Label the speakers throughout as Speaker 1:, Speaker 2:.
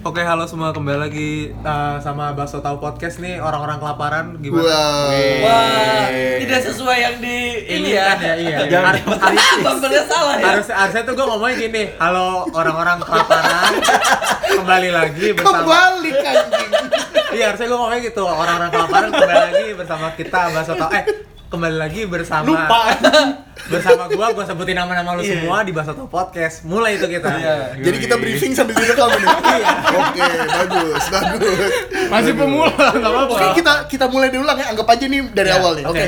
Speaker 1: Oke, halo semua kembali lagi eh, sama Baso Tahu Podcast nih orang-orang kelaparan gimana?
Speaker 2: Wah.
Speaker 3: Wah, tidak sesuai yang di ini ya.
Speaker 1: Kan ya, iya.
Speaker 2: Jangan.
Speaker 1: Harus, harus,
Speaker 3: Bumpernya salah ya.
Speaker 1: harus- harusnya tuh gue ngomongnya gini, halo orang-orang kelaparan, kembali lagi bersama.
Speaker 2: Kembali anjing.
Speaker 1: Iya, harusnya gue ngomongnya gitu, orang-orang kelaparan kembali lagi bersama kita Baso Tahu. Eh, kembali lagi bersama
Speaker 2: Lupa. Iya.
Speaker 1: bersama gua gua sebutin nama-nama lu semua di Baso Tahu Podcast. Mulai itu kita.
Speaker 2: Jadi kita briefing sambil direkam ini. Oke, bagus, bagus.
Speaker 4: Masih pemula, nggak apa-apa.
Speaker 2: Oke, kita kita mulai diulang ya. Anggap aja nih
Speaker 1: Iya.
Speaker 2: dari awal nih. Oke.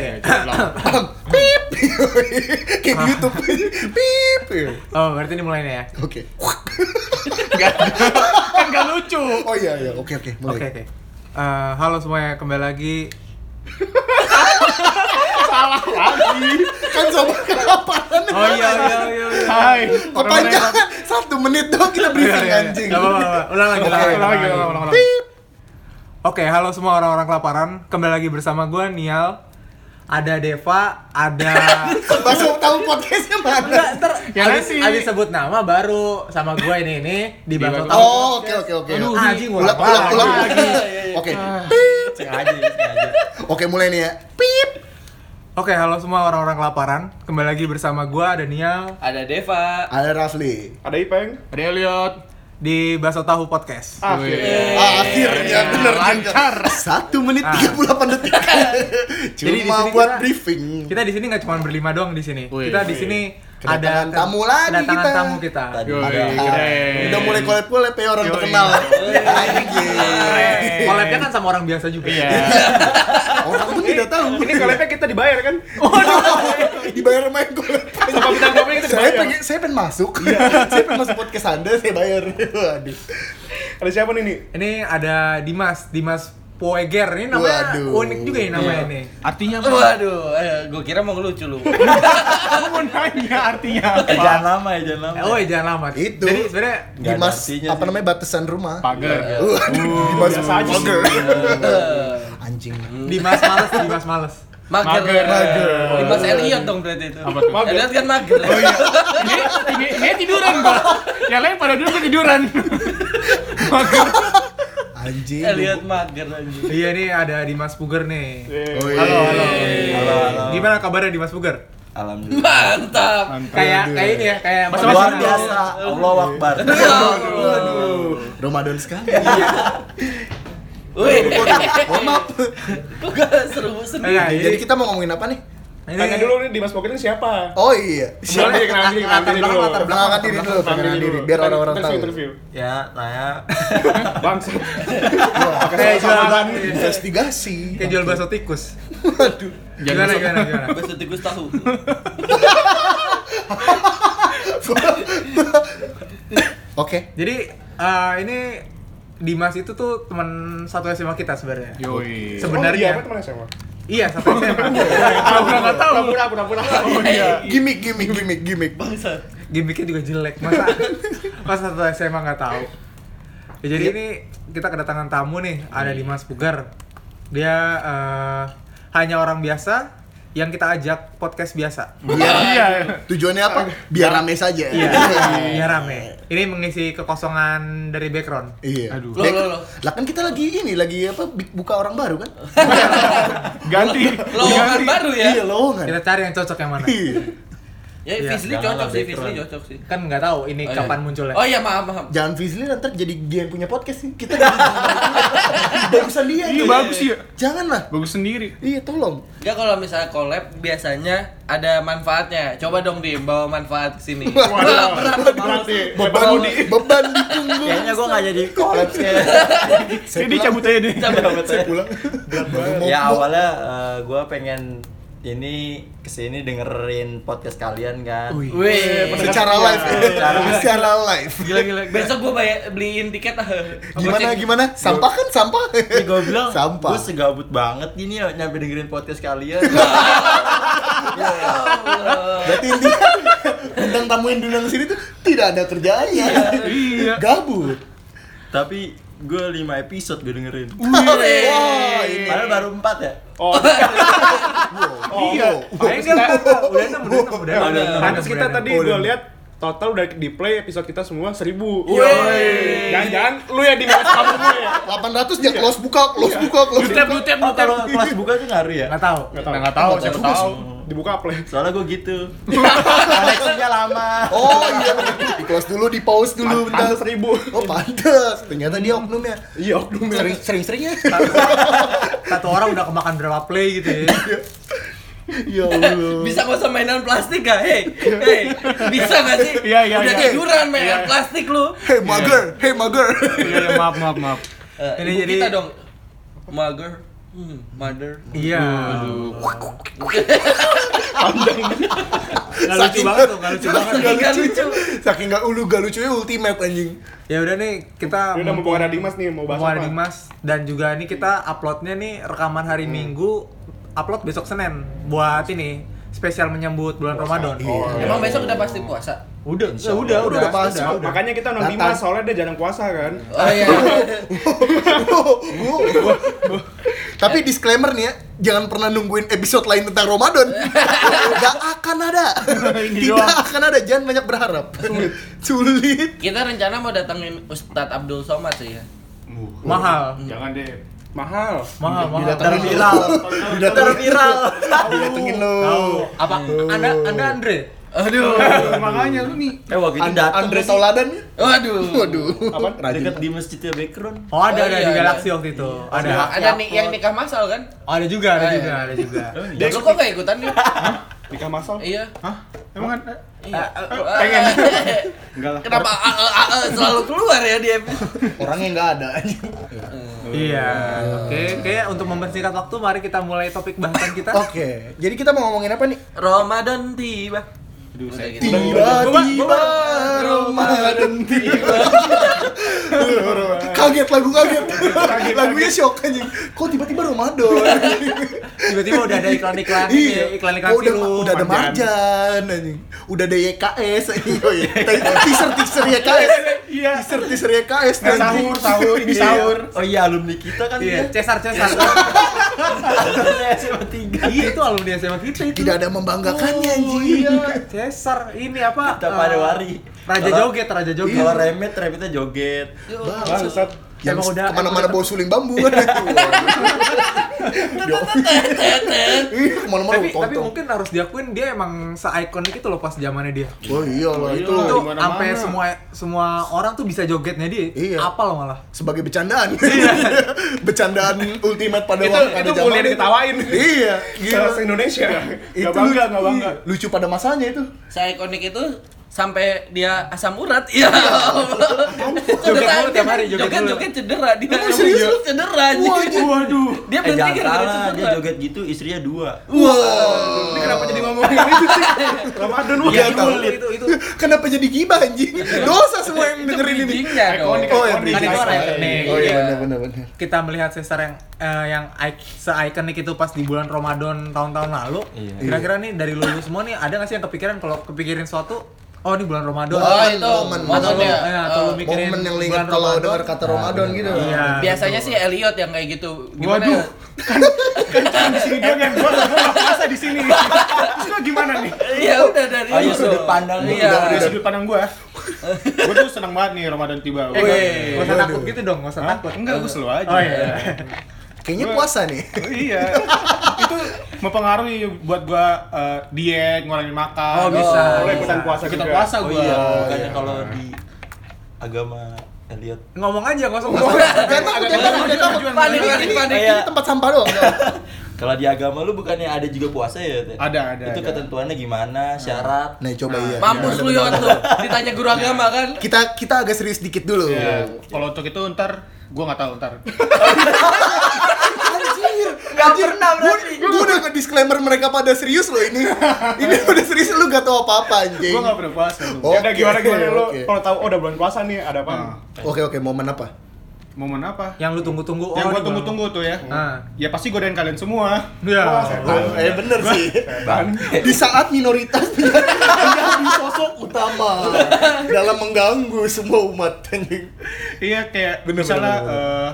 Speaker 2: Pip. Kayak di YouTube. Pip. Iya.
Speaker 1: Oh, berarti ini mulai nih ya.
Speaker 2: Oke.
Speaker 4: Kan nggak lucu.
Speaker 2: Oh iya iya, oke oke,
Speaker 1: Oke,
Speaker 2: mulai.
Speaker 1: oke. Eh, halo semuanya, kembali lagi
Speaker 4: Salah lagi.
Speaker 2: Kan sama kelaparan.
Speaker 1: Oh iya iya iya. iya.
Speaker 4: Hai.
Speaker 2: Kepanjangan satu menit dong kita
Speaker 1: Iya,
Speaker 2: briefing
Speaker 1: iya, iya.
Speaker 2: anjing.
Speaker 1: Gak apa-apa, ulang lagi, ulang
Speaker 4: Ulang
Speaker 1: lagi,
Speaker 4: ulang lagi,
Speaker 1: ulang
Speaker 4: ulang ulang,
Speaker 1: lagi.
Speaker 4: ulang.
Speaker 1: Oke, halo semua orang-orang kelaparan. Kembali lagi bersama gue Nial. Ada Deva, ada
Speaker 2: Masuk tahu podcastnya
Speaker 1: Enggak,
Speaker 2: mana?
Speaker 1: ntar
Speaker 4: Ya,
Speaker 1: abis,
Speaker 4: nanti.
Speaker 1: abis sebut nama baru sama gue ini ini di Bakso
Speaker 4: Bakso
Speaker 1: Tahu.
Speaker 2: Oh, oke oke oke.
Speaker 4: Aduh,
Speaker 1: Anjing
Speaker 2: Ulang ulang ulang. Oke.
Speaker 1: Sengaja, sengaja.
Speaker 2: Oke, mulai nih ya. Pip.
Speaker 1: Oke, halo semua orang-orang kelaparan. Kembali lagi bersama gue ada Nial
Speaker 3: Ada Deva.
Speaker 2: Ada Rafli.
Speaker 5: Ada Ipeng.
Speaker 4: Ada Elliot. Iya.
Speaker 1: di Bakso Tahu Podcast.
Speaker 5: Akhirnya.
Speaker 2: Ah, akhirnya bener
Speaker 4: lancar.
Speaker 2: Satu menit tiga puluh delapan detik.
Speaker 1: Jadi di
Speaker 2: Cuma
Speaker 1: sini
Speaker 2: buat
Speaker 1: kita-
Speaker 2: briefing.
Speaker 1: Kita di sini nggak cuma berlima doang di sini.
Speaker 4: Wih,
Speaker 1: Kita di
Speaker 4: wih.
Speaker 1: sini ada
Speaker 2: Kedatangan tamu lagi
Speaker 1: kedatangan
Speaker 2: kita.
Speaker 1: tamu kita.
Speaker 2: Tadi
Speaker 4: Yoi,
Speaker 2: ada A.
Speaker 4: keren.
Speaker 2: Udah mulai kolab kolab ya orang
Speaker 4: Yoi.
Speaker 2: terkenal. Anjing.
Speaker 1: Collabnya kan sama orang biasa juga.
Speaker 4: Iya.
Speaker 2: Orang tuh tidak tahu.
Speaker 5: Ini kolabnya kita dibayar kan?
Speaker 2: Dibayar main kolab.
Speaker 5: Sama bintang tamunya
Speaker 1: gitu. Iya.
Speaker 2: Saya
Speaker 5: kita dibayar.
Speaker 2: pengen, saya pengen masuk. saya pengen masuk podcast Anda, saya bayar. Waduh.
Speaker 5: Ada siapa nih nih?
Speaker 1: Ini ada Dimas, Dimas Poeger. Ini namanya
Speaker 2: Waduh. Iya.
Speaker 1: unik juga ini namanya ini.
Speaker 4: Artinya apa?
Speaker 3: Waduh, eh, gue kira mau ngelucu lu.
Speaker 4: Aku mau nanya artinya apa?
Speaker 3: lama ya, jangan
Speaker 1: Eh, Oh, jangan lama.
Speaker 2: Itu.
Speaker 1: Jadi sebenarnya
Speaker 3: Nggak ada
Speaker 2: Dimas,
Speaker 3: artinya
Speaker 2: apa
Speaker 3: sih.
Speaker 2: namanya batasan rumah?
Speaker 4: Pagar.
Speaker 2: Waduh, Dimas
Speaker 4: biasa aja sih.
Speaker 2: Pagar. Anjing.
Speaker 1: Dimas males, Dimas males.
Speaker 3: Mager.
Speaker 4: Mager. Mager.
Speaker 3: Dimas Elliot dong berarti itu.
Speaker 4: Apa tuh?
Speaker 3: Elliot kan mager.
Speaker 4: Ini, ini, ini tiduran gua. Yang lain pada dulu tiduran. Pagar.
Speaker 2: Anjing.
Speaker 3: Elliot mager anjing.
Speaker 1: Iya nih ada Dimas Puger nih.
Speaker 2: Oh, iya.
Speaker 1: Halo, halo. Gimana kabarnya Dimas Puger?
Speaker 6: Alhamdulillah.
Speaker 3: Mantap.
Speaker 1: Kayak kayak ini ya, kayak
Speaker 4: Masa-masa
Speaker 6: Luar
Speaker 1: Madonna.
Speaker 6: biasa. Allah Akbar.
Speaker 2: Aduh, aduh. Ramadan sekali.
Speaker 3: Wih.
Speaker 2: Oh, maaf.
Speaker 3: Kok gak seru sendiri?
Speaker 1: Iya,
Speaker 2: Jadi kita mau ngomongin apa nih?
Speaker 1: ini-
Speaker 5: Tanya dulu nih Dimas Pocket ini siapa?
Speaker 2: Oh iya.
Speaker 5: Siapa dia kenalan diri, kenalan diri dulu.
Speaker 2: Latar belakangan diri dulu, perkenalan diri biar
Speaker 5: Ntar
Speaker 2: orang-orang tahu.
Speaker 5: interview, Interview,
Speaker 6: Ya, saya
Speaker 5: Bangsa.
Speaker 1: kayak jual
Speaker 2: Investigasi.
Speaker 1: kayak jual bakso tikus.
Speaker 2: Waduh.
Speaker 1: Gimana gimana gimana?
Speaker 3: Gue setikus tahu.
Speaker 2: Oke.
Speaker 1: Jadi eh, ini Dimas itu tuh teman satu SMA kita sebenarnya.
Speaker 4: Yoi.
Speaker 5: Oh, iya, apa
Speaker 1: Sebenarnya.
Speaker 5: temannya siapa?
Speaker 1: Iya, satu SMA.
Speaker 4: Pura-pura nggak tahu.
Speaker 5: Pura-pura, pura-pura. Oh, iya.
Speaker 2: Gimik, gimik, gimik, gimik.
Speaker 3: Bangsat.
Speaker 1: gimmicknya juga jelek masa masa satu SMA nggak tahu ya, jadi ini kita kedatangan tamu nih ada
Speaker 2: Hmm.
Speaker 1: Dimas Pugar dia eh, hanya orang biasa yang kita ajak podcast biasa
Speaker 4: Iya.
Speaker 2: Tujuannya apa? Biar rame saja. Hmm.
Speaker 1: ya rame ini mengisi kekosongan dari background
Speaker 2: Iya.
Speaker 4: Aduh.
Speaker 3: Loh, loh, loh.
Speaker 2: Lah kan kita lagi ini, lagi apa bi- buka orang baru kan?
Speaker 4: Ganti.
Speaker 3: Lowongan baru ya.
Speaker 2: Iya, lowongan.
Speaker 1: kita cari yang cocok yang mana
Speaker 2: Iya.
Speaker 3: Ya,
Speaker 1: Iya.
Speaker 3: Fisli
Speaker 6: Jangan
Speaker 3: cocok
Speaker 6: lah,
Speaker 3: sih,
Speaker 6: background.
Speaker 3: Fisli cocok sih.
Speaker 1: kan nggak tahu ini
Speaker 3: Oh, iya.
Speaker 1: kapan munculnya
Speaker 3: Oh iya, maaf, maaf.
Speaker 2: Jangan Fizli nanti jadi dia yang punya podcast sih. Kita bagusan dia.
Speaker 4: Iya
Speaker 2: tuh.
Speaker 4: bagus sih.
Speaker 2: Janganlah.
Speaker 4: Bagus sendiri.
Speaker 2: Iya, tolong.
Speaker 3: Ya kalau misalnya collab biasanya ada manfaatnya. Coba dong di bawa manfaat ke sini.
Speaker 4: Waduh.
Speaker 3: Berat.
Speaker 4: Berat nih.
Speaker 2: Beban beban di punggung.
Speaker 6: kayaknya gua nggak jadi kolaps ya.
Speaker 4: Ini dicabut aja deh.
Speaker 3: Coba.
Speaker 2: Saya pulang. Mau-
Speaker 6: ya
Speaker 2: mau-
Speaker 6: awalnya eh, gua pengen ini kesini dengerin podcast kalian kan.
Speaker 3: Wih.
Speaker 2: secara live.
Speaker 6: Secara-
Speaker 2: Secara live.
Speaker 1: gila gila
Speaker 3: Besok gua bayar beliin tiket ah.
Speaker 2: Gimana
Speaker 3: Goceng.
Speaker 2: gimana? Sampah kan sampah.
Speaker 6: Ini gua bilang,
Speaker 2: sampah.
Speaker 6: gua segabut banget gini ya nyampe dengerin podcast kalian.
Speaker 2: Berarti intinya bintang tamu yang diundang sini tuh tidak ada kerjaannya.
Speaker 4: Iya.
Speaker 2: Gabut.
Speaker 6: Tapi gua 5 episode gua dengerin.
Speaker 3: Wih.
Speaker 2: Wah, ini.
Speaker 6: Padahal baru 4 ya.
Speaker 5: Oh,
Speaker 2: Wow, wow.
Speaker 5: Iya.
Speaker 1: Kayaknya nggak apa-apa. udah enam udah enam udah enam
Speaker 6: Udah
Speaker 1: Pantes Oh,
Speaker 6: enam.
Speaker 5: pantas kita tadi gua lihat total udah di play episode kita semua seribu.
Speaker 3: Woi.
Speaker 5: Jangan-jangan lu ya di minus kamu gue ya.
Speaker 2: 800 dia close buka, close buka, close
Speaker 4: Dutep,
Speaker 2: buka.
Speaker 4: dutep,
Speaker 6: Oh,
Speaker 4: dutep.
Speaker 6: kalau kelas buka tuh ngaruh ya?
Speaker 1: nggak tahu
Speaker 5: Nggak tahu.
Speaker 4: Nah, nggak tahu, siapa
Speaker 2: Nggak
Speaker 4: tahu.
Speaker 2: tahu.
Speaker 5: Dibuka play.
Speaker 6: Soalnya gue gitu. Alexa-nya lama.
Speaker 2: Oh iya, bener. di close dulu, di pause dulu bentar.
Speaker 5: Pantas seribu.
Speaker 2: Oh pantes, ternyata dia oknum ya.
Speaker 5: Iya, oknum ya.
Speaker 2: Sering, sering-sering ya.
Speaker 1: satu orang udah kemakan berapa play gitu ya
Speaker 2: Ya Allah.
Speaker 3: Bisa gak usah mainan plastik gak? Hei, hei, bisa gak sih?
Speaker 4: Iya, iya,
Speaker 3: Udah
Speaker 4: iya.
Speaker 3: tiduran mainan plastik lu.
Speaker 2: Hey mager, hey mager.
Speaker 4: Iya, iya, maaf, maaf, maaf.
Speaker 3: Eh,
Speaker 1: Ini
Speaker 3: ibu
Speaker 1: jadi-
Speaker 3: kita dong. Mother, hmm, mother.
Speaker 1: iya nggak lucu
Speaker 2: Saking-
Speaker 1: banget tuh nggak lucu banget
Speaker 3: Saking nggak lucu.
Speaker 2: Saking gak ulu, gak lucunya ultimate anjing.
Speaker 1: ya udah nih kita
Speaker 5: Ini udah mau ada Dimas nih, mau bahas
Speaker 1: Muara
Speaker 5: apa?
Speaker 1: Dimas dan juga ini kita uploadnya nih rekaman hari Minggu upload besok Senin buat ini spesial menyambut bulan Ramadan.
Speaker 3: Emang besok udah pasti puasa?
Speaker 1: Udah,
Speaker 6: Insya
Speaker 1: ya udah,
Speaker 6: Allah.
Speaker 1: udah,
Speaker 2: Udah pasti.
Speaker 1: udah, udah.
Speaker 5: Makanya kita nonton
Speaker 2: Datang.
Speaker 5: Dimas, soalnya dia jarang puasa kan.
Speaker 3: Oh iya.
Speaker 2: Tapi disclaimer nih ya, jangan pernah nungguin episode lain tentang Ramadan. Gak akan ada. Tidak akan ada, jangan banyak berharap. Sulit. Sulit.
Speaker 3: Kita rencana mau datengin Ustadz Abdul Somad sih ya.
Speaker 1: Mahal.
Speaker 5: Jangan deh. Mahal.
Speaker 1: Mahal, mahal. Dari
Speaker 2: Didatengin.
Speaker 1: viral. Dari viral. Hmm.
Speaker 2: Datengin lo.
Speaker 1: Tahu. Apa Anda Anda Andre?
Speaker 3: Aduh.
Speaker 5: Iya.
Speaker 4: Makanya lu nih.
Speaker 6: Eh waktu itu
Speaker 2: And-
Speaker 6: datang
Speaker 2: Andre
Speaker 6: gak sih?
Speaker 2: Tauladan ya?
Speaker 3: Waduh.
Speaker 2: Waduh.
Speaker 5: Apa?
Speaker 6: Deket di masjid ya background.
Speaker 1: Oh, ada
Speaker 3: Oh,
Speaker 1: ada
Speaker 3: iya,
Speaker 1: di
Speaker 3: ada.
Speaker 1: Galaxy waktu itu. Iya, Ada.
Speaker 3: Ada nih yang nikah masal kan?
Speaker 1: Oh, ada juga, ada
Speaker 3: Ah, iya.
Speaker 1: juga, ada juga.
Speaker 3: Dia lu kok gak ikutan nih?
Speaker 5: Nikah masal.
Speaker 3: Iya.
Speaker 4: Emang kan
Speaker 3: Iya.
Speaker 5: pengen.
Speaker 3: Enggak lah. Kenapa AE AE selalu keluar ya di episode?
Speaker 2: Orangnya nggak ada anjing.
Speaker 1: Iya. Oke, oke untuk mempersingkat waktu mari kita mulai topik bahasan kita.
Speaker 2: Oh, Oke, jadi kita mau ngomongin apa nih?
Speaker 3: Ramadan tiba. gitu. Aduh, saya
Speaker 2: Tiba-tiba Ramadan tiba. kaget lagu kaget. Lagunya shock anjing. Kok tiba-tiba Ramadan?
Speaker 1: Tiba-tiba udah ada iklan-iklan ini,
Speaker 2: Iya,
Speaker 1: iklan-iklan
Speaker 2: Oh, udah,
Speaker 1: sirup.
Speaker 2: udah ada marjan anjing. Udah ada YKS. Iya, iya. Teaser-teaser YKS.
Speaker 4: Iya.
Speaker 2: Teaser-teaser YKS
Speaker 5: Eh, sahur, sahur, ini sahur.
Speaker 6: Oh iya alumni kita kan
Speaker 1: Iya,
Speaker 6: dia.
Speaker 1: Cesar Cesar.
Speaker 6: Alumni SMA 3.
Speaker 1: Iya, itu alumni SMA kita itu.
Speaker 2: Tidak ada membanggakannya anjing.
Speaker 1: Iya, Cesar ini apa?
Speaker 6: Kita Iya. pada
Speaker 1: eh,
Speaker 6: wari.
Speaker 1: Raja
Speaker 6: Kalau-
Speaker 1: joget, raja joget.
Speaker 6: Kalau remet, remetnya joget.
Speaker 5: Bangsat.
Speaker 2: Yang
Speaker 1: Emang udah-
Speaker 2: kemana-mana bawa suling bambu kan itu. Ih, kemana-mana
Speaker 1: tapi,
Speaker 2: bawa
Speaker 1: tapi
Speaker 2: tontong.
Speaker 1: mungkin harus diakuin dia emang seikonik itu loh pas zamannya dia.
Speaker 2: Oh iya lah itu.
Speaker 1: Itu
Speaker 5: di mana-mana.
Speaker 1: sampai semua semua orang tuh bisa jogetnya dia.
Speaker 2: Iya.
Speaker 1: Apal malah.
Speaker 2: Sebagai bercandaan.
Speaker 1: Iya.
Speaker 2: bercandaan ultimate pada
Speaker 5: Itu-
Speaker 2: waktu
Speaker 5: itu boleh diketawain.
Speaker 2: Iya,
Speaker 5: Gila. Indonesia. Gak bangga, gak bangga.
Speaker 2: Lucu pada masanya itu.
Speaker 3: Saya ikonik itu sampai dia asam urat. Ya Allah.
Speaker 1: Joget mulu tiap hari, joget
Speaker 3: joget,
Speaker 1: mulu.
Speaker 3: joget cedera dia.
Speaker 2: Emang serius
Speaker 3: Lu
Speaker 2: lu?
Speaker 3: cedera anjing.
Speaker 5: Waduh.
Speaker 3: Dia
Speaker 6: Eh
Speaker 3: berhenti
Speaker 6: jangan
Speaker 3: gara-gara
Speaker 6: salah, dia
Speaker 3: cedera.
Speaker 6: joget gitu istrinya dua.
Speaker 5: Ini kenapa jadi ngomongin itu sih? Ramadan lu.
Speaker 2: Iya,
Speaker 1: itu, itu itu
Speaker 2: Kenapa jadi gibah anjing? Dosa semua yang dengerin ini.
Speaker 3: Bridgingnya dong.
Speaker 5: Ikonik.
Speaker 2: Oh, yang
Speaker 5: Kan
Speaker 1: itu
Speaker 2: bridging.
Speaker 1: orang yang kening.
Speaker 2: Oh iya
Speaker 3: Iya.
Speaker 2: benar benar benar.
Speaker 1: kita melihat Cesar yang eh, yang ik- se-ikonik itu pas di bulan Ramadan tahun-tahun lalu.
Speaker 6: Iya.
Speaker 1: Kira-kira nih dari lu semua nih ada nggak sih yang kepikiran kalau kepikirin suatu oh ini bulan Ramadan.
Speaker 2: Wah,
Speaker 3: Oh,
Speaker 2: Momen,
Speaker 3: itu
Speaker 2: momen,
Speaker 1: atau lu,
Speaker 3: momennya.
Speaker 1: eh, atau lu
Speaker 3: Eh,
Speaker 1: mikirin
Speaker 2: Momen yang
Speaker 1: bulan
Speaker 2: ingat kalau
Speaker 1: Ramadan.
Speaker 2: dengar kata Ramadan gitu.
Speaker 1: Iya.
Speaker 3: Biasanya sih Elliot yang kayak gitu. Gimana?
Speaker 4: Waduh.
Speaker 3: ya?
Speaker 5: Sini dia kan gua gua nggak puasa di sini. Terus gua gimana nih?
Speaker 3: Iya udah dari
Speaker 6: Ayo
Speaker 3: itu.
Speaker 6: sudut pandangnya.
Speaker 3: Iya.
Speaker 5: Dari sudut pandang gua. Gua tuh senang banget nih Ramadan
Speaker 1: Eh,
Speaker 5: tiba. Gua-
Speaker 1: nggak usah
Speaker 2: Waduh.
Speaker 1: takut gitu dong, nggak usah
Speaker 5: Hah?
Speaker 1: takut.
Speaker 5: Enggak, gua slow aja.
Speaker 1: Oh iya.
Speaker 2: Kayaknya puasa nih.
Speaker 5: Oh, iya. itu mempengaruhi buat gua eh, diet, ngurangin makan.
Speaker 1: Oh, bisa.
Speaker 5: Lu ikutan
Speaker 1: Bisa.
Speaker 5: puasa juga.
Speaker 6: Kita
Speaker 5: Oh,
Speaker 6: puasa gua.
Speaker 2: iya,
Speaker 6: Bukannya
Speaker 2: iya.
Speaker 6: kalau di agama Elliot.
Speaker 1: Ngomong aja, nggak usah
Speaker 2: Jangan takut, jangan takut, jangan takut.
Speaker 3: Panik, panik,
Speaker 2: Ini-
Speaker 3: panik. Iya.
Speaker 2: Ini tempat sampah doang.
Speaker 6: Kalau di agama lu bukannya ada juga puasa ya? Ted?
Speaker 5: Ada, ada,
Speaker 6: Itu
Speaker 5: ada.
Speaker 6: ketentuannya gimana, syarat.
Speaker 2: Nah, coba iya.
Speaker 3: Mampus lu yon tuh. Ditanya guru agama kan.
Speaker 2: Kita kita agak serius dikit dulu.
Speaker 5: Iya. Kalau untuk itu ntar gua nggak tahu ntar.
Speaker 2: Anjir.
Speaker 6: Nggak pernah berarti.
Speaker 2: Gue udah nge-disclaimer mereka pada serius loh ini. Ini udah serius lu gak tau apa-apa anjing.
Speaker 5: gua nggak pernah puasa. tuh.
Speaker 2: Oke,
Speaker 5: Yaudah, gimana gimana lu
Speaker 2: oke.
Speaker 5: kalau tahu oh udah bulan puasa nih ada apa?
Speaker 2: Oke oke, momen apa?
Speaker 5: Momen apa?
Speaker 1: Yang lu tunggu-tunggu. oh,
Speaker 5: yang gua
Speaker 1: ini
Speaker 5: tunggu-tunggu tuh ya.
Speaker 1: Ah.
Speaker 5: Ya pasti godain kalian semua.
Speaker 1: Iya.
Speaker 5: Wah, setan.
Speaker 2: eh bener sih.
Speaker 6: Bang.
Speaker 2: Di saat minoritas menjadi sosok utama dalam mengganggu semua umat anjing.
Speaker 5: Iya kayak misalnya eh,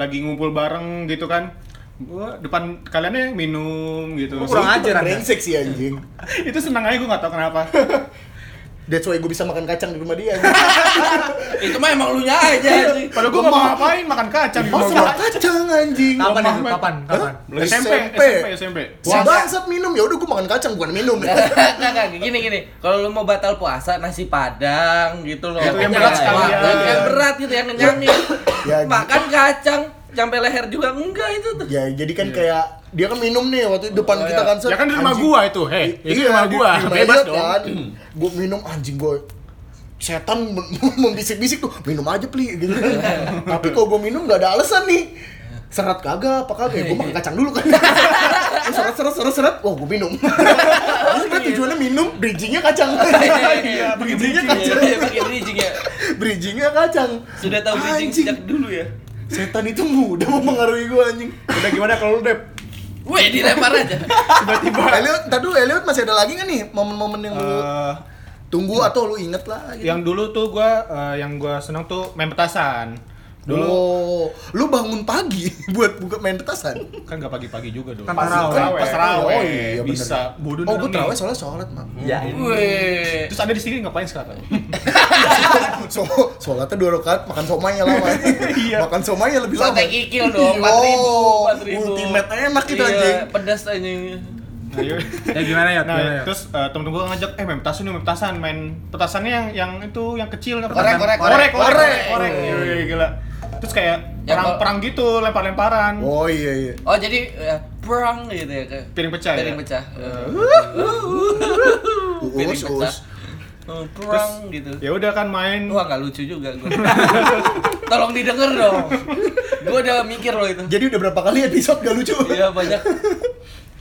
Speaker 5: lagi ngumpul bareng gitu kan. Gua depan kaliannya minum gitu.
Speaker 1: Kurang
Speaker 2: Itu
Speaker 1: ajar Anda.
Speaker 2: brengsek sih anjing.
Speaker 5: itu senang aja gue nggak tahu kenapa
Speaker 2: That's why gue bisa makan kacang di rumah dia.
Speaker 3: Itu mah emang lu nya aja anjing.
Speaker 5: Padahal gua mau ngapain makan kacang di
Speaker 2: Mau sama
Speaker 5: rumah gua.
Speaker 2: kacang anjing.
Speaker 1: Kapan itu?
Speaker 5: Muhammad.
Speaker 1: Kapan? Kapan?
Speaker 2: Hah?
Speaker 5: SMP,
Speaker 2: SMP.
Speaker 5: SMP, SMP.
Speaker 2: Si bangsat minum ya udah gue makan kacang bukan minum.
Speaker 4: Iya.
Speaker 3: Nggak, nggak, Nah, gini gini. Kalau lu mau batal puasa nasi padang gitu loh.
Speaker 5: Itu yang
Speaker 3: Pokoknya
Speaker 5: berat
Speaker 3: nggak
Speaker 5: sekalian.
Speaker 3: enak, Yang, yang berat gitu yang kenyangin.
Speaker 2: Iya. Ya, gitu.
Speaker 3: Makan kacang sampai leher juga enggak itu tuh.
Speaker 2: ya jadi kan kayak dia kan minum nih waktu itu depan
Speaker 3: Oh,
Speaker 2: kita
Speaker 3: iya.
Speaker 2: kan. Sat.
Speaker 4: Iya. Ya kan di rumah
Speaker 2: Anjing.
Speaker 4: gua itu, hei.
Speaker 2: I-
Speaker 4: Itu
Speaker 2: iya,
Speaker 4: rumah
Speaker 2: di-
Speaker 4: gua,
Speaker 2: di rumah
Speaker 4: bebas
Speaker 2: dia
Speaker 4: dong.
Speaker 2: kan. Gue minum anjing gue setan mem- membisik-bisik tuh minum aja pli gitu. Tapi kalau gue minum gak ada alasan nih. Seret kagak, apa kagak? Gue makan kacang dulu kan. Gua seret seret seret seret, wah gue minum. Jadi sebenarnya tujuannya minum, bridgingnya kacang.
Speaker 3: Iya,
Speaker 2: bridgingnya
Speaker 3: Iya,
Speaker 2: kacang.
Speaker 3: iya, pakai bridging ya.
Speaker 2: Bridgingnya kacang.
Speaker 3: Sudah tahu bridging
Speaker 2: Anjing,
Speaker 3: sejak dulu ya.
Speaker 2: Setan itu mudah mempengaruhi gue anjing.
Speaker 5: Udah gimana kalau lu Dep?
Speaker 3: Weh, dilempar aja.
Speaker 2: Elliot, ntar dulu Elliot masih ada lagi gak nih momen-momen yang lu
Speaker 5: Eh,
Speaker 2: tunggu atau lu inget lah gitu?
Speaker 5: yang dulu tuh gua eh, yang gua seneng tuh main petasan. Iya, Dulu
Speaker 2: Oh, lu bangun pagi buat buka main petasan?
Speaker 5: kan gak pagi-pagi juga dulu.
Speaker 1: Kan
Speaker 5: Pas
Speaker 1: taraweh.
Speaker 5: taraweh. Pas taraweh.
Speaker 2: Oh iya, bener.
Speaker 5: bisa. Bodoh
Speaker 2: Oh, gue
Speaker 5: nih.
Speaker 2: terawih soalnya sholat, Mam.
Speaker 6: Ya,
Speaker 2: Uh,
Speaker 3: Weh.
Speaker 5: Terus ada di sini ngapain sekarang?
Speaker 2: So, sholatnya dua rakaat, makan somainya lama.
Speaker 5: Iya.
Speaker 2: Makan somainya lebih lama.
Speaker 3: Sate kikil
Speaker 2: Yo,
Speaker 3: dong, 4000, 4000.
Speaker 2: ultimate enak itu,
Speaker 3: Iya,
Speaker 2: anjing.
Speaker 3: Pedas anjing.
Speaker 5: Ayo.
Speaker 1: Ya gimana ya?
Speaker 5: Nah,
Speaker 1: Gimana ya?
Speaker 5: terus eh, temen-temen gue ngajak, eh main petasan nih, main petasan Main petasannya yang yang itu, yang kecil apa?
Speaker 3: Korek, korek,
Speaker 5: korek, korek, korek,
Speaker 3: korek.
Speaker 5: korek. Yoi, gila Terus kayak
Speaker 3: Ya,
Speaker 5: perang-perang gitu, lempar-lemparan
Speaker 2: Oh iya iya.
Speaker 3: Oh, jadi ya, perang gitu ya. kayak-
Speaker 5: Piring pecah ya?
Speaker 3: Piring pecah. Eh. Piring
Speaker 2: Uus
Speaker 3: pecah.
Speaker 2: uus.
Speaker 5: Oh,
Speaker 3: Eh, Perang gitu.
Speaker 5: Ya udah kan main
Speaker 3: Wah nggak lucu juga gue. Tolong didengar dong. Gue udah mikir loh itu.
Speaker 2: Jadi udah berapa kali episode gak lucu?
Speaker 3: Iya banyak.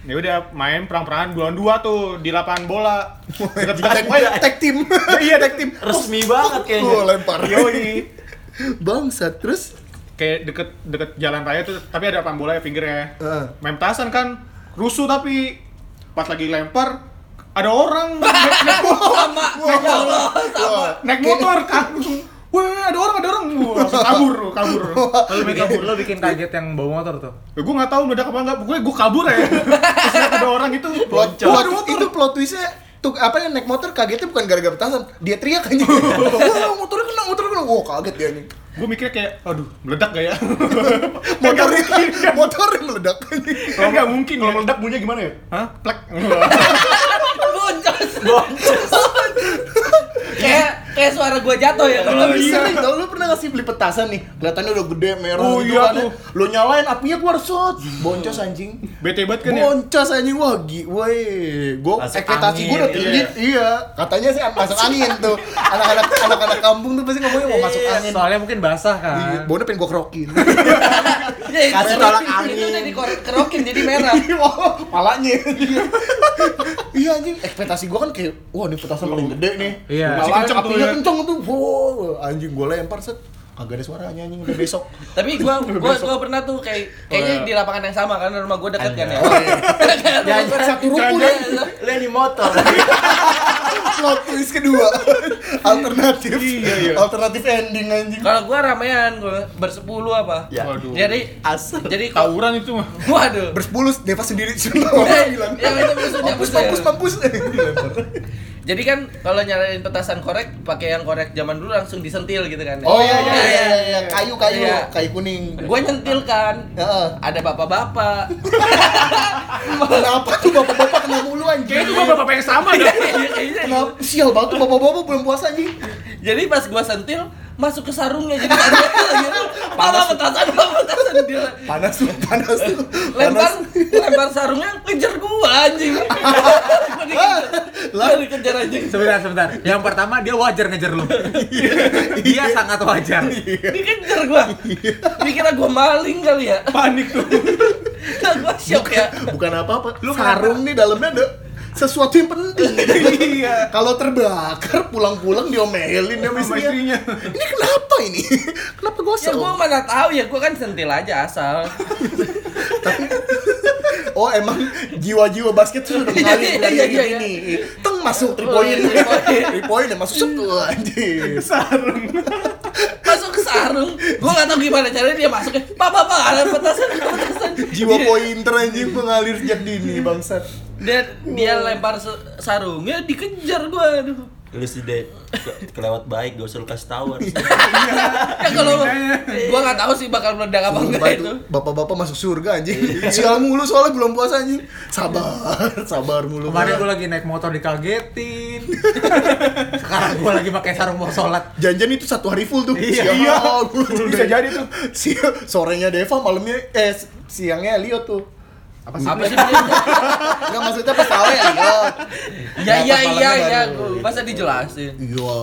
Speaker 5: Ya udah main perang-perangan bulan dua tuh di lapangan bola Deket
Speaker 2: Tag,
Speaker 5: dekat ya
Speaker 2: tag team.
Speaker 5: Iya, tag team
Speaker 6: resmi banget
Speaker 2: Gue
Speaker 6: kayaknya.
Speaker 2: lempar.
Speaker 5: Yoi
Speaker 2: Bangsat terus.
Speaker 5: Kayak deket, deket jalan raya tuh, tapi ada lapangan bola ya pinggirnya
Speaker 2: Heeh.
Speaker 5: Main petasan kan, rusuh tapi Pas lagi lempar, ada orang naik- naik bola.
Speaker 3: Sama. Ya Allah. Sama.
Speaker 5: naik motor kan langsung wah ada orang ada orang Wah, langsung kabur kabur lalu main kabur
Speaker 1: Lo bikin kaget yang bawa motor tuh.
Speaker 5: ya, gue nggak tahu meledak apa enggak gue gue kabur aja terus lihat ada orang itu
Speaker 2: Plot,
Speaker 5: "Wah,
Speaker 2: plot-
Speaker 5: ada motor."
Speaker 2: itu plot twistnya tuh apa yang naik motor kagetnya bukan gara-gara petasan dia teriak aja wah motornya kena motornya kena wah kaget dia nih
Speaker 5: gue mikirnya kayak aduh meledak gak ya
Speaker 2: motornya motornya meledak
Speaker 5: kan nggak mungkin kalau meledak bunyinya gimana ya hah plek
Speaker 3: Boncos. Kayak kayak suara gue jatuh ya
Speaker 5: Oh,
Speaker 3: kalau
Speaker 2: Tapi
Speaker 5: iya.
Speaker 3: bisa.
Speaker 2: sering tau, lu pernah ngasih beli petasan nih Kelihatannya udah gede, merah
Speaker 5: Oh,
Speaker 2: gitu
Speaker 5: iya
Speaker 2: kan ya.
Speaker 5: tuh.
Speaker 2: Lu nyalain, apinya keluar shot Boncos anjing
Speaker 5: bete banget kan ya
Speaker 2: Boncos anjing, wah gi, woi Gue
Speaker 6: Masuk
Speaker 2: ekspektasi gue udah
Speaker 6: angin,
Speaker 2: tinggi,
Speaker 5: iya.
Speaker 2: iya Katanya sih masuk angin tuh Anak-anak anak-anak kampung tuh pasti ngomongnya mau
Speaker 3: Iya.
Speaker 2: masuk angin
Speaker 1: Soalnya mungkin basah
Speaker 2: Iya,
Speaker 1: kan.
Speaker 2: Baunya pengen gue kerokin
Speaker 3: Ya, itu-
Speaker 6: Kasih tolak
Speaker 3: Itu
Speaker 6: angin.
Speaker 3: udah dikerokin jadi merah.
Speaker 2: Iya. Wah, palanya Iya anjing, ekspektasi gue kan kayak Wah ini petasan paling gede nih
Speaker 1: Iya.
Speaker 2: Masih
Speaker 5: Malahan
Speaker 2: kenceng tuh
Speaker 5: apinya
Speaker 2: ya. kenceng tuh, wow Anjing gue lempar set Kagak ada suaranya anjing, udah besok
Speaker 3: Tapi gua gua gua pernah tuh kayak kayaknya
Speaker 5: Oh, iya.
Speaker 3: di lapangan yang sama kan rumah gua deket kan ya.
Speaker 6: Ya,
Speaker 3: Kayak
Speaker 2: satu ruku
Speaker 3: Jangan-
Speaker 2: ya.
Speaker 6: Lu yang di motor.
Speaker 2: plot twist kedua alternatif
Speaker 5: Iya, iya.
Speaker 2: alternatif ending anjing
Speaker 3: Kalau gua ramean gua bersepuluh apa?
Speaker 6: Ya.
Speaker 5: Waduh.
Speaker 3: Jadi
Speaker 6: Asal.
Speaker 3: jadi kalau
Speaker 5: tawuran itu mah
Speaker 3: waduh.
Speaker 2: bersepuluh Deva sendiri semua orang bilang
Speaker 3: Yang itu maksudnya
Speaker 2: mampus
Speaker 3: maksudnya.
Speaker 2: mampus mampus Dilempar.
Speaker 3: Jadi kan kalau nyalain petasan korek pakai yang korek zaman dulu langsung disentil gitu kan. ya.
Speaker 2: oh iya iya
Speaker 3: Nah,
Speaker 2: iya iya kayu kayu
Speaker 3: Iya.
Speaker 2: kayu kuning
Speaker 3: Gua nyentil kan.
Speaker 2: Heeh.
Speaker 3: Ada bapak-bapak.
Speaker 2: kenapa tuh bapak-bapak kena mulu anjing
Speaker 4: Kayaknya
Speaker 5: gitu,
Speaker 4: itu gua bapak yang sama
Speaker 5: Iya.
Speaker 4: dong.
Speaker 2: kenapa sial banget tuh bapak-bapak belum puasa anjing
Speaker 3: Jadi pas gua sentil masuk ke sarungnya jadi ada gitu. Pala petasan, pala petasan dia
Speaker 2: panas tuh panas tuh
Speaker 3: lempar
Speaker 2: panas
Speaker 3: lempar sarungnya kejar gua anjing. Gua dikejar. Gua dikejar anjing.
Speaker 1: Sebentar, sebentar. Yang pertama dia wajar ngejar lu. Dia sangat wajar.
Speaker 3: Dikejar gua. Dikira gua maling kali ya.
Speaker 5: panik tuh
Speaker 3: Nah, gua shock ya.
Speaker 2: bukan apa-apa
Speaker 1: Lu
Speaker 2: sarung nih dalamnya ada sesuatu yang penting iya kalau terbakar pulang-pulang diomelin sama
Speaker 5: Sama
Speaker 2: istrinya.
Speaker 5: istrinya.
Speaker 2: ini kenapa ini kenapa
Speaker 3: Ya
Speaker 2: gosok
Speaker 3: gua mana tahu ya gua kan sentil aja asal.
Speaker 2: oh emang jiwa-jiwa basket tuh udah mengalir
Speaker 3: Iya,
Speaker 2: dari
Speaker 3: iya,
Speaker 2: yang
Speaker 3: iya,
Speaker 2: ini teng masuk three point
Speaker 3: Three point.
Speaker 2: three point yang masuk set wah, anjing
Speaker 3: Masuk ke sarung. Gua enggak tahu gimana caranya dia masuk. ya. Pak, pak, pak, ada petasan, ada petasan.
Speaker 2: Iya. jiwa pointer anjing mengalir sejak dini bangsat
Speaker 3: dia dia lempar se- sarungnya dikejar gua aduh
Speaker 6: Lu sih deh ke- kelewat baik, gak usah lu kasih tahu harusnya.
Speaker 3: ya kalau gua nggak tahu sih bakal meledak apa enggak
Speaker 2: Sumpah
Speaker 3: itu
Speaker 2: itu Iya. bapak-bapak masuk surga anjing. Sial mulu soalnya bulan puasa anjing. Sabar, sabar mulu.
Speaker 1: Kemarin gue lagi naik motor dikagetin. Sekarang gue lagi pakai sarung mau sholat.
Speaker 2: Janjian itu satu hari full tuh.
Speaker 1: Iya.
Speaker 2: bisa jadi tuh. Sial, sorenya Deva, malamnya eh siangnya Elio tuh. Apa sih?
Speaker 3: apa sih dia?
Speaker 2: Enggak maksudnya pas tahu ya. Elio.
Speaker 3: ya
Speaker 2: Nah,
Speaker 3: ya
Speaker 2: pas malamnya
Speaker 3: ya
Speaker 2: baru
Speaker 3: ya
Speaker 2: gitu.
Speaker 3: masa dijelasin
Speaker 2: Iya.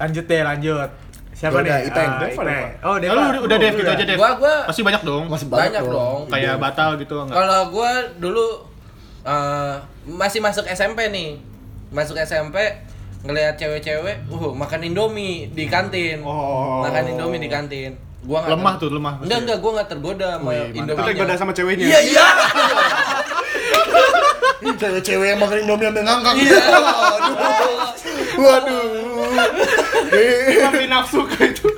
Speaker 1: Lanjut deh, lanjut. Siapa
Speaker 2: Udah,
Speaker 1: nih?
Speaker 2: Ipeng.
Speaker 1: Ah,
Speaker 5: Deva,
Speaker 1: Ipeng.
Speaker 5: Deva.
Speaker 1: Oh,
Speaker 5: Ya
Speaker 1: Deva.
Speaker 5: lu udah, udah Dev gitu
Speaker 1: Udah.
Speaker 5: aja Dev.
Speaker 3: Gua- gua-
Speaker 5: Pasti banyak dong.
Speaker 2: Masih banyak,
Speaker 3: banyak dong
Speaker 5: Kayak batal gitu enggak.
Speaker 3: Kalau gua dulu eh, masih masuk SMP nih. Masuk SMP ngelihat cewek-cewek, uh makan Indomie di kantin.
Speaker 5: Oh.
Speaker 3: Makan Indomie di kantin. Gua nggak
Speaker 5: Lemah tuh, lemah
Speaker 3: Enggak,
Speaker 5: pasti.
Speaker 3: enggak, gua nggak tergoda sama
Speaker 5: Wih, mantap.
Speaker 3: Indomie.
Speaker 5: Tergoda sama ceweknya.
Speaker 3: Iya, iya.
Speaker 2: Cewek-cewek yang makan Indomie ambil ngangkang.
Speaker 3: Iya.
Speaker 2: Waduh. Eh,
Speaker 5: Tapi nafsu kayak itu.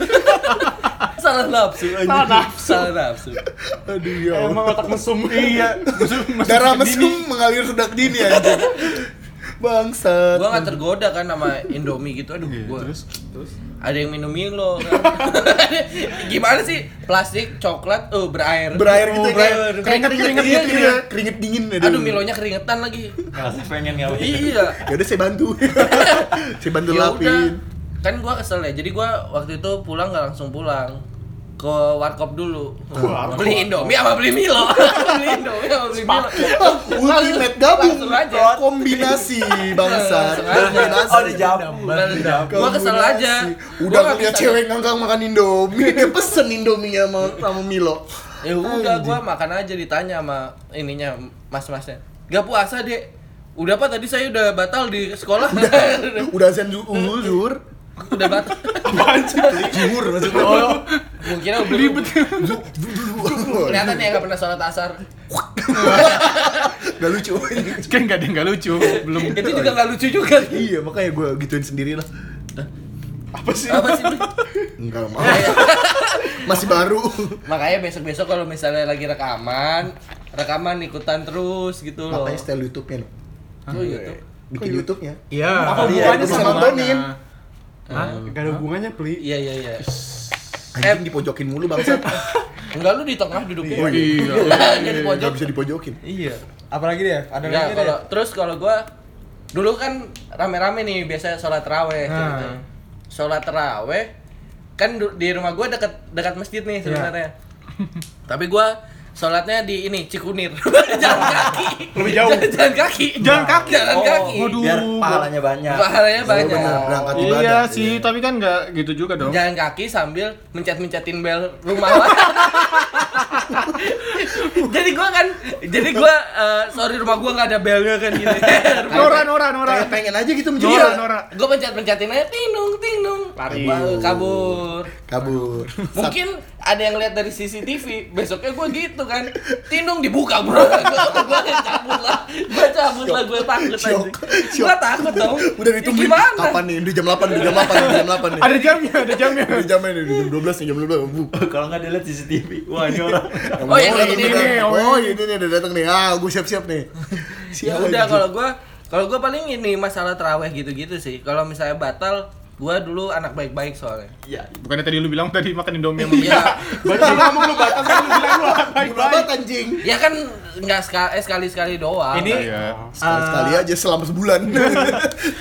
Speaker 3: Salah nafsu. Salah nafsu. Salah nafsu.
Speaker 2: Aduh ya. Allah.
Speaker 5: Emang otak mesum. Iya. Mesum. mesum
Speaker 2: Darah
Speaker 5: sedini.
Speaker 2: mesum mengalir sudah dini anjing. Bangsat.
Speaker 3: Gua nggak tergoda kan sama Indomie gitu. Aduh,
Speaker 5: Iya,
Speaker 3: gua. Ada yang minum Milo kan. Gimana sih? Plastik, coklat, eh berair.
Speaker 2: berair gitu
Speaker 5: berair.
Speaker 2: kayak
Speaker 5: Keringet, keringet
Speaker 2: iya,
Speaker 5: gitu
Speaker 2: iya.
Speaker 5: ya.
Speaker 2: keringet dingin
Speaker 3: Aduh, Milonya keringetan lagi.
Speaker 6: Ngerasa pengen ngawi.
Speaker 3: Iya.
Speaker 2: ya udah saya bantu saya bantu
Speaker 3: Ya udah.
Speaker 2: lapin
Speaker 3: Kan gua kesel ya. Jadi gua waktu itu pulang nggak langsung pulang ke warkop dulu.
Speaker 5: warkop.
Speaker 3: Beli Indomie sama beli Milo. beli Indomie sama beli Milo.
Speaker 2: ultimate gabung
Speaker 3: Langsung aja.
Speaker 2: kombinasi bangsa
Speaker 3: Langsung aja.
Speaker 2: kombinasi
Speaker 6: Oh, dijabung.
Speaker 3: Udah, udah. Gua kesel
Speaker 2: Kombinasi.
Speaker 3: aja.
Speaker 2: udah
Speaker 3: nggak
Speaker 2: ngeliat
Speaker 3: bisa-
Speaker 2: cewek ngangkang makan indomie dia pesen indomie sama sama Milo
Speaker 3: Ya udah gua makan aja ditanya sama ininya mas-masnya. Gak puasa, Dek. Udah apa tadi saya udah batal di sekolah. Udah,
Speaker 2: udah zen zu- uzur
Speaker 3: batal.
Speaker 2: jumur maksudnya
Speaker 3: Oh, mungkin aku beli
Speaker 2: Gak
Speaker 3: Kelihatan ya nggak pernah sholat asar.
Speaker 2: lucu
Speaker 5: Kan enggak ada enggak lucu. Belum.
Speaker 3: Itu juga nggak lucu juga.
Speaker 2: Iya makanya gue gituin sendiri lah
Speaker 5: Apa sih?
Speaker 3: Apa sih? Bli?
Speaker 2: Enggak mau Masih baru
Speaker 3: Makanya besok-besok kalau misalnya lagi rekaman, rekaman ikutan terus gitu loh. Oh, iya,
Speaker 2: Makanya style Youtube-nya loh
Speaker 3: Tuh YouTube.
Speaker 2: Bikin Youtube-nya
Speaker 1: Iya.
Speaker 5: Apa
Speaker 2: Iya,
Speaker 5: hubungannya
Speaker 2: itu
Speaker 5: sama
Speaker 2: sama Tonin.
Speaker 5: mana? Hah? Enggak ada hubungannya, Pli.
Speaker 3: Iya iya iya.
Speaker 2: Anjing dipojokin mulu bangsa
Speaker 3: Enggak lu di tengah duduknya.
Speaker 2: Oh, iya.
Speaker 3: Enggak di pojok.
Speaker 2: Gak bisa dipojokin
Speaker 1: Iya. Apalagi dia? Ada
Speaker 3: Enggak
Speaker 1: lagi dia?
Speaker 3: Ya, kalau terus kalau gua dulu kan rame-rame nih biasanya sholat raweh
Speaker 1: Nah.
Speaker 3: ceritanya. Sholat raweh kan du- di rumah gua dekat dekat masjid nih sebenarnya. Tapi gua sholatnya di ini Cikunir. jalan kaki.
Speaker 5: Lebih jauh.
Speaker 3: Jalan, jalan kaki.
Speaker 5: Jalan kaki.
Speaker 3: Jalan
Speaker 5: Oh,
Speaker 3: kaki.
Speaker 5: waduh.
Speaker 6: Biar pahalanya banyak.
Speaker 3: Pahalanya banyak.
Speaker 2: benar, berangkat ibadah
Speaker 5: Iya sih, tapi kan enggak gitu juga dong.
Speaker 3: Jalan kaki sambil mencet-mencetin bel rumah orang. jadi gua kan, jadi gua eh, sorry rumah gua nggak ada belnya kan gitu.
Speaker 5: Nora, Nora, Nora.
Speaker 2: Kayak pengen aja gitu menjadi
Speaker 5: Nora, Nora.
Speaker 3: gua pencet-pencetin aja tinung tinung.
Speaker 5: Lari.
Speaker 3: Baru kabur.
Speaker 2: Kabur
Speaker 3: Mungkin ada yang lihat dari CCTV, besoknya gua gitu kan. Tinung dibuka, Bro. Gua gua cabut lah. Gua cabut lah, gua takut aja.
Speaker 2: Syok, syok.
Speaker 3: Gua takut dong.
Speaker 2: Udah
Speaker 3: Ya
Speaker 2: ditungguin
Speaker 3: Gimana?
Speaker 2: Kapan nih? Di jam 8, di jam 8, di jam 8 nih
Speaker 5: Ada jamnya, ada jamnya.
Speaker 2: Di jam ini, di jam 12 nih, jam 12 Bu.
Speaker 6: Kalau nggak dilihat CCTV, wah ini orang.
Speaker 3: Oh, yang
Speaker 2: Orang
Speaker 3: ini
Speaker 2: udah
Speaker 5: nih,
Speaker 2: datang.
Speaker 5: oh.
Speaker 2: Oh ini nih, udah datang nih Ah, gue siap-siap nih
Speaker 3: ya
Speaker 2: Siap
Speaker 3: udah kalau gua kalau gua paling ini masalah teraweh gitu-gitu sih kalau misalnya batal gua dulu anak baik-baik soalnya
Speaker 6: Iya.
Speaker 5: Bukannya tadi lu bilang tadi makan Indomie sama
Speaker 3: Iya.
Speaker 5: Berarti lu ngomong lu batal kan lu bilang lu anak baik-baik.
Speaker 2: Babat anjing
Speaker 3: ya kan nggak sekali eh, sekali sekali doang
Speaker 1: Ini
Speaker 5: Iya.
Speaker 2: Sekali-sekali aja selama sebulan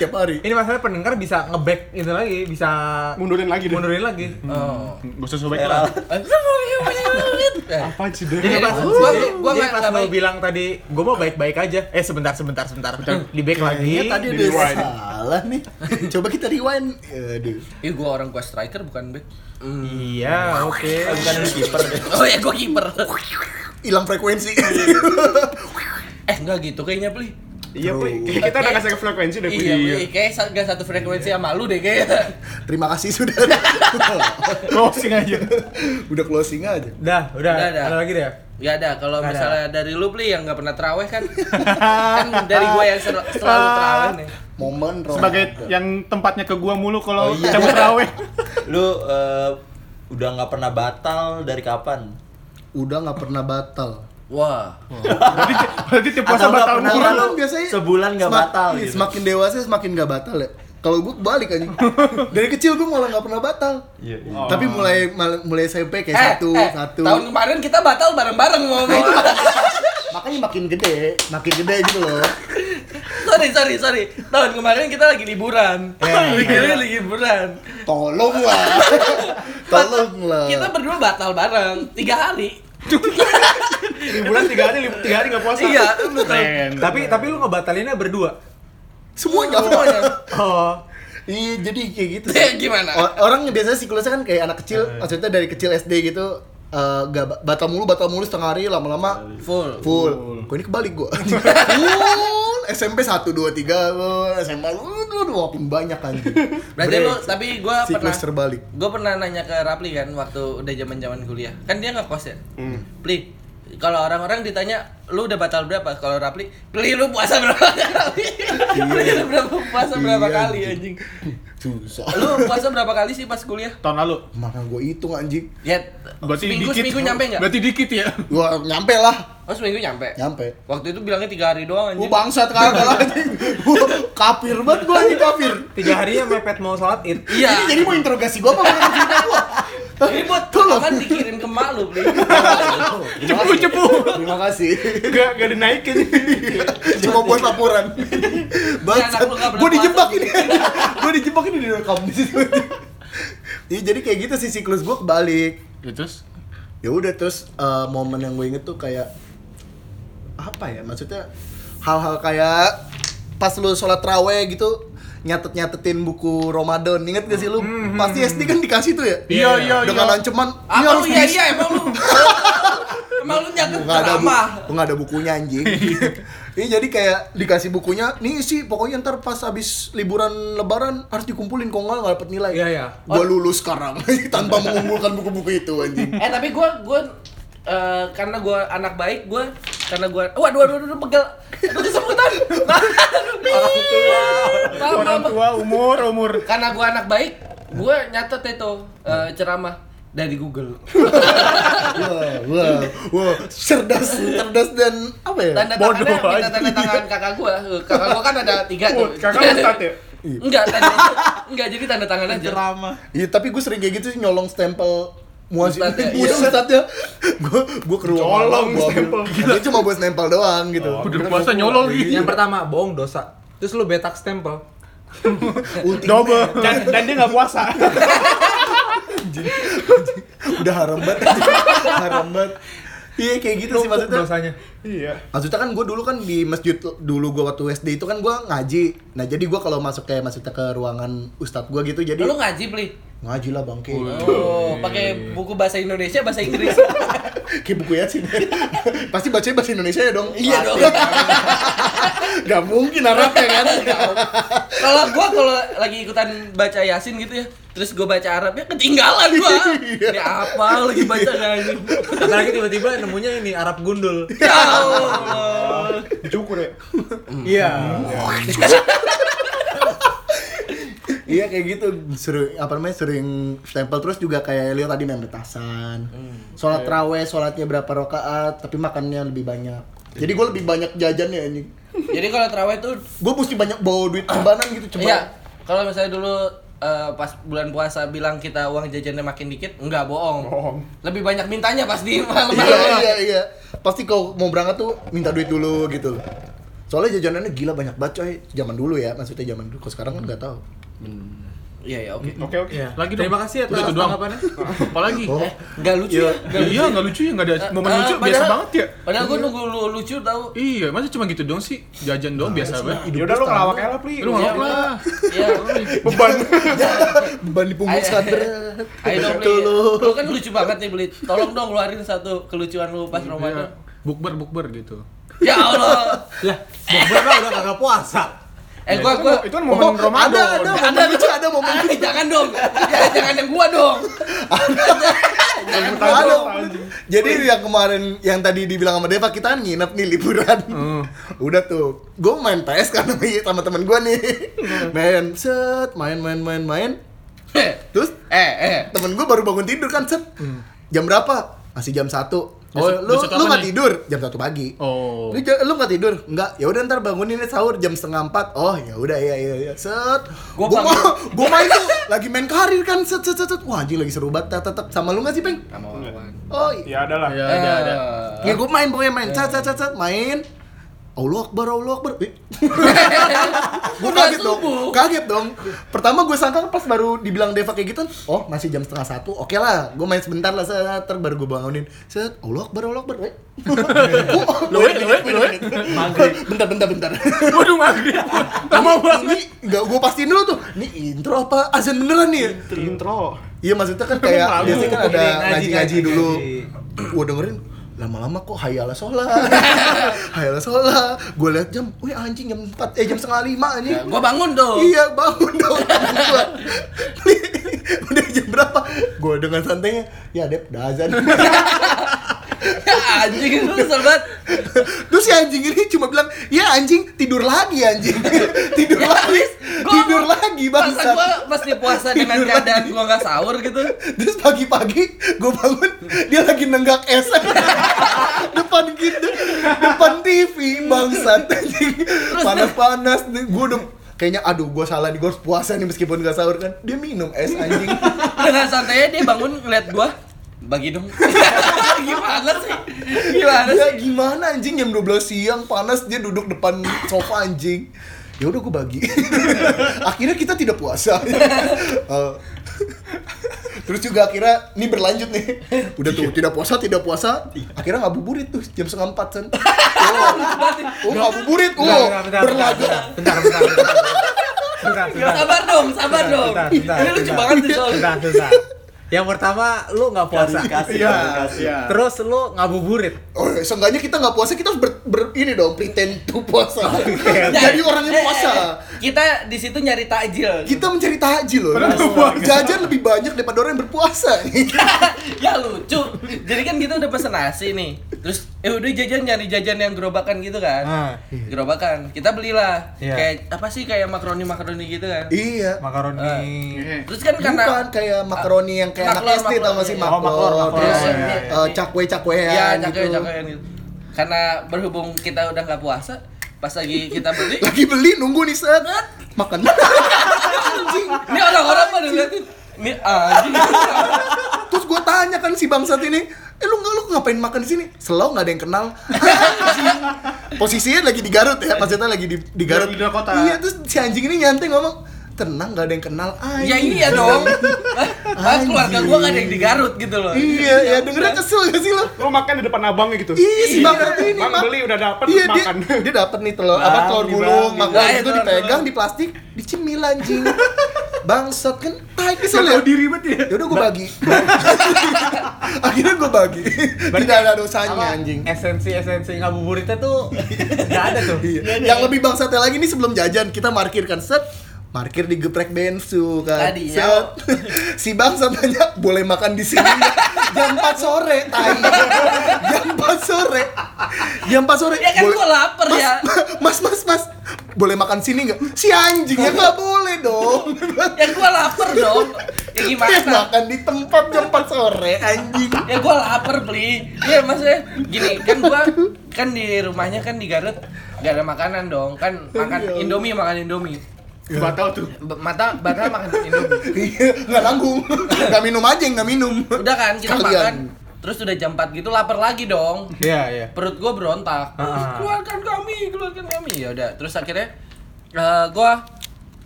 Speaker 2: Tiap hari
Speaker 1: ini masalah pendengar bisa ngeback itu lagi, bisa
Speaker 5: Mundurin lagi deh.
Speaker 1: mundurin lagi.
Speaker 3: oh
Speaker 5: Gak usah sobek lah.
Speaker 3: Eh,
Speaker 5: Apa sih deh?
Speaker 1: Jadi
Speaker 3: Jadi
Speaker 1: pas
Speaker 3: gua-
Speaker 1: gua,
Speaker 3: gua- gua nggak-
Speaker 1: pas
Speaker 3: nggak
Speaker 1: lu
Speaker 3: baik.
Speaker 1: bilang tadi, gua mau baik-baik aja. Eh sebentar, sebentar, sebentar. Di back
Speaker 2: Iya
Speaker 1: lagi.
Speaker 2: tadi
Speaker 5: Di
Speaker 2: udah
Speaker 5: rewind.
Speaker 2: salah nih Coba kita rewind Aduh
Speaker 3: ih gua orang gua striker bukan back Hmm.
Speaker 1: Iya, oke.
Speaker 6: Bukan lu kiper deh.
Speaker 3: oh ya gua kiper
Speaker 2: Hilang frekuensi
Speaker 3: eh nggak gitu kayaknya beli
Speaker 5: Iya, Pli. Kayak Kita udah kasih frekuensi deh, Pli.
Speaker 3: iya, Bli. kayak sa- nggak satu frekuensi sama lu deh kayaknya
Speaker 2: Terima kasih sudah
Speaker 5: Closing aja.
Speaker 2: Udah closing aja
Speaker 1: Dah, udah.
Speaker 3: Udah, udah.
Speaker 1: Ada lagi deh.
Speaker 3: Gak ada, Ya kalau
Speaker 1: Nggak ada.
Speaker 3: misalnya dari lu beli yang nggak pernah teraweh kan Kan dari gua yang ser- selalu teraweh nih
Speaker 2: Momen Ramadan.
Speaker 5: Sebagai yang tempatnya ke gua mulu kalau
Speaker 6: Oh, iya.
Speaker 5: cabut raweh.
Speaker 6: Lu eh, udah nggak pernah batal dari kapan?
Speaker 2: udah nggak pernah batal
Speaker 3: Wah.
Speaker 5: Berarti, berarti tiap puasa
Speaker 6: Atau nggak
Speaker 5: batal
Speaker 6: pernah
Speaker 5: mulu.
Speaker 2: Orang
Speaker 6: lalu
Speaker 2: kan biasanya
Speaker 6: sebulan nggak
Speaker 2: semak-
Speaker 6: batal
Speaker 2: iya,
Speaker 6: gitu.
Speaker 2: Semakin dewasa semakin nggak batal ya. Kalau gue balik aja. Dari kecil gue malah nggak pernah batal.
Speaker 6: Iya, iya.
Speaker 2: Tapi mulai mal- mulai SMP kayak satu satu.
Speaker 3: Eh,
Speaker 2: Nah,
Speaker 3: Tahun kemarin kita batal bareng-bareng mau mau.
Speaker 2: Makanya makin gede, makin gede gitu loh.
Speaker 3: sorry, sorry, sorry. Tahun kemarin kita lagi
Speaker 2: Ya,
Speaker 3: liburan. lagi lagi liburan.
Speaker 2: Tolong lah. Tolong lah.
Speaker 3: Kita berdua batal bareng tiga hari.
Speaker 5: Liburan tiga hari, lib- tiga hari nggak puasa.
Speaker 3: Iya, betul.
Speaker 5: Keren.
Speaker 1: Tapi tapi lu ngebatalinnya berdua.
Speaker 2: semuanya.
Speaker 3: Semuanya.
Speaker 1: Oh.
Speaker 2: Iya, jadi kayak gitu.
Speaker 3: Eh, gimana?
Speaker 2: O- Orang biasanya siklusnya kan kayak anak kecil,
Speaker 3: Eh.
Speaker 2: maksudnya dari kecil SD gitu eh, nggak ba- batal mulu, batal mulu setengah hari lama-lama
Speaker 3: Full.
Speaker 2: full. Gue ini kebalik gue. full. SMP 1 2 3 full. SMA lu lu lu makin banyak anjing.
Speaker 3: Berarti lu
Speaker 2: Break.
Speaker 3: tapi gua
Speaker 2: Siklus
Speaker 3: pernah
Speaker 2: terbalik.
Speaker 3: Gua pernah nanya ke Rapli kan waktu udah zaman-zaman kuliah. Kan dia nggak kos ya.
Speaker 2: Hmm.
Speaker 3: Pli, kalau orang-orang ditanya lu udah batal berapa? Kalau Rapli, Pli lu puasa berapa kali? Pli lu berapa puasa berapa
Speaker 2: Iya,
Speaker 3: kali anjing?
Speaker 2: anjing. susah.
Speaker 3: Lu puasa berapa kali sih pas kuliah?
Speaker 5: Tahun lalu.
Speaker 2: Mana gue hitung anjing.
Speaker 3: Ya,
Speaker 5: Berarti
Speaker 3: seminggu
Speaker 5: dikit.
Speaker 3: seminggu nyampe nggak?
Speaker 5: Berarti dikit ya.
Speaker 2: Gua nyampe lah,
Speaker 3: Oh seminggu nyampe.
Speaker 2: nyampe.
Speaker 3: Waktu itu bilangnya tiga hari
Speaker 2: Gua
Speaker 3: doang anjing.
Speaker 2: bangsat kagak lah anjing. Gua kafir banget gua anjing kafir.
Speaker 1: Tiga hari ya mepet mau sholat id.
Speaker 3: Iya.
Speaker 2: Ini jadi mau interogasi gua apa mau cerita gua?
Speaker 3: Ini buat kan dikirim ke mak lu, Pli.
Speaker 5: Cepu, cepu.
Speaker 2: Terima kasih.
Speaker 5: Gak, gak dinaikin.
Speaker 2: Cuma buat laporan.
Speaker 3: Ini Iya, anak
Speaker 2: Bangsat.
Speaker 3: lu nggak pernah
Speaker 2: Gua dijebak
Speaker 3: puasa.
Speaker 2: ini. Gua dijebak ini direkam di situ. Iya, jadi kayak gitu sih siklus gua kebalik.
Speaker 5: Ya terus?
Speaker 2: ya udah terus eh, momen yang gue inget tuh kayak apa ya maksudnya hal-hal kayak pas lu sholat raweh gitu nyatet nyatetin buku Ramadan inget gak sih lu
Speaker 5: Hmm,
Speaker 2: pasti SD kan dikasih tuh ya
Speaker 5: Iya, iya,
Speaker 2: dengan
Speaker 5: iya.
Speaker 2: ancaman ini
Speaker 3: Apa lu
Speaker 2: harus
Speaker 3: iya
Speaker 2: bisa
Speaker 3: iya emang lu. Emang lu nyatet
Speaker 2: nggak ada bu
Speaker 3: ceramah.
Speaker 2: nggak ada bukunya anjing ini jadi kayak dikasih bukunya nih sih pokoknya ntar pas habis liburan lebaran harus dikumpulin kok nggak nggak dapet nilai
Speaker 1: Iya, iya.
Speaker 2: gua lulus sekarang tanpa mengumpulkan buku-buku itu anjing
Speaker 3: Eh tapi gue gue eh, karena gue anak baik gue karena gue waduh waduh waduh pegel aduh kesemutan orang tua
Speaker 5: Orang tua, umur, umur.
Speaker 3: karena gue anak baik gue nyatet itu eh, ceramah dari Google
Speaker 2: Wah, wah, wah, cerdas, cerdas dan apa ya?
Speaker 3: tanda
Speaker 2: Bodoh
Speaker 3: tangannya
Speaker 2: aja.
Speaker 3: minta tanda tangan kakak gue kakak gue kan ada tiga tuh
Speaker 5: Wah, Oh, Kakak ustad ya?
Speaker 3: enggak tanda enggak jadi tanda tangan aja
Speaker 6: Ceramah.
Speaker 2: Iya, tapi gue sering kayak gitu sih nyolong stempel muazin
Speaker 3: Ustadz ya,
Speaker 2: Buset,
Speaker 3: iya.
Speaker 2: ustadz ya. Gue gue ke ruang
Speaker 5: Nyolong
Speaker 2: orang, gua ambil.
Speaker 5: stempel, gila.
Speaker 2: Dia cuma buat stempel doang gitu. Iya.
Speaker 5: Udah puasa nyolol gitu.
Speaker 1: Yang pertama bohong dosa. Terus lu betak stempel.
Speaker 5: Double. Dan, dan dia nggak puasa.
Speaker 2: Udah haram banget. haram banget. Iya kayak gitu sih maksudnya.
Speaker 1: dosanya.
Speaker 5: Iya.
Speaker 2: Maksudnya kan gue dulu kan di masjid dulu gue waktu SD itu kan gue ngaji. Nah jadi gue kalau masuk kayak maksudnya ke ruangan ustadz gue gitu jadi
Speaker 3: lu ngaji beli
Speaker 2: ngaji lah bangke.
Speaker 3: oh pakai buku bahasa Indonesia bahasa Inggris
Speaker 2: Kayak buku Yasin Pasti bacanya bahasa Indonesia ya dong
Speaker 3: Iya dong.
Speaker 2: Gak mungkin Arabnya kan
Speaker 3: kalau gua kalau lagi ikutan baca yasin gitu ya terus gua baca Arabnya ketinggalan gua
Speaker 5: Iya.
Speaker 3: ini apa lagi baca anjing
Speaker 1: Apalagi tiba-tiba nemunya ini Arab gundul.
Speaker 3: ya Allah
Speaker 5: Cukur ya.
Speaker 1: Iya.
Speaker 2: Iya kayak gitu Seru, apa namanya, sering stempel Terus juga kayak Leo tadi main petasan Sholat raweh, sholatnya berapa rokaat Tapi makannya lebih banyak Jadi gue lebih banyak jajannya anjing
Speaker 3: jadi kalau terawih tuh
Speaker 2: Gue mesti banyak bawa duit kembanan gitu Coba
Speaker 3: iya kalau misalnya dulu eh, pas bulan puasa bilang kita uang jajannya makin dikit enggak bohong
Speaker 5: Bohong.
Speaker 3: lebih banyak mintanya pas di malam
Speaker 2: Iya, iya, iya Pasti kalau mau berangkat tuh minta duit dulu gitu Soalnya jajanannya gila banyak banget coy Zaman dulu ya, maksudnya zaman dulu Kalau sekarang kan gak tau
Speaker 3: iya iya oke
Speaker 5: Oke, oke.
Speaker 1: Iya.
Speaker 5: Lagi dong.
Speaker 1: Terima kasih
Speaker 5: Udah
Speaker 1: atas
Speaker 5: itu doang.
Speaker 1: tanggapannya.
Speaker 5: Apalagi?
Speaker 2: Oh.
Speaker 3: enggak lucu ya
Speaker 5: Ya, iya, nggak lucu ya, nggak ada momen
Speaker 3: Eh,
Speaker 5: lucu,
Speaker 3: eh,
Speaker 5: biasa
Speaker 3: padahal-
Speaker 5: banget ya.
Speaker 3: padahal gua nunggu lu lucu tau
Speaker 5: Iya, masa cuma gitu doang sih? Jajan doang biasa
Speaker 1: gitu
Speaker 5: banget.
Speaker 2: hidup gua
Speaker 5: Yaudah lu
Speaker 2: setahun.
Speaker 5: ngelawak aja lah, Pli. Lu
Speaker 3: Iya,
Speaker 5: ngelawak lah.
Speaker 3: iya
Speaker 5: Beban.
Speaker 2: Beban di punggung
Speaker 3: Ayo.
Speaker 2: sadar.
Speaker 3: Ayo dong beli. Lu kan lucu banget nih beli. Tolong dong keluarin satu kelucuan lu pas
Speaker 5: Iya.
Speaker 3: Ramadan.
Speaker 5: Ya, Bukber, bukber gitu.
Speaker 3: Ya Allah.
Speaker 1: Lah, bokber lah udah kagak puasa.
Speaker 3: Eh gua gua
Speaker 5: Itu kan momen Ramadan.
Speaker 2: Ada, Oh, ada, ada lucu, ada momen
Speaker 3: Ah, jangan dong. Jangan jangan yang gua dong. jangan
Speaker 2: Ada,
Speaker 3: gua
Speaker 2: ada.
Speaker 3: dong.
Speaker 2: Jadi yang kemarin yang tadi dibilang sama Deva kita kan nginep nih liburan. Udah tuh, gue main PS kan sama sama temen gue nih. Main set, main main main main.
Speaker 3: Eh,
Speaker 2: Terus
Speaker 3: eh.
Speaker 2: temen gue baru bangun tidur kan set. Jam berapa? Masih jam 1 Oh,
Speaker 4: Besok-
Speaker 2: lu
Speaker 4: besok
Speaker 2: lu
Speaker 4: apa
Speaker 2: nggak
Speaker 4: nih?
Speaker 2: tidur jam satu pagi.
Speaker 5: Oh.
Speaker 2: Lu, ja- lu nggak tidur? Nggak. Ya udah ntar bangunin ya sahur jam setengah empat. Oh ya udah ya ya ya. Set.
Speaker 3: Gua
Speaker 2: Gua,
Speaker 3: bangun.
Speaker 2: ma- gua main tuh lagi main karir kan. Set set set. set. Wah anjing lagi seru banget. Tet- Tetep sama lu nggak sih peng?
Speaker 3: Sama Wawan.
Speaker 2: Oh iya.
Speaker 5: Ya ada lah. Ya,
Speaker 3: Eh,
Speaker 5: ada ada.
Speaker 2: Ya gua main pokoknya main. Set set set set main. Allah Akbar, Allah Akbar. Eh. gue
Speaker 3: Udah
Speaker 2: kaget dong,
Speaker 3: subuh.
Speaker 2: kaget dong. Pertama gue sangka pas baru dibilang Deva kayak gitu, oh masih jam setengah satu, oke lah, gue main sebentar lah, set, ntar baru gue bangunin, set, Allah Akbar, Allah Akbar, weh. Oh,
Speaker 4: Loe, loe, loe.
Speaker 2: bentar, bentar, bentar.
Speaker 4: Waduh maghrib. Lama banget.
Speaker 2: Ini nggak gue pastiin dulu tuh, ini intro apa azan beneran nih? ya?
Speaker 5: Intro.
Speaker 2: Iya maksudnya kan kayak
Speaker 5: Malu.
Speaker 2: biasanya kan ada
Speaker 1: Ini ngaji, ngaji,
Speaker 2: ngaji-ngaji dulu.
Speaker 1: ngaji.
Speaker 2: Gue dengerin lama-lama kok hayala sholat hayala sholat gue liat jam wih anjing jam 4 eh jam setengah lima anjing
Speaker 3: Ya, Gua bangun dong.
Speaker 2: Iya bangun dong bangun gua. Udah jam berapa? Gue dengan santainya, ya Dep, udah azan.
Speaker 3: Ya, Anjing lu sobat.
Speaker 2: Terus si anjing ini cuma bilang, ya anjing tidur lagi anjing, tidur lagi,
Speaker 3: Ya, Gua-
Speaker 2: tidur lagi
Speaker 3: Masa
Speaker 2: bangsa.
Speaker 3: gua pasti puasa dengan
Speaker 2: Tidur
Speaker 3: keadaan gua nggak sahur gitu.
Speaker 2: Terus pagi-pagi gue bangun, dia lagi nenggak es depan gitu, depan TV bangsat anjing, panas-panas, gue udah kayaknya aduh gue salah nih gue harus puasa nih meskipun gak sahur kan dia minum es anjing
Speaker 3: Dengan santainya dia bangun ngeliat gua bagi dong. Gimana sih? Gimana
Speaker 2: ya
Speaker 3: sih?
Speaker 2: gimana anjing jam 12 siang panas dia duduk depan sofa anjing ya udah gue bagi akhirnya kita tidak puasa Eh, terus juga akhirnya ini berlanjut nih udah tuh tidak puasa tidak puasa akhirnya ngabuburit tuh jam setengah empat sen oh, oh ngabuburit
Speaker 1: Bentar,
Speaker 2: oh
Speaker 1: bentar, bentar,
Speaker 2: berlaga
Speaker 1: Bentar, bentar, bentar. Bentar, bentar.
Speaker 3: Sabar dong, sabar dong.
Speaker 1: Bentar, bentar,
Speaker 3: Ini lucu
Speaker 1: bentar.
Speaker 3: banget sih soalnya.
Speaker 1: Bentar, bentar. Yang pertama lu nggak puasa.
Speaker 6: Klarifikasi,
Speaker 1: Iya.
Speaker 6: klarifikasi.
Speaker 1: Terus lu ngabuburit.
Speaker 2: Oh, seenggaknya kita nggak puasa, kita harus ber, ber- ini dong, pretend to puasa. Jadi orang yang
Speaker 3: Eh, eh,
Speaker 2: puasa.
Speaker 3: eh, Kita di situ nyari takjil.
Speaker 2: Kita mencari tahajil loh.
Speaker 5: Padahal nggak puasa.
Speaker 2: Jajan lebih banyak daripada orang yang berpuasa.
Speaker 3: ya lucu jadi kan kita udah pesen nasi nih terus eh udah jajan nyari jajan yang gerobakan gitu kan
Speaker 1: Ah,
Speaker 2: iya.
Speaker 3: gerobakan kita belilah
Speaker 1: Iya.
Speaker 3: kayak apa sih kayak makaroni makaroni gitu kan
Speaker 2: iya.
Speaker 1: Makaroni.
Speaker 5: Eh,
Speaker 3: terus kan karena
Speaker 2: Bukan kayak makaroni yang kayak
Speaker 3: maklor,
Speaker 2: anak SD tau gak sih
Speaker 3: maklor,
Speaker 1: iya. Oh, maklor,
Speaker 2: maklor,
Speaker 1: maklor,
Speaker 2: terus
Speaker 1: iya,
Speaker 3: iya,
Speaker 2: eh,
Speaker 3: iya.
Speaker 2: cakwe-cakwean
Speaker 3: ya
Speaker 2: gitu.
Speaker 3: cakean cakean gitu karena berhubung kita udah nggak puasa pas lagi kita beli
Speaker 2: Lagi beli nunggu nih set. Makan. Anjing.
Speaker 3: ini orang-orang pada ngeliatin ini anjing
Speaker 2: Terus gue tanya kan si bangsat ini, eh lu nggak lu ngapain makan di sini? Selau nggak ada yang kenal. Anjing. Posisinya lagi di Garut ya, maksudnya lagi di, di Garut.
Speaker 5: Di luar kota.
Speaker 2: Iya terus si anjing ini nyantai ngomong, tenang nggak ada yang kenal. Anjing.
Speaker 3: ya iya dong Mas keluarga gua gak ada yang di Garut gitu loh
Speaker 2: Iya, ya dengernya kesel gak sih lo?
Speaker 5: Lu makan di depan abangnya gitu.
Speaker 2: Iya si Bang Karti ini
Speaker 5: Bang
Speaker 2: Mak.
Speaker 5: beli udah dapet,
Speaker 2: iya,
Speaker 5: terus makan.
Speaker 2: Dia, dia dapat nih telur apa
Speaker 6: Bang,
Speaker 2: telur
Speaker 6: di
Speaker 2: gulung,
Speaker 6: bang, di
Speaker 2: makan
Speaker 3: bang.
Speaker 2: itu
Speaker 3: Telur
Speaker 2: dipegang
Speaker 3: gulung.
Speaker 2: di plastik, dicemil anjing. Bangsat kan tai kesel
Speaker 5: Gak
Speaker 2: ya.
Speaker 5: tahu diri banget ya.
Speaker 2: Ya udah gue bagi. Akhirnya gue bagi. Tidak ada dosanya anjing.
Speaker 1: Esensi-esensi ngabuburitnya tuh nggak ada tuh.
Speaker 2: Iya. Yang lebih bangsatnya lagi nih sebelum jajan kita markir kan set markir di geprek bensu kan
Speaker 3: Tadi,
Speaker 2: set si bangsat tanya boleh makan di sini nggak?" jam 4 sore tai jam 4 sore jam 4 sore
Speaker 3: Ya kan
Speaker 2: "Boleh-
Speaker 3: gua lapar
Speaker 2: mas,
Speaker 3: ya."
Speaker 2: mas mas mas boleh makan sini nggak si anjing ya nggak boleh dong
Speaker 3: ya gua lapar dong ya
Speaker 2: Dia
Speaker 3: gimana
Speaker 2: makan di tempat jam 4 sore anjing
Speaker 3: ya gua lapar beli ya maksudnya gini kan gua kan di rumahnya kan di Garut gak ada makanan dong kan makan Indomie makan Indomie
Speaker 5: Batal tuh.
Speaker 3: B- mata batal makan Indomie
Speaker 2: Iya, nggak nanggung nggak minum aja nggak minum
Speaker 3: udah kan kita
Speaker 2: Sekalian.
Speaker 3: makan terus udah jam 4 gitu lapar lagi dong
Speaker 1: Iya, iya.
Speaker 3: perut gua berontak
Speaker 1: Ah.
Speaker 3: keluarkan kami keluarkan kami ya udah terus akhirnya eh, gua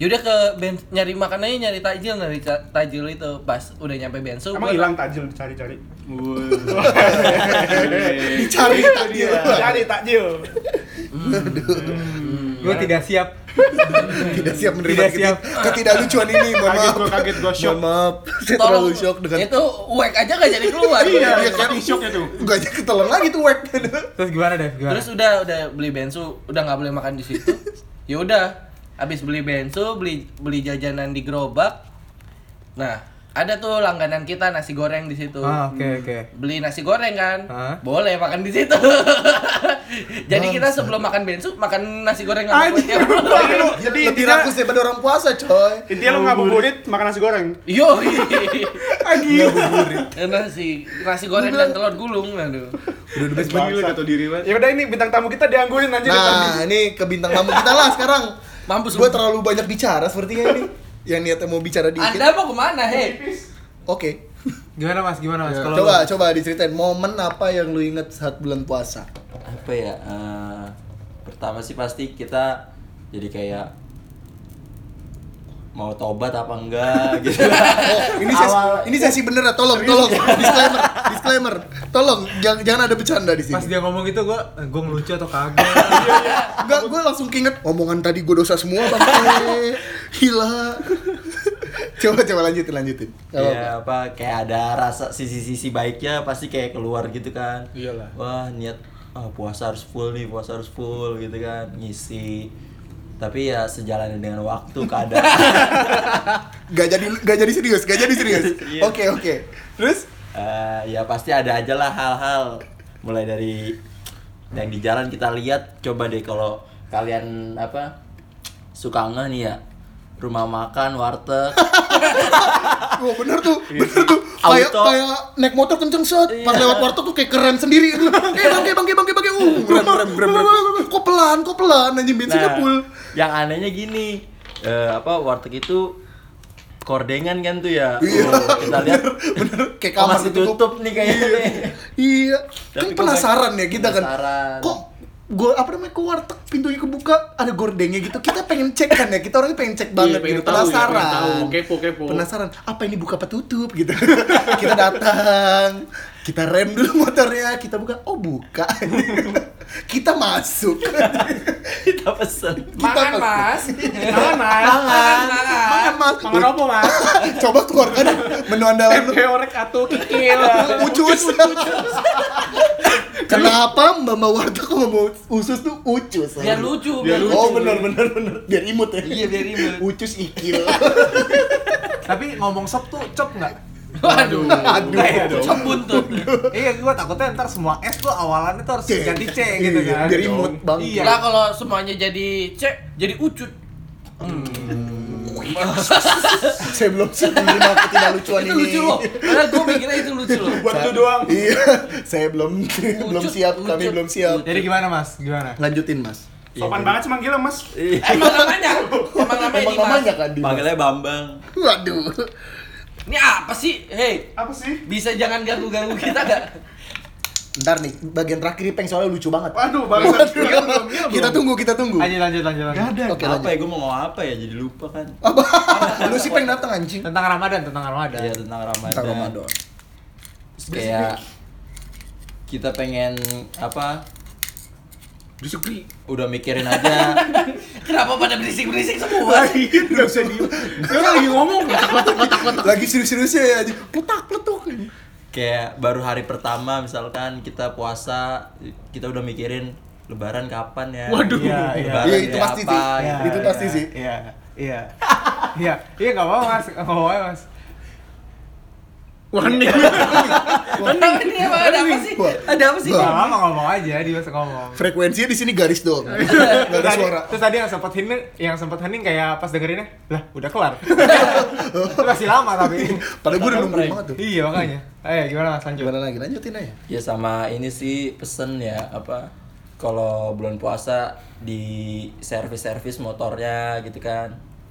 Speaker 3: yaudah ke ben- nyari makanannya nyari takjil nyari ta- takjil itu pas udah nyampe bensu gua-
Speaker 5: Emang hilang tajil dicari-cari.
Speaker 2: dicari
Speaker 3: Iya,
Speaker 2: tadi ya.
Speaker 5: Cari takjil.
Speaker 1: Gue tidak siap.
Speaker 2: tidak siap menerima
Speaker 1: Tidak
Speaker 2: keti-
Speaker 1: siap.
Speaker 2: ketidaklucuan ini mohon
Speaker 5: Kaget
Speaker 2: maaf
Speaker 5: gua, kaget gua, shock.
Speaker 2: mohon maaf saya
Speaker 3: tolong Iya,
Speaker 2: terlalu shock dengan
Speaker 3: itu wek aja gak jadi keluar
Speaker 5: Iya,
Speaker 2: Iya, kan?
Speaker 5: saking shocknya tuh.
Speaker 2: gak aja ketelan lagi tuh wek
Speaker 1: Terus gimana deh? Gimana?
Speaker 3: Terus udah udah beli bensu, udah nggak boleh makan di situ. ya udah, habis beli bensu, beli beli jajanan di gerobak. Nah, ada tuh langganan kita nasi goreng di situ.
Speaker 1: Ah, oke oke.
Speaker 3: Beli nasi goreng kan?
Speaker 1: Hah?
Speaker 3: Boleh makan di situ. Jadi kita sebelum makan bensu, makan nasi goreng sama kue tiaw.
Speaker 5: Jadi
Speaker 2: lebih
Speaker 5: intinya-
Speaker 2: rakus daripada orang puasa coy
Speaker 5: Intinya lu ngabuburit makan nasi goreng.
Speaker 3: Yo.
Speaker 1: Ah, Ngabuburit.
Speaker 3: Nasi nasi goreng dan telur gulung aduh.
Speaker 5: Udah the best banget lu gak tau diri banget.
Speaker 1: Ya udah ini bintang tamu kita diangguin anjir tadi.
Speaker 2: Nah, ini ke bintang tamu kita lah sekarang.
Speaker 3: Mampus
Speaker 2: Gue
Speaker 3: lu.
Speaker 2: terlalu banyak bicara sepertinya ini. Yang niatnya mau bicara dikit.
Speaker 3: Anda mau kemana, hei?
Speaker 2: Oke.
Speaker 1: Gimana Mas? Gimana Mas? Kalau
Speaker 2: Iya, Coba coba diceritain momen apa yang lu inget saat bulan puasa.
Speaker 6: apa ya eh, pertama sih pasti kita jadi kayak mau tobat apa enggak gitu
Speaker 2: Oh, ini sesi, ini sesi bener ya, tolong, tolong, disclaimer, disclaimer, tolong, jangan, jangan ada bercanda di
Speaker 1: pas
Speaker 2: sini.
Speaker 1: dia ngomong gitu gua eh, gua ngelucu atau kagak?
Speaker 2: Enggak, gue langsung keinget omongan tadi gue dosa semua bang, gila. coba coba lanjutin lanjutin. Gak apa-apa.
Speaker 6: ya apa kayak ada rasa sisi-sisi baiknya pasti kayak keluar gitu kan
Speaker 1: Iyalah.
Speaker 6: wah niat ah, puasa harus full nih puasa harus full gitu kan ngisi tapi ya sejalan dengan waktu keadaan
Speaker 2: Gak jadi gak jadi serius, gak jadi serius.
Speaker 6: Iya.
Speaker 2: Oke oke. Terus?
Speaker 6: Eh, ya pasti ada aja lah hal-hal mulai dari yang di jalan kita lihat coba deh kalau kalian apa suka nggak nih ya rumah makan warteg
Speaker 2: Wah bener tuh, bener tuh.
Speaker 6: Auto. Iya.
Speaker 2: Kayak kayak naik motor kenceng set, pas lewat warteg tuh kayak keren sendiri. Eh bang, eh bang, eh bang, eh bang, eh. uh, keren, keren, keren, keren. Kok pelan, kok pelan, anjing bensinnya
Speaker 6: Nah,
Speaker 2: full.
Speaker 6: yang anehnya gini eh, apa warteg itu kordengan kan tuh ya
Speaker 2: Iya,
Speaker 6: Oh, kita lihat
Speaker 2: bener. Kayak
Speaker 6: oh,
Speaker 2: kamar
Speaker 6: masih
Speaker 2: ditutup.
Speaker 6: tutup, nih kayaknya nih.
Speaker 2: Iya, kan
Speaker 6: Tapi kok
Speaker 2: penasaran
Speaker 6: nggak-
Speaker 2: ya kita kan.
Speaker 6: penasaran.
Speaker 2: Kok gue apa namanya ke warteg pintunya kebuka ada gordengnya gitu kita pengen cek kan ya kita orangnya pengen cek banget
Speaker 4: pengen
Speaker 2: gitu
Speaker 4: tahu ya, pengen
Speaker 2: penasaran
Speaker 4: tahu. Kepo, kepo.
Speaker 2: penasaran apa ini buka apa tutup gitu kita datang kita rem dulu motornya kita buka oh buka kita masuk
Speaker 6: kita pesen
Speaker 2: pesen.
Speaker 3: Makan, Mas.
Speaker 4: Tangan, Mas.
Speaker 3: Makan, makan.
Speaker 2: makan mas
Speaker 5: Makan apa, Mas?
Speaker 2: coba keluarkan menu andalan lu
Speaker 5: Orek atau kikil.
Speaker 2: ucus kenapa mbak mbak warteg kalau mau usus tuh ucus
Speaker 3: Biar lucu,
Speaker 5: Biar
Speaker 3: biar lucu.
Speaker 2: oh benar benar benar biar imut ya
Speaker 3: Iya, biar imut.
Speaker 2: ucus ikil
Speaker 1: Tapi ngomong sop tuh cop nggak?
Speaker 3: Waduh.
Speaker 2: aduh
Speaker 3: Cep buntut.
Speaker 1: Iya, gua takutnya ntar semua S tuh awalannya tuh harus
Speaker 2: Cek.
Speaker 1: ganti C gitu
Speaker 2: Iya,
Speaker 1: kan.
Speaker 2: biar imut bang
Speaker 1: Iya.
Speaker 3: Lah kalau semuanya jadi cek, jadi ucut.
Speaker 2: saya belum siap menerima ketidaklucuan
Speaker 3: Itu
Speaker 2: ini
Speaker 3: lucu loh. Padahal gua mikirnya itu lucu loh.
Speaker 5: Buat lu doang.
Speaker 2: iya saya belum belum siap kami
Speaker 3: lucut,
Speaker 2: belum siap
Speaker 1: Iya. Jadi gimana Mas? Gimana?
Speaker 2: lanjutin mas
Speaker 5: Sopan banget sih manggilnya, Mas.
Speaker 3: Emang namanya, emang namanya
Speaker 2: emang
Speaker 3: Dimas.
Speaker 2: namanya kan Dimas
Speaker 6: panggilnya Bambang
Speaker 2: waduh
Speaker 3: Ini apa sih? Hei,
Speaker 5: Apa sih?
Speaker 3: bisa jangan ganggu-ganggu kita gak?
Speaker 2: ntar nih bagian terakhir nih, peng soalnya lucu banget
Speaker 5: Waduh, bangsa. Iya, belum, iya, belum.
Speaker 2: kita tunggu kita tunggu
Speaker 1: Lanjut lanjut lanjut. lanjut.
Speaker 2: oke
Speaker 6: apa
Speaker 2: lanjut
Speaker 6: ya gue mau ngomong apa ya jadi lupa kan
Speaker 2: lu sih peng datang anjing
Speaker 1: Tentang Ramadan, tentang Ramadan.
Speaker 6: ya tentang Ramadan,
Speaker 2: Ntar Ramadan.
Speaker 6: Terus kayak kita pengen apa
Speaker 5: Disukri.
Speaker 6: udah mikirin aja
Speaker 3: Kenapa pada berisik-berisik semua?
Speaker 5: Enggak bisa diem. Lu lagi ngomong.
Speaker 2: lagi serius-seriusnya ya anjing pletak pletuk
Speaker 6: kayak baru hari pertama misalkan kita puasa kita udah mikirin lebaran kapan ya
Speaker 4: Waduh.
Speaker 1: Iya, iya.
Speaker 6: lebaran
Speaker 2: Iya,
Speaker 6: ya
Speaker 2: itu pasti sih.
Speaker 6: apa,
Speaker 1: Iya,
Speaker 6: gitu.
Speaker 2: Itu pasti
Speaker 1: iya,
Speaker 2: sih.
Speaker 1: Iya, iya. Iya, iya enggak apa-apa Mas, enggak apa-apa Mas.
Speaker 4: Warning.
Speaker 3: Ini apa? Ada apa sih?
Speaker 2: Wah.
Speaker 3: Ada apa sih?
Speaker 2: Iya.
Speaker 1: Enggak apa-apa ngomong aja, dia masih ngomong.
Speaker 2: frekuensinya di sini garis doang nggak ada
Speaker 1: Tadi-
Speaker 2: suara
Speaker 1: Terus tadi yang sempat hening, yang sempat hening kayak pas dengerinnya, lah udah kelar. Itu masih lama tapi.
Speaker 2: padahal gue udah nungguin banget Iya. tuh
Speaker 1: iya makanya. Ayo gimana Mas lanjut?
Speaker 2: gimana lagi lanjutin aja
Speaker 6: ya sama ini sih pesen ya apa kalau bulan puasa di servis servis motornya gitu kan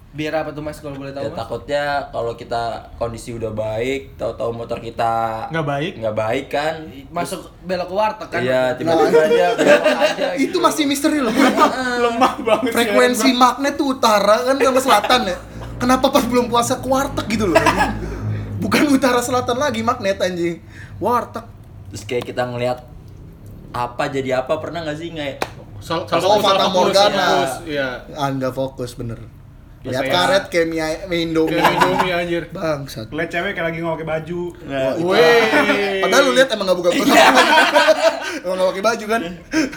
Speaker 3: Biar apa tuh mas kalau boleh tahu
Speaker 6: ya,
Speaker 3: mas?
Speaker 6: takutnya kalau kita kondisi udah baik tahu-tahu motor kita
Speaker 1: Nggak baik.
Speaker 6: nggak baik kan
Speaker 3: Masuk belok ke warteg kan?
Speaker 6: iya tiba-tiba aja belok aja
Speaker 2: itu masih misteri loh
Speaker 5: Lemah banget.
Speaker 2: frekuensi magnet tuh utara kan sama selatan ya kenapa pas belum puasa ke warteg gitu loh bukan utara selatan lagi magnet anjing warteg
Speaker 6: terus kayak kita ngelihat apa jadi apa pernah nggak sih nggak
Speaker 5: Salah
Speaker 2: Salah Fata Morgana.
Speaker 5: Iya.
Speaker 2: anda fokus bener
Speaker 5: Ya,
Speaker 2: lihat
Speaker 5: saya-
Speaker 2: karet kayak mie- mie indomie
Speaker 5: Kayak Indomie anjir.
Speaker 2: bangsat
Speaker 5: Lihat cewek kayak lagi nggak pakai baju.
Speaker 6: Nah,
Speaker 5: Weh.
Speaker 2: Gitu. padahal lu lihat emang gak buka
Speaker 6: Iya.
Speaker 2: baju emang gak pakai baju kan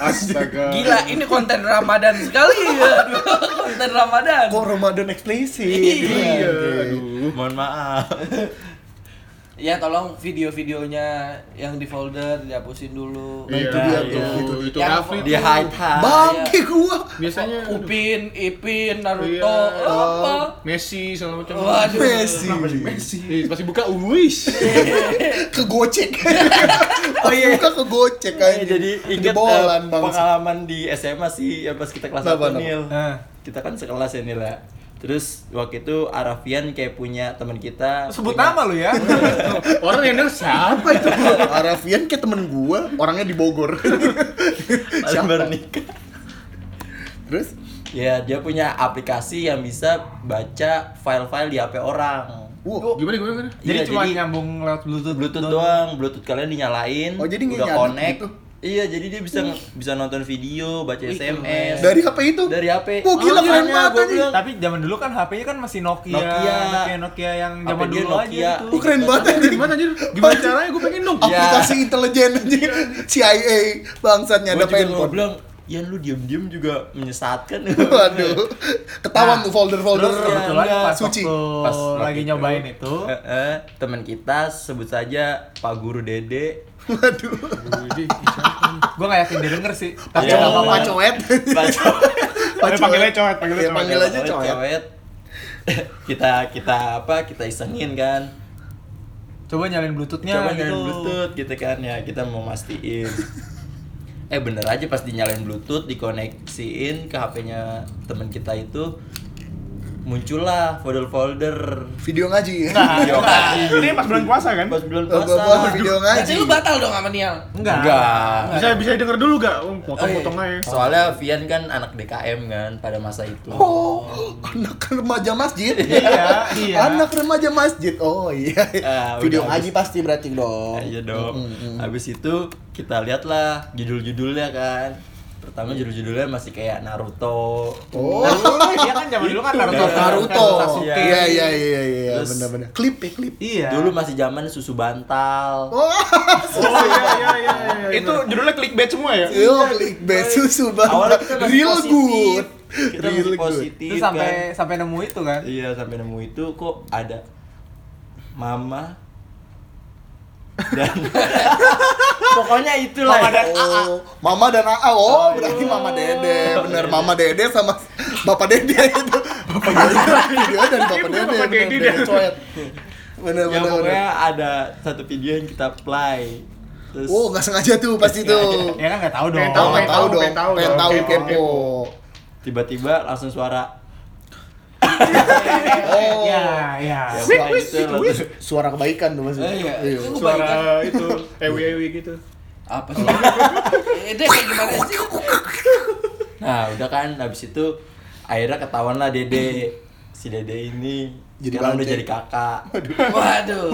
Speaker 5: Astaga.
Speaker 3: Gila, ini konten Ramadan sekali ya. konten Ramadan.
Speaker 2: kok Ramadan eksplisit
Speaker 3: Iya.
Speaker 2: Iya.
Speaker 5: Iya. Aduh.
Speaker 6: mohon maaf
Speaker 3: Ya tolong video-videonya yang di folder dihapusin dulu.
Speaker 5: Iya,
Speaker 2: itu dia
Speaker 6: iya.
Speaker 2: tuh, itu
Speaker 5: itu
Speaker 3: Yang
Speaker 5: Rafli
Speaker 6: Di hide hide.
Speaker 2: Bangke gua.
Speaker 5: biasanya
Speaker 3: Upin, Ipin, Naruto,
Speaker 5: Iya.
Speaker 3: apa?
Speaker 5: Messi segala macam.
Speaker 3: Waduh.
Speaker 2: Messi.
Speaker 5: Ih, Pasti buka wish.
Speaker 2: Kegocek. Oh iya. Buka kegocek
Speaker 6: Eh,
Speaker 2: aja.
Speaker 6: jadi inget
Speaker 2: bolan
Speaker 6: eh,
Speaker 2: bangsa.
Speaker 6: pengalaman di SMA sih ya pas kita kelas
Speaker 2: Kenapa, kenapa?
Speaker 6: 1 Nil.
Speaker 1: Eh.
Speaker 6: Kita kan sekelas ya Nil ya. Terus waktu itu Arafian kayak punya teman kita
Speaker 1: Sebut
Speaker 6: punya-
Speaker 1: nama lu ya.
Speaker 2: Iya,
Speaker 5: Orang yang denger siapa?
Speaker 2: Apa itu? Arafian kayak temen gua, orangnya di Bogor.
Speaker 6: Siapa?
Speaker 2: Siapa? Terus?
Speaker 6: Ya dia punya aplikasi yang bisa baca file-file di HP orang.
Speaker 2: Wow.
Speaker 5: Gimana gimana gimana?
Speaker 1: Jadi
Speaker 6: Iya,
Speaker 1: cuma nyambung lewat Bluetooth.
Speaker 6: Bluetooth doang, Bluetooth kalian dinyalain,
Speaker 2: Oh, jadi
Speaker 6: udah
Speaker 2: nggak nyadar
Speaker 6: connect.
Speaker 2: gitu?
Speaker 6: Iya, jadi dia bisa bisa nonton video, baca SMS.
Speaker 2: Dari HP itu?
Speaker 6: eh, dari HP.
Speaker 2: Wah, gila, keren
Speaker 6: makanya
Speaker 2: banget
Speaker 6: gua
Speaker 2: anjing.
Speaker 6: bilang,
Speaker 1: Tapi zaman dulu kan HP-nya kan masih Nokia,
Speaker 6: Nokia.
Speaker 1: Nokia, Nokia yang
Speaker 6: HP
Speaker 1: zaman
Speaker 6: dia
Speaker 1: dulu
Speaker 6: Nokia.
Speaker 1: aja
Speaker 2: Gua
Speaker 1: gitu.
Speaker 2: keren banget anjing.
Speaker 5: Gimana anjir? Gimana caranya gue pengen dong.
Speaker 6: Iya.
Speaker 2: Aplikasi intelijen anjing. CIA bangsatnya
Speaker 6: Gua
Speaker 2: ada
Speaker 6: juga mau
Speaker 2: handphone.
Speaker 6: bilang, Yan lu diem-diem juga menyesatkan.
Speaker 2: Waduh. Ketahuan tuh folder-folder
Speaker 1: Terus kebetulan
Speaker 6: Iya,
Speaker 1: pas
Speaker 2: Oh, suci.
Speaker 1: waktu
Speaker 6: Pas
Speaker 1: lagi
Speaker 6: waktu
Speaker 1: nyobain itu,
Speaker 6: Heeh, teman kita sebut saja Pak Guru Dede.
Speaker 2: Waduh.
Speaker 1: gua gak yakin dia denger sih.
Speaker 2: Pak
Speaker 1: Tapi
Speaker 6: Iya.
Speaker 1: nggak
Speaker 2: Cowet,
Speaker 1: apa-apa.
Speaker 2: Pak Cowet.
Speaker 6: Baca.
Speaker 5: Tapi panggilnya cowet, panggilnya
Speaker 2: Iya,
Speaker 5: cowet.
Speaker 2: panggil aja cowet.
Speaker 5: ya.
Speaker 6: kita kita apa? Kita isengin kan.
Speaker 1: Coba nyalain Bluetooth-nya
Speaker 2: Ya,
Speaker 6: Coba
Speaker 1: gitu.
Speaker 6: nyalain Bluetooth gitu kan ya, kita mau mastiin. eh bener aja pas dinyalain Bluetooth dikoneksiin ke HP-nya teman kita itu muncullah folder-folder
Speaker 2: Video ngaji.
Speaker 5: Nah.
Speaker 6: video ngaji.
Speaker 5: Ini pas bulan puasa kan?
Speaker 6: pas bulan
Speaker 2: Oh, gua gua
Speaker 6: puasa.
Speaker 2: video
Speaker 3: Berarti
Speaker 2: ngaji.
Speaker 3: lu batal dong sama Nial.
Speaker 1: Enggak.
Speaker 6: Enggak.
Speaker 5: Bisa bisa denger dulu gak? Oh, Potong-potong aja.
Speaker 6: Soalnya Vian kan anak DKM kan pada masa itu.
Speaker 2: Oh, anak remaja masjid.
Speaker 1: Iya, iya.
Speaker 2: Anak remaja masjid. Oh iya.
Speaker 6: Ah,
Speaker 2: Video
Speaker 6: udah
Speaker 2: ngaji pasti berarti dong.
Speaker 6: Aja Iya dong.
Speaker 2: Mm,
Speaker 6: Habis itu kita lihatlah judul-judulnya kan. Pertama judul-judulnya masih kayak Naruto.
Speaker 2: Oh.
Speaker 1: Iya kan zaman dulu kan Naruto.
Speaker 2: Naruto.
Speaker 6: Sasuke.
Speaker 2: Iya iya iya iya
Speaker 6: Terus-
Speaker 2: benar-benar. Klip ya klip.
Speaker 1: Iya.
Speaker 6: Dulu masih zaman susu bantal.
Speaker 2: Oh,
Speaker 5: Oh iya iya iya. iya.
Speaker 1: itu
Speaker 5: judulnya clickbait semua ya?
Speaker 2: yo klip susu banget.
Speaker 6: Awalnya kita masih
Speaker 2: Real
Speaker 6: positif.
Speaker 2: good.
Speaker 6: Kita
Speaker 2: Real
Speaker 6: masih
Speaker 2: good.
Speaker 6: positif
Speaker 1: itu
Speaker 6: kan.
Speaker 1: sampai sampai nemu itu kan.
Speaker 6: Iya sampai nemu itu kok ada mama dan pokoknya itulah
Speaker 1: Mama dan-
Speaker 2: Oh, Mama dan AA. Oh, berarti Mama Dede. Bener Mama Dede sama Bapak Dede itu. Bapak Dede dia dan Bapak
Speaker 5: bukan
Speaker 2: Dede. bener,
Speaker 5: Bapak Dede
Speaker 2: Dede
Speaker 5: dah.
Speaker 2: coet. Bener bener. bener.
Speaker 6: yang Ya, pokoknya ada satu video yang kita play terus
Speaker 2: Oh, nggak sengaja tuh pasti tuh.
Speaker 1: Ya kan nggak tahu dong.
Speaker 5: Nggak
Speaker 2: Tahu nggak tahu
Speaker 5: Pengen tahu,
Speaker 2: dong.
Speaker 5: pengen tahu
Speaker 2: Pengen
Speaker 5: dong.
Speaker 2: tahu
Speaker 5: Kepo,
Speaker 2: kepo.
Speaker 6: tiba-tiba langsung suara
Speaker 2: Oh,
Speaker 1: Ya, ya.
Speaker 6: ya,
Speaker 2: Sik,
Speaker 6: pokoknya gitu, langsung-
Speaker 2: suara kebaikan tuh maksudnya.
Speaker 6: Eh, iya.
Speaker 2: Iya.
Speaker 3: Itu kebaikan.
Speaker 5: Suara itu ewi-ewi gitu.
Speaker 3: Apa sih? Itu Eh, kayak gimana sih?
Speaker 6: nah udah kan habis itu akhirnya ketahuan lah dede si dede ini
Speaker 2: Jadi
Speaker 6: sekarang udah
Speaker 2: bangke.
Speaker 6: jadi kakak
Speaker 3: Waduh.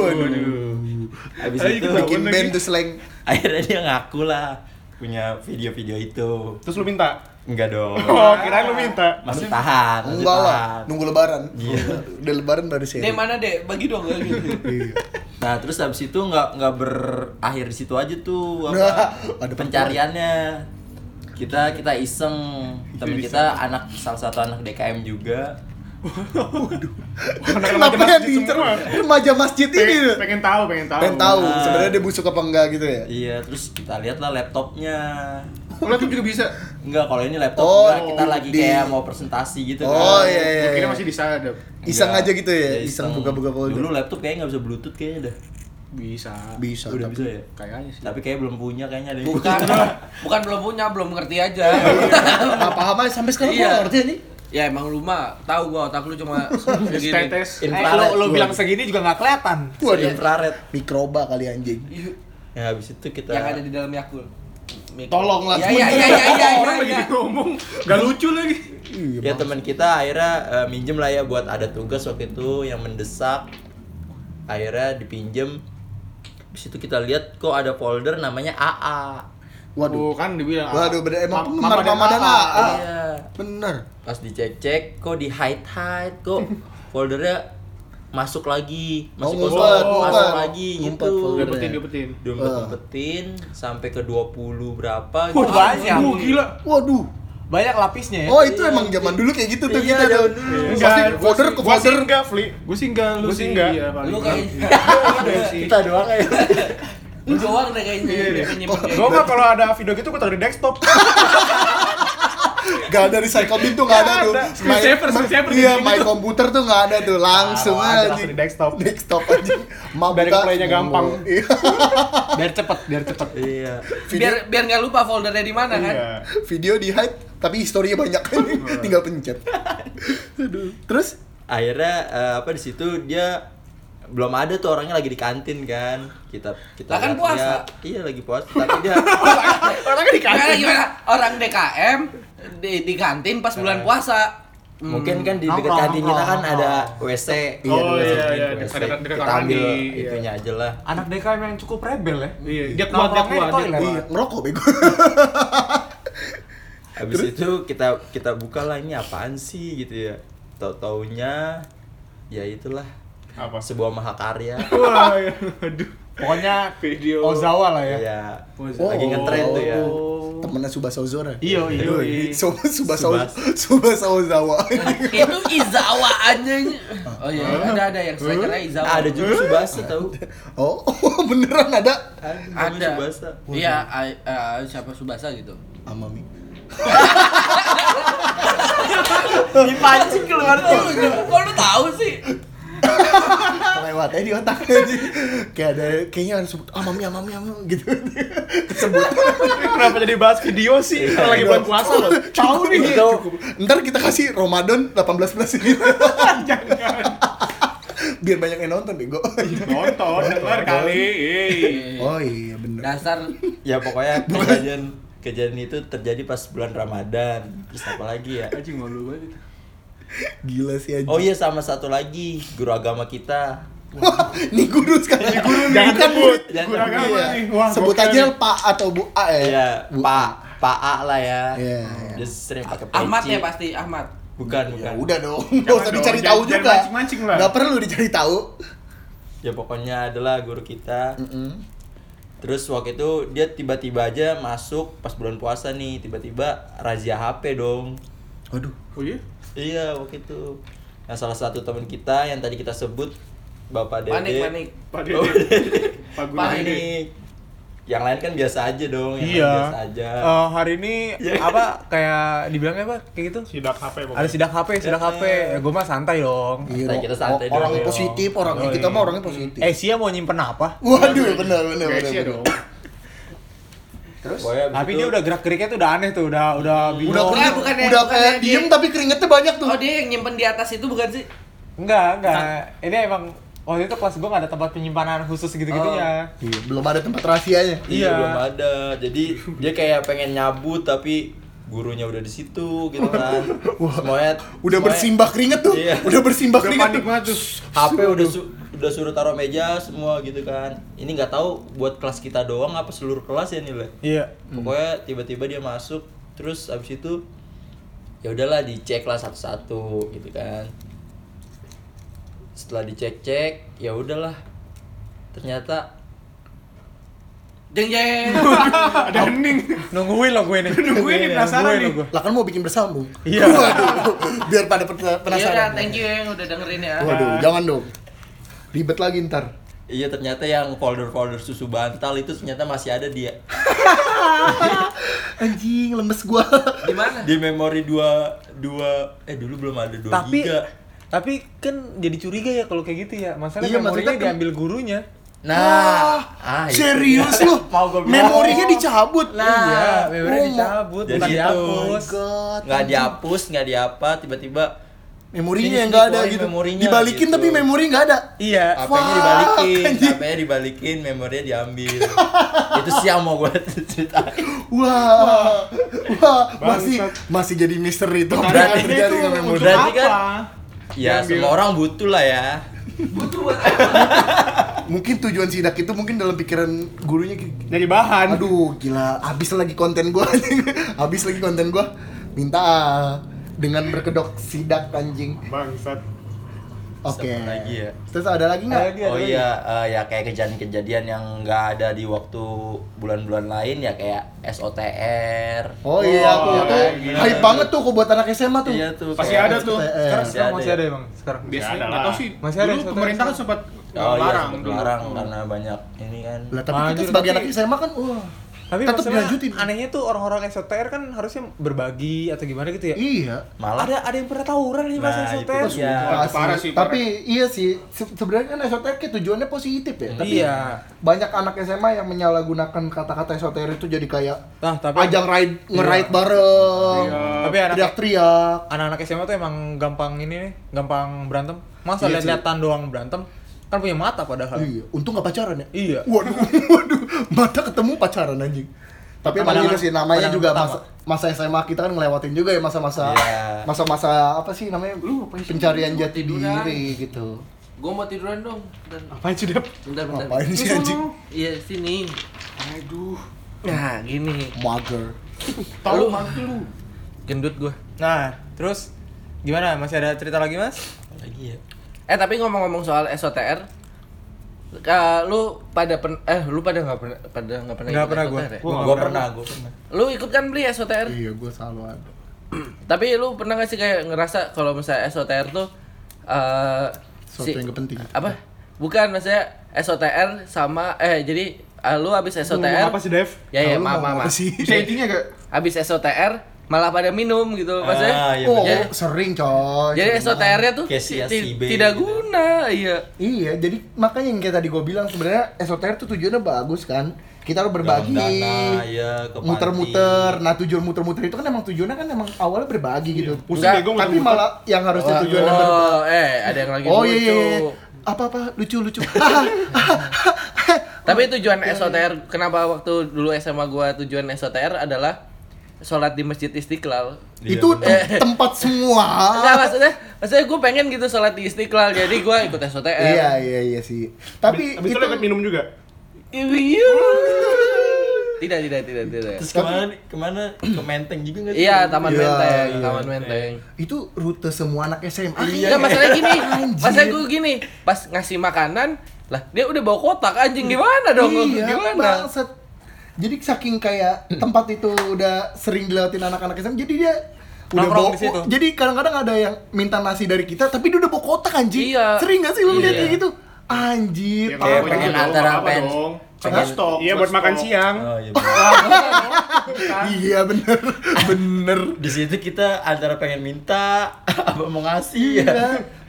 Speaker 6: habis
Speaker 5: Ayo
Speaker 6: itu
Speaker 5: kita
Speaker 2: Bikin
Speaker 5: Tahun
Speaker 2: band
Speaker 5: lagi.
Speaker 2: tuh slang.
Speaker 6: akhirnya dia ngaku lah punya video-video itu
Speaker 5: Terus lu minta?
Speaker 6: enggak dong
Speaker 5: Oh, kirain lu minta.
Speaker 6: masih tahan masih
Speaker 2: Enggak lah,
Speaker 6: tahan
Speaker 2: nunggu lebaran.
Speaker 6: Iya.
Speaker 2: Udah lebaran baru Iya. sih.
Speaker 3: Dek mana dek? Bagi dong. ya, gitu.
Speaker 6: nah terus habis itu nggak nggak berakhir di situ aja tuh
Speaker 2: Nah,
Speaker 6: apa
Speaker 2: ada
Speaker 6: pencariannya kita kita iseng temen
Speaker 5: Jadi
Speaker 6: kita anak salah satu anak DKM juga
Speaker 2: Kenapa yang diincer remaja masjid ini?
Speaker 5: Pengen, pengen tahu, pengen tahu.
Speaker 2: Pengen tahu
Speaker 6: Ah.
Speaker 2: sebenarnya dia busuk apa enggak gitu ya.
Speaker 6: iya terus kita lihat lah laptopnya
Speaker 5: Oh, laptop juga bisa.
Speaker 6: Enggak, kalau ini laptop
Speaker 2: Oh,
Speaker 6: enggak, kita lagi
Speaker 2: di-
Speaker 6: kayak mau presentasi gitu
Speaker 2: Oh iya
Speaker 6: kan.
Speaker 2: iya.
Speaker 5: Gua kira
Speaker 2: iya.
Speaker 5: masih disadap.
Speaker 2: Iseng
Speaker 6: Enggak.
Speaker 2: aja gitu ya,
Speaker 6: Iya,
Speaker 2: iseng buka-buka folder.
Speaker 6: Dulu laptop kayaknya nggak bisa bluetooth kayaknya dah.
Speaker 5: Bisa.
Speaker 2: Bisa.
Speaker 6: Udah
Speaker 2: tapi-
Speaker 6: bisa ya?
Speaker 5: Kayaknya sih.
Speaker 6: Tapi kayak belum punya kayaknya ada yang
Speaker 3: Bukan, Eh,
Speaker 6: punya.
Speaker 3: bukan belum punya, belum ngerti aja.
Speaker 2: Nggak paham aja sampai sekarang gua
Speaker 3: Iya.
Speaker 2: nggak ngerti nih.
Speaker 3: ya emang lu mah tahu gua otak lu cuma segini.
Speaker 5: Estetes.
Speaker 1: Eh,
Speaker 6: Infrared.
Speaker 1: lo, lo
Speaker 6: gua.
Speaker 1: bilang segini juga nggak kelihatan.
Speaker 2: Waduh,
Speaker 6: infrared.
Speaker 2: mikroba kali anjing.
Speaker 6: Ya habis itu kita
Speaker 3: Yang ada di dalam Yakul.
Speaker 2: Tolonglah.
Speaker 3: Ya ya ya ya ya.
Speaker 5: Orang lagi
Speaker 3: ya.
Speaker 5: ngomong, gak lucu lagi.
Speaker 2: Iya,
Speaker 6: Ya teman kita akhirnya eh, minjem lah ya buat ada tugas waktu itu yang mendesak. Akhirnya dipinjem. Habis itu kita lihat kok ada folder namanya AA.
Speaker 2: Waduh.
Speaker 5: Tuh kan dibilang.
Speaker 2: Waduh, bener emang
Speaker 5: Ma- ah,
Speaker 2: penggemar Mama dan AA.
Speaker 6: Iya.
Speaker 2: Bener.
Speaker 6: Pas dicek-cek kok di hide hide kok foldernya masuk lagi,
Speaker 2: Mau
Speaker 6: masih kosong,
Speaker 2: ngumpet,
Speaker 6: masuk
Speaker 2: ngumpet.
Speaker 6: lagi
Speaker 2: Ngumpet
Speaker 6: gitu.
Speaker 2: foldernya.
Speaker 5: Dapetin, dapetin.
Speaker 6: Dompet-dompetin sampai ke 20 berapa
Speaker 1: Wah,
Speaker 6: gitu.
Speaker 1: banyak.
Speaker 5: Wah, gila.
Speaker 2: Waduh.
Speaker 7: banyak lapisnya ya.
Speaker 2: Oh itu emang zaman dulu kayak gitu tuh
Speaker 7: Iya,
Speaker 2: kita tuh.
Speaker 7: zaman
Speaker 2: Pasti folder ke
Speaker 5: Gua sih
Speaker 2: folder.
Speaker 5: enggak, Fli.
Speaker 4: Gue sih enggak, lu
Speaker 5: Gua
Speaker 4: sih
Speaker 5: sih enggak.
Speaker 4: iya, paling
Speaker 3: Lu
Speaker 4: enggak.
Speaker 3: kayak
Speaker 5: Udah Iya sih. Iya,
Speaker 7: Kita doang ya.
Speaker 3: lu doang deh kayaknya yang nyimpen kayak
Speaker 5: Gua mah kalau ada video gitu gua taruh di desktop.
Speaker 2: Gak ada recycle bin tuh gak ada tuh.
Speaker 4: Screensaver, screensaver
Speaker 2: Iya,
Speaker 4: gitu.
Speaker 2: my computer tuh gak ada tuh langsung
Speaker 5: Taruh aja
Speaker 2: aja.
Speaker 5: langsung di desktop.
Speaker 2: Desktop aja. Mabuk
Speaker 5: Biar play-nya gampang.
Speaker 2: Iya.
Speaker 7: Biar cepet, biar cepet.
Speaker 6: Iya.
Speaker 3: biar biar nggak lupa foldernya di mana kan
Speaker 5: Iya.
Speaker 2: Video di hide tapi historinya banyak kan. Tinggal pencet. Aduh. Terus
Speaker 6: Akhirnya eh, apa di situ dia belum ada tuh orangnya lagi di kantin kan. Kita kita
Speaker 3: Lah kan
Speaker 6: lihat
Speaker 3: puasa.
Speaker 6: dia- Iya lagi puasa, tapi dia
Speaker 5: Orangnya di
Speaker 3: gimana
Speaker 5: kantin.
Speaker 3: gimana orang DKM di, di kantin pas bulan puasa Hmm.
Speaker 6: mungkin kan di dekat
Speaker 4: Nongkrong,
Speaker 6: kantin kita kan
Speaker 4: nongkrong,
Speaker 6: ada WC.
Speaker 5: Oh,
Speaker 6: ada
Speaker 5: iya, iya,
Speaker 6: WC. WC.
Speaker 5: ada- ada
Speaker 6: Kita
Speaker 5: kamar
Speaker 6: ambil
Speaker 5: mandi, iya.
Speaker 6: itunya aja lah.
Speaker 1: Anak DKM yang cukup rebel ya.
Speaker 5: Iya, dia kuat, dia
Speaker 1: Nongkrongnya di
Speaker 5: kuat. dia
Speaker 1: toilet.
Speaker 5: kuat.
Speaker 2: iya, ngerokok bego.
Speaker 6: Habis itu kita kita buka lah ini apaan sih gitu ya. Tau-taunya ya itulah
Speaker 5: Apa?
Speaker 6: sebuah mahakarya.
Speaker 5: Wah, iya. aduh.
Speaker 7: Pokoknya
Speaker 5: Video.
Speaker 7: Ozawa lah ya.
Speaker 6: Iya.
Speaker 5: Oh,
Speaker 6: Lagi ngetren tuh ya.
Speaker 2: Temennya Subasa Ozora.
Speaker 5: Iya,
Speaker 7: Iyo, iyo.
Speaker 6: Yoi.
Speaker 2: So, Subasa Subasa Ozawa.
Speaker 3: itu Izawa anjing oh iya ada ada yang strikernya Izawa
Speaker 6: Ada juga Subasa tahu.
Speaker 2: Oh, beneran ada
Speaker 6: Ada. juga
Speaker 3: ada
Speaker 6: Subasa.
Speaker 3: iya I- eh, siapa Subasa gitu
Speaker 2: Amami.
Speaker 6: Dipancing keluar
Speaker 3: Oh, kok lu tahu sih
Speaker 2: Kelewat aja di otak aja. Kayak ada kayaknya harus sebut Amami Amami Amami gitu. Kesebut.
Speaker 5: Kenapa jadi bahas video
Speaker 6: Iya,
Speaker 5: sih? Kalau lagi bulan puasa loh.
Speaker 2: Tahu nih. Ntar kita kasih Ramadan 18 plus ini. Biar banyak yang nonton bego.
Speaker 5: Nonton, dengar kali. Iya.
Speaker 2: Oh iya bener.
Speaker 3: dasar
Speaker 6: Ya pokoknya kejadian kejadian itu terjadi pas bulan Ramadan. Terus apa lagi ya?
Speaker 5: Anjing malu banget.
Speaker 2: Gila sih aja.
Speaker 6: Oh iya sama satu lagi guru agama kita.
Speaker 2: Nih guru sekarang. Nih guru
Speaker 5: Jangan sebut.
Speaker 6: Jangan
Speaker 5: Kurang apa
Speaker 6: sebut,
Speaker 2: iya.
Speaker 5: nih? Wah,
Speaker 2: Sebut
Speaker 5: gokil
Speaker 2: aja
Speaker 5: nih.
Speaker 2: Pak atau Bu A ya.
Speaker 6: Iya,
Speaker 2: Bu
Speaker 6: Pak Pak A lah ya.
Speaker 2: Iya,
Speaker 6: Dia sering pakai peci.
Speaker 3: Ahmad ya pasti Ahmad
Speaker 6: Bukan,
Speaker 2: Ya
Speaker 6: bukan.
Speaker 2: udah dong, nggak usah
Speaker 5: dong,
Speaker 2: dicari
Speaker 5: jangan-
Speaker 2: tahu
Speaker 5: jangan
Speaker 2: juga.
Speaker 5: mancing-mancing lah.
Speaker 2: Nggak perlu dicari tahu.
Speaker 6: Ya pokoknya adalah guru kita. Terus waktu itu dia tiba-tiba aja masuk pas bulan puasa nih, tiba-tiba razia HP dong.
Speaker 2: Waduh.
Speaker 5: Oh iya?
Speaker 6: Iya, waktu itu. Nah, salah satu teman kita yang tadi kita sebut Bapak Dede.
Speaker 3: panik panik
Speaker 5: Pak
Speaker 6: Oh,
Speaker 5: Dede. Pak Guru
Speaker 3: Panik.
Speaker 5: Dede.
Speaker 6: Panik. Yang lain kan biasa aja dong, yang
Speaker 1: Nah,
Speaker 6: lain
Speaker 1: Iya.
Speaker 6: biasa aja.
Speaker 1: Eh, hari ini
Speaker 6: Iya.
Speaker 1: apa kayak dibilangnya apa kayak gitu?
Speaker 5: Sidak HP pokoknya.
Speaker 1: Ada sidak HP, sidak HP. Ya, gue mah santai dong.
Speaker 2: Iya, gitu. dong.
Speaker 6: Santai, kita santai
Speaker 2: O- orang
Speaker 6: dong.
Speaker 2: positif, orang
Speaker 1: Yoi.
Speaker 5: Oh,
Speaker 2: kita
Speaker 5: iya.
Speaker 2: mah orangnya positif.
Speaker 1: Eh, Sia mau nyimpen apa?
Speaker 2: Waduh, benar benar
Speaker 5: Gak
Speaker 2: benar.
Speaker 5: sih
Speaker 2: benar.
Speaker 5: dong.
Speaker 6: Terus? Pokoknya abis
Speaker 1: Tapi
Speaker 6: itu- iya,
Speaker 1: dia udah gerak-geriknya tuh udah aneh tuh, udah udah bingung.
Speaker 2: Udah
Speaker 3: Bukan,
Speaker 2: keringet,
Speaker 3: bukan ya,
Speaker 2: udah
Speaker 3: bukan
Speaker 2: kayak
Speaker 3: ya, dia.
Speaker 2: diem tapi keringetnya banyak tuh.
Speaker 3: oh dia yang nyimpen di atas itu bukan sih
Speaker 1: Enggak, enggak. Ini emang waktu itu kelas gue gak ada tempat penyimpanan khusus gitu-gitunya.
Speaker 2: Iya, belum ada tempat rahasianya.
Speaker 6: Iya.
Speaker 1: Iya.
Speaker 6: belum ada. Jadi dia kayak pengen nyabut tapi gurunya udah di situ gitu kan. Semuanya
Speaker 2: Udah
Speaker 3: Iya.
Speaker 6: semuanya-
Speaker 2: bersimbah keringet tuh.
Speaker 6: Iya.
Speaker 2: Udah bersimbah
Speaker 5: Udah
Speaker 2: keringet.
Speaker 5: panik
Speaker 2: tuh.
Speaker 5: banget tuh.
Speaker 6: HP udah su- udah suruh taruh meja semua gitu kan. Ini nggak tahu buat kelas kita doang apa seluruh kelas ya nilai.
Speaker 1: Iya.
Speaker 6: Pokoknya tiba-tiba dia masuk terus abis itu ya udahlah dicek lah satu-satu gitu kan. Setelah dicek-cek ya udahlah. Ternyata
Speaker 3: jeng jeng
Speaker 5: Ada hening.
Speaker 1: Nungguin lo gue nih.
Speaker 5: Nungguin
Speaker 3: Iya,
Speaker 5: nih,
Speaker 1: Iya,
Speaker 5: penasaran
Speaker 1: Nungguin
Speaker 5: nih.
Speaker 1: lo gue.
Speaker 2: Lah kan mau bikin bersambung.
Speaker 1: Iya.
Speaker 2: Waduh, Biar pada peta-
Speaker 3: ya udah
Speaker 2: penasaran.
Speaker 3: thank you yang udah dengerin ya
Speaker 2: Waduh, jangan dong. Ribet lagi ntar.
Speaker 6: Iya ternyata yang folder-folder susu bantal itu ternyata masih ada dia
Speaker 2: Anjing, lemes gua.
Speaker 3: di mana
Speaker 6: di memori dua dua eh dulu belum ada dua
Speaker 1: Tapi
Speaker 6: giga.
Speaker 1: tapi kan jadi curiga ya kalau kayak gitu ya. Masalah
Speaker 2: Iya,
Speaker 1: memorinya
Speaker 2: maksudnya kan-
Speaker 1: diambil gurunya.
Speaker 6: Nah, ah, itu
Speaker 2: Serius
Speaker 6: dia.
Speaker 2: lu?
Speaker 6: Mau gua bilang.
Speaker 2: Memorinya dicabut.
Speaker 1: Iya,
Speaker 6: Nah,
Speaker 1: memorinya
Speaker 2: oh,
Speaker 1: dicabut,
Speaker 6: jadi
Speaker 1: bukan
Speaker 6: itu.
Speaker 1: dihapus.
Speaker 2: God.
Speaker 6: nggak dihapus, nggak diapa, tiba-tiba
Speaker 2: Memorinya
Speaker 6: Ini
Speaker 2: yang nggak ada
Speaker 6: dikeluarin
Speaker 2: gitu.
Speaker 6: memorinya,
Speaker 2: Dibalikin
Speaker 6: gitu.
Speaker 2: tapi memori nggak ada.
Speaker 1: Iya.
Speaker 6: HP-nya dibalikin, HP-nya dibalikin, memorinya diambil. itu siang mau gue ceritain.
Speaker 2: Wah, wah, masih
Speaker 5: Bangsat.
Speaker 2: masih jadi misteri itu.
Speaker 6: Berarti
Speaker 2: Berarti
Speaker 5: itu
Speaker 2: nggak memori.
Speaker 5: untuk
Speaker 6: Berarti kan-
Speaker 5: apa?
Speaker 6: Ya,
Speaker 5: Diambil.
Speaker 6: semua orang butuh lah ya.
Speaker 2: Mungkin tujuan sidak itu mungkin dalam pikiran gurunya. kayak,
Speaker 5: Jadi bahan.
Speaker 2: Aduh, gila, habis lagi konten gua. habis lagi konten gua. Minta ah, dengan berkedok sidak anjing.
Speaker 5: Bangsat.
Speaker 2: Oke.
Speaker 6: Satu lagi ya.
Speaker 2: Terus ada lagi nggak?
Speaker 6: Oh iya, eh, ya kayak kejadian-kejadian yang nggak ada di waktu bulan-bulan lain ya kayak SOTR.
Speaker 2: Oh iya, aku
Speaker 5: Wah,
Speaker 2: tuh
Speaker 5: gila.
Speaker 2: hype banget tuh kok buat anak SMA tuh.
Speaker 6: Ya, kan? Iya tuh.
Speaker 5: Pasti
Speaker 6: kayak-
Speaker 5: ada tuh.
Speaker 2: Eh,
Speaker 1: Sekarang, sekarang
Speaker 6: ada
Speaker 1: masih
Speaker 6: ya?
Speaker 1: ada ya bang? Sekarang.
Speaker 5: Biasanya
Speaker 7: ada
Speaker 5: nggak tahu
Speaker 7: lah.
Speaker 5: sih.
Speaker 1: Masih ada
Speaker 5: dulu
Speaker 1: SOTR.
Speaker 5: pemerintah kan sempat
Speaker 6: Oh iya,
Speaker 5: larang
Speaker 6: sempet
Speaker 5: dulu.
Speaker 6: larang
Speaker 2: Hmm.
Speaker 5: Oh.
Speaker 6: karena banyak ini kan.
Speaker 2: Lah tapi kita
Speaker 1: Anjir,
Speaker 2: sebagai
Speaker 1: tapi-
Speaker 2: anak SMA kan wah.
Speaker 1: Tapi
Speaker 2: tetap
Speaker 1: maksudnya
Speaker 2: dilanjutin.
Speaker 1: anehnya tuh orang-orang SOTR kan harusnya berbagi atau gimana gitu ya.
Speaker 2: Iya.
Speaker 6: Malah
Speaker 1: Ada ada yang pernah tawuran nih mas
Speaker 6: Nah,
Speaker 1: SOTR.
Speaker 6: itu dia.
Speaker 5: Wah, itu parah sih, parah.
Speaker 2: Tapi iya sih, se- sebenarnya kan esoterik ya tujuannya positif ya. Tapi
Speaker 1: Iya.
Speaker 2: banyak anak SMA yang menyalahgunakan kata-kata esoterik itu jadi kayak
Speaker 1: Nah, tapi
Speaker 2: ajang ride nge-ride bareng.
Speaker 1: tapi anak
Speaker 2: Teriak-teriak.
Speaker 1: anak-anak SMA tuh emang gampang ini nih, gampang berantem. Masa
Speaker 2: Iya sih.
Speaker 1: lihat-lihatan doang berantem? Kan punya mata padahal.
Speaker 2: Iya, untung gak pacaran ya.
Speaker 1: Iya.
Speaker 2: Waduh, waduh, mata ketemu pacaran anjing. Tapi emang
Speaker 1: Pandangan-
Speaker 2: gitu sih
Speaker 1: pandangan
Speaker 2: namanya juga
Speaker 1: pertama.
Speaker 2: masa, masa SMA kita kan ngelewatin juga ya masa-masa
Speaker 6: Iya.
Speaker 2: masa-masa apa sih namanya pencarian jati
Speaker 3: Tiduran.
Speaker 2: diri gitu.
Speaker 3: Gue mau tiduran dong. Bentar,
Speaker 7: Apaan sih, Dep?
Speaker 3: bentar. bentar.
Speaker 2: Ngapain sih anjing?
Speaker 3: Iya sini.
Speaker 5: Aduh.
Speaker 3: Nah gini.
Speaker 2: Mager.
Speaker 3: Lu-
Speaker 5: Tahu mantu lu.
Speaker 3: Gendut gue.
Speaker 1: Nah, terus gimana? Masih ada cerita lagi mas?
Speaker 6: lagi ya.
Speaker 3: Eh tapi ngomong-ngomong soal SOTR, eh, lu pada pen- eh lu pada nggak pernah pada nggak pernah
Speaker 1: Nggak
Speaker 3: ikut
Speaker 1: pernah
Speaker 3: SOTR
Speaker 1: Gua
Speaker 3: ya?
Speaker 6: Gua,
Speaker 1: nggak
Speaker 6: pernah, gua pernah.
Speaker 3: Lu ikut kan beli SOTR?
Speaker 2: Iya, gue selalu ada.
Speaker 3: Tapi lu pernah gak sih kayak ngerasa kalau misalnya SOTR tuh eh
Speaker 2: Sesuatu yang gak penting.
Speaker 3: Apa? Bukan maksudnya SOTR sama eh jadi eh, lu abis SOTR
Speaker 7: Ngomong Apa sih, Dev?
Speaker 3: Ya ya,
Speaker 2: Lalu
Speaker 3: maaf
Speaker 2: mau
Speaker 3: maaf.
Speaker 2: apa
Speaker 3: maaf.
Speaker 2: sih?
Speaker 5: Bisa intinya gak?
Speaker 3: Abis SOTR malah pada minum gitu loh maksudnya.
Speaker 6: Ah, iya
Speaker 2: Oh,
Speaker 6: bener.
Speaker 2: sering coy.
Speaker 3: Jadi
Speaker 2: Sering banget.
Speaker 3: SOTR-nya tuh
Speaker 6: Kayak si
Speaker 3: ti-
Speaker 6: SIB
Speaker 3: tidak
Speaker 6: gitu.
Speaker 3: guna, iya.
Speaker 2: Iya, jadi makanya yang kayak tadi gue bilang sebenarnya SOTR tuh tujuannya bagus kan. Kita harus berbagi.
Speaker 6: Dorong dana, iya, ke panti.
Speaker 2: muter-muter. Nah, tujuan muter-muter itu kan emang tujuannya kan emang awalnya berbagi gitu.
Speaker 6: Iya,
Speaker 5: Pusing
Speaker 3: Enggak,
Speaker 5: deh gue
Speaker 2: Tapi malah yang harusnya
Speaker 6: Wah,
Speaker 2: tujuannya ber-
Speaker 3: Oh, eh ada yang lagi
Speaker 2: Oh iya
Speaker 3: lucu.
Speaker 2: iya. iya. Apa-apa lucu-lucu. Ah,
Speaker 3: Tapi tujuan SOTR kenapa waktu dulu SMA gua tujuan SOTR adalah sholat di Masjid Istiqlal.
Speaker 6: Iya,
Speaker 2: itu tem- tempat semua.
Speaker 3: Enggak maksudnya, maksudnya gue pengen gitu sholat di Istiqlal, jadi gua ikut SOTR.
Speaker 2: Iya iya iya sih. Tapi
Speaker 5: Abis itu lu ikut minum juga?
Speaker 3: Iya. Tidak, tidak, tidak, tidak.
Speaker 6: Terus kemana kemana ke Menteng juga nggak sih?
Speaker 3: Iya, Taman
Speaker 2: Iya,
Speaker 3: Menteng,
Speaker 2: iya.
Speaker 3: Taman Menteng.
Speaker 2: itu rute semua anak SMA.
Speaker 3: Enggak, masalahnya gini,
Speaker 2: Anjir.
Speaker 3: masalahnya gue gini, pas ngasih makanan, lah dia udah bawa kotak anjing gimana dong?
Speaker 2: Iya,
Speaker 3: gimana?
Speaker 2: bangsat. Jadi saking kayak tempat itu udah sering dilewatin anak-anak SMA, jadi dia udah
Speaker 1: Nongkrong
Speaker 2: bawa
Speaker 1: di situ.
Speaker 2: Jadi kadang-kadang ada yang minta nasi dari kita, tapi dia udah bawa kotak anjing.
Speaker 3: Iya.
Speaker 2: Sering gak sih lu lihat
Speaker 6: Iya.
Speaker 2: kayak gitu? Anjir.
Speaker 5: Ya,
Speaker 2: parah.
Speaker 6: kayak
Speaker 5: nggak
Speaker 6: pengen
Speaker 5: apa-apa
Speaker 6: antara
Speaker 5: dong, nggak
Speaker 6: pengen-
Speaker 5: apa-apa dong.
Speaker 6: pengen-
Speaker 5: Buat iya, stok,
Speaker 7: Iya, buat makan
Speaker 5: stok.
Speaker 7: siang.
Speaker 6: Oh iya. bener.
Speaker 2: Iya bener, bener.
Speaker 6: Di situ kita antara pengen minta apa mau ngasih ya.
Speaker 2: Iya.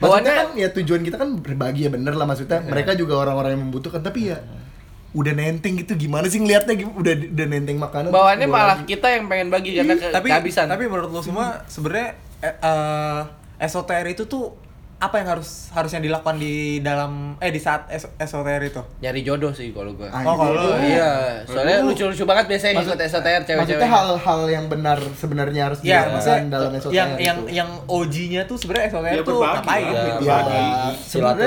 Speaker 2: Maksudnya
Speaker 3: Bawaannya-
Speaker 2: kan ya tujuan kita kan berbagi ya bener lah maksudnya. Mereka juga orang-orang yang membutuhkan, tapi ya udah nenteng gitu gimana sih ngelihatnya gitu? udah udah nenteng makanan
Speaker 3: Bawaannya
Speaker 2: terus bawa
Speaker 3: malah
Speaker 2: lagi. Iya,
Speaker 3: kita yang pengen bagi karena ke
Speaker 1: tapi
Speaker 3: kehabisan.
Speaker 1: tapi menurut lo semua sebenarnya eh, eh, SOTR itu tuh apa yang harus harusnya dilakukan di dalam eh di saat S- SOTR itu?
Speaker 3: nyari jodoh sih kalau gua.
Speaker 2: Anjir.
Speaker 1: Oh kalau
Speaker 3: Iya, soalnya lucu-lucu banget biasanya yang
Speaker 2: Maksud-
Speaker 3: ikut SOTR cewek-cewek.
Speaker 2: Maksudnya hal-hal yang benar sebenarnya harus
Speaker 1: Ya,
Speaker 2: dilakukan
Speaker 1: maksudnya
Speaker 2: dalam gitu. SOTR
Speaker 1: yang
Speaker 2: itu.
Speaker 1: yang yang OG-nya tuh sebenarnya SOTR
Speaker 5: Ya,
Speaker 1: tuh
Speaker 5: berbagi
Speaker 1: ngapain?
Speaker 5: lah.
Speaker 1: gitu.
Speaker 2: Ya,
Speaker 6: Iya, Bagi.
Speaker 2: sebenarnya-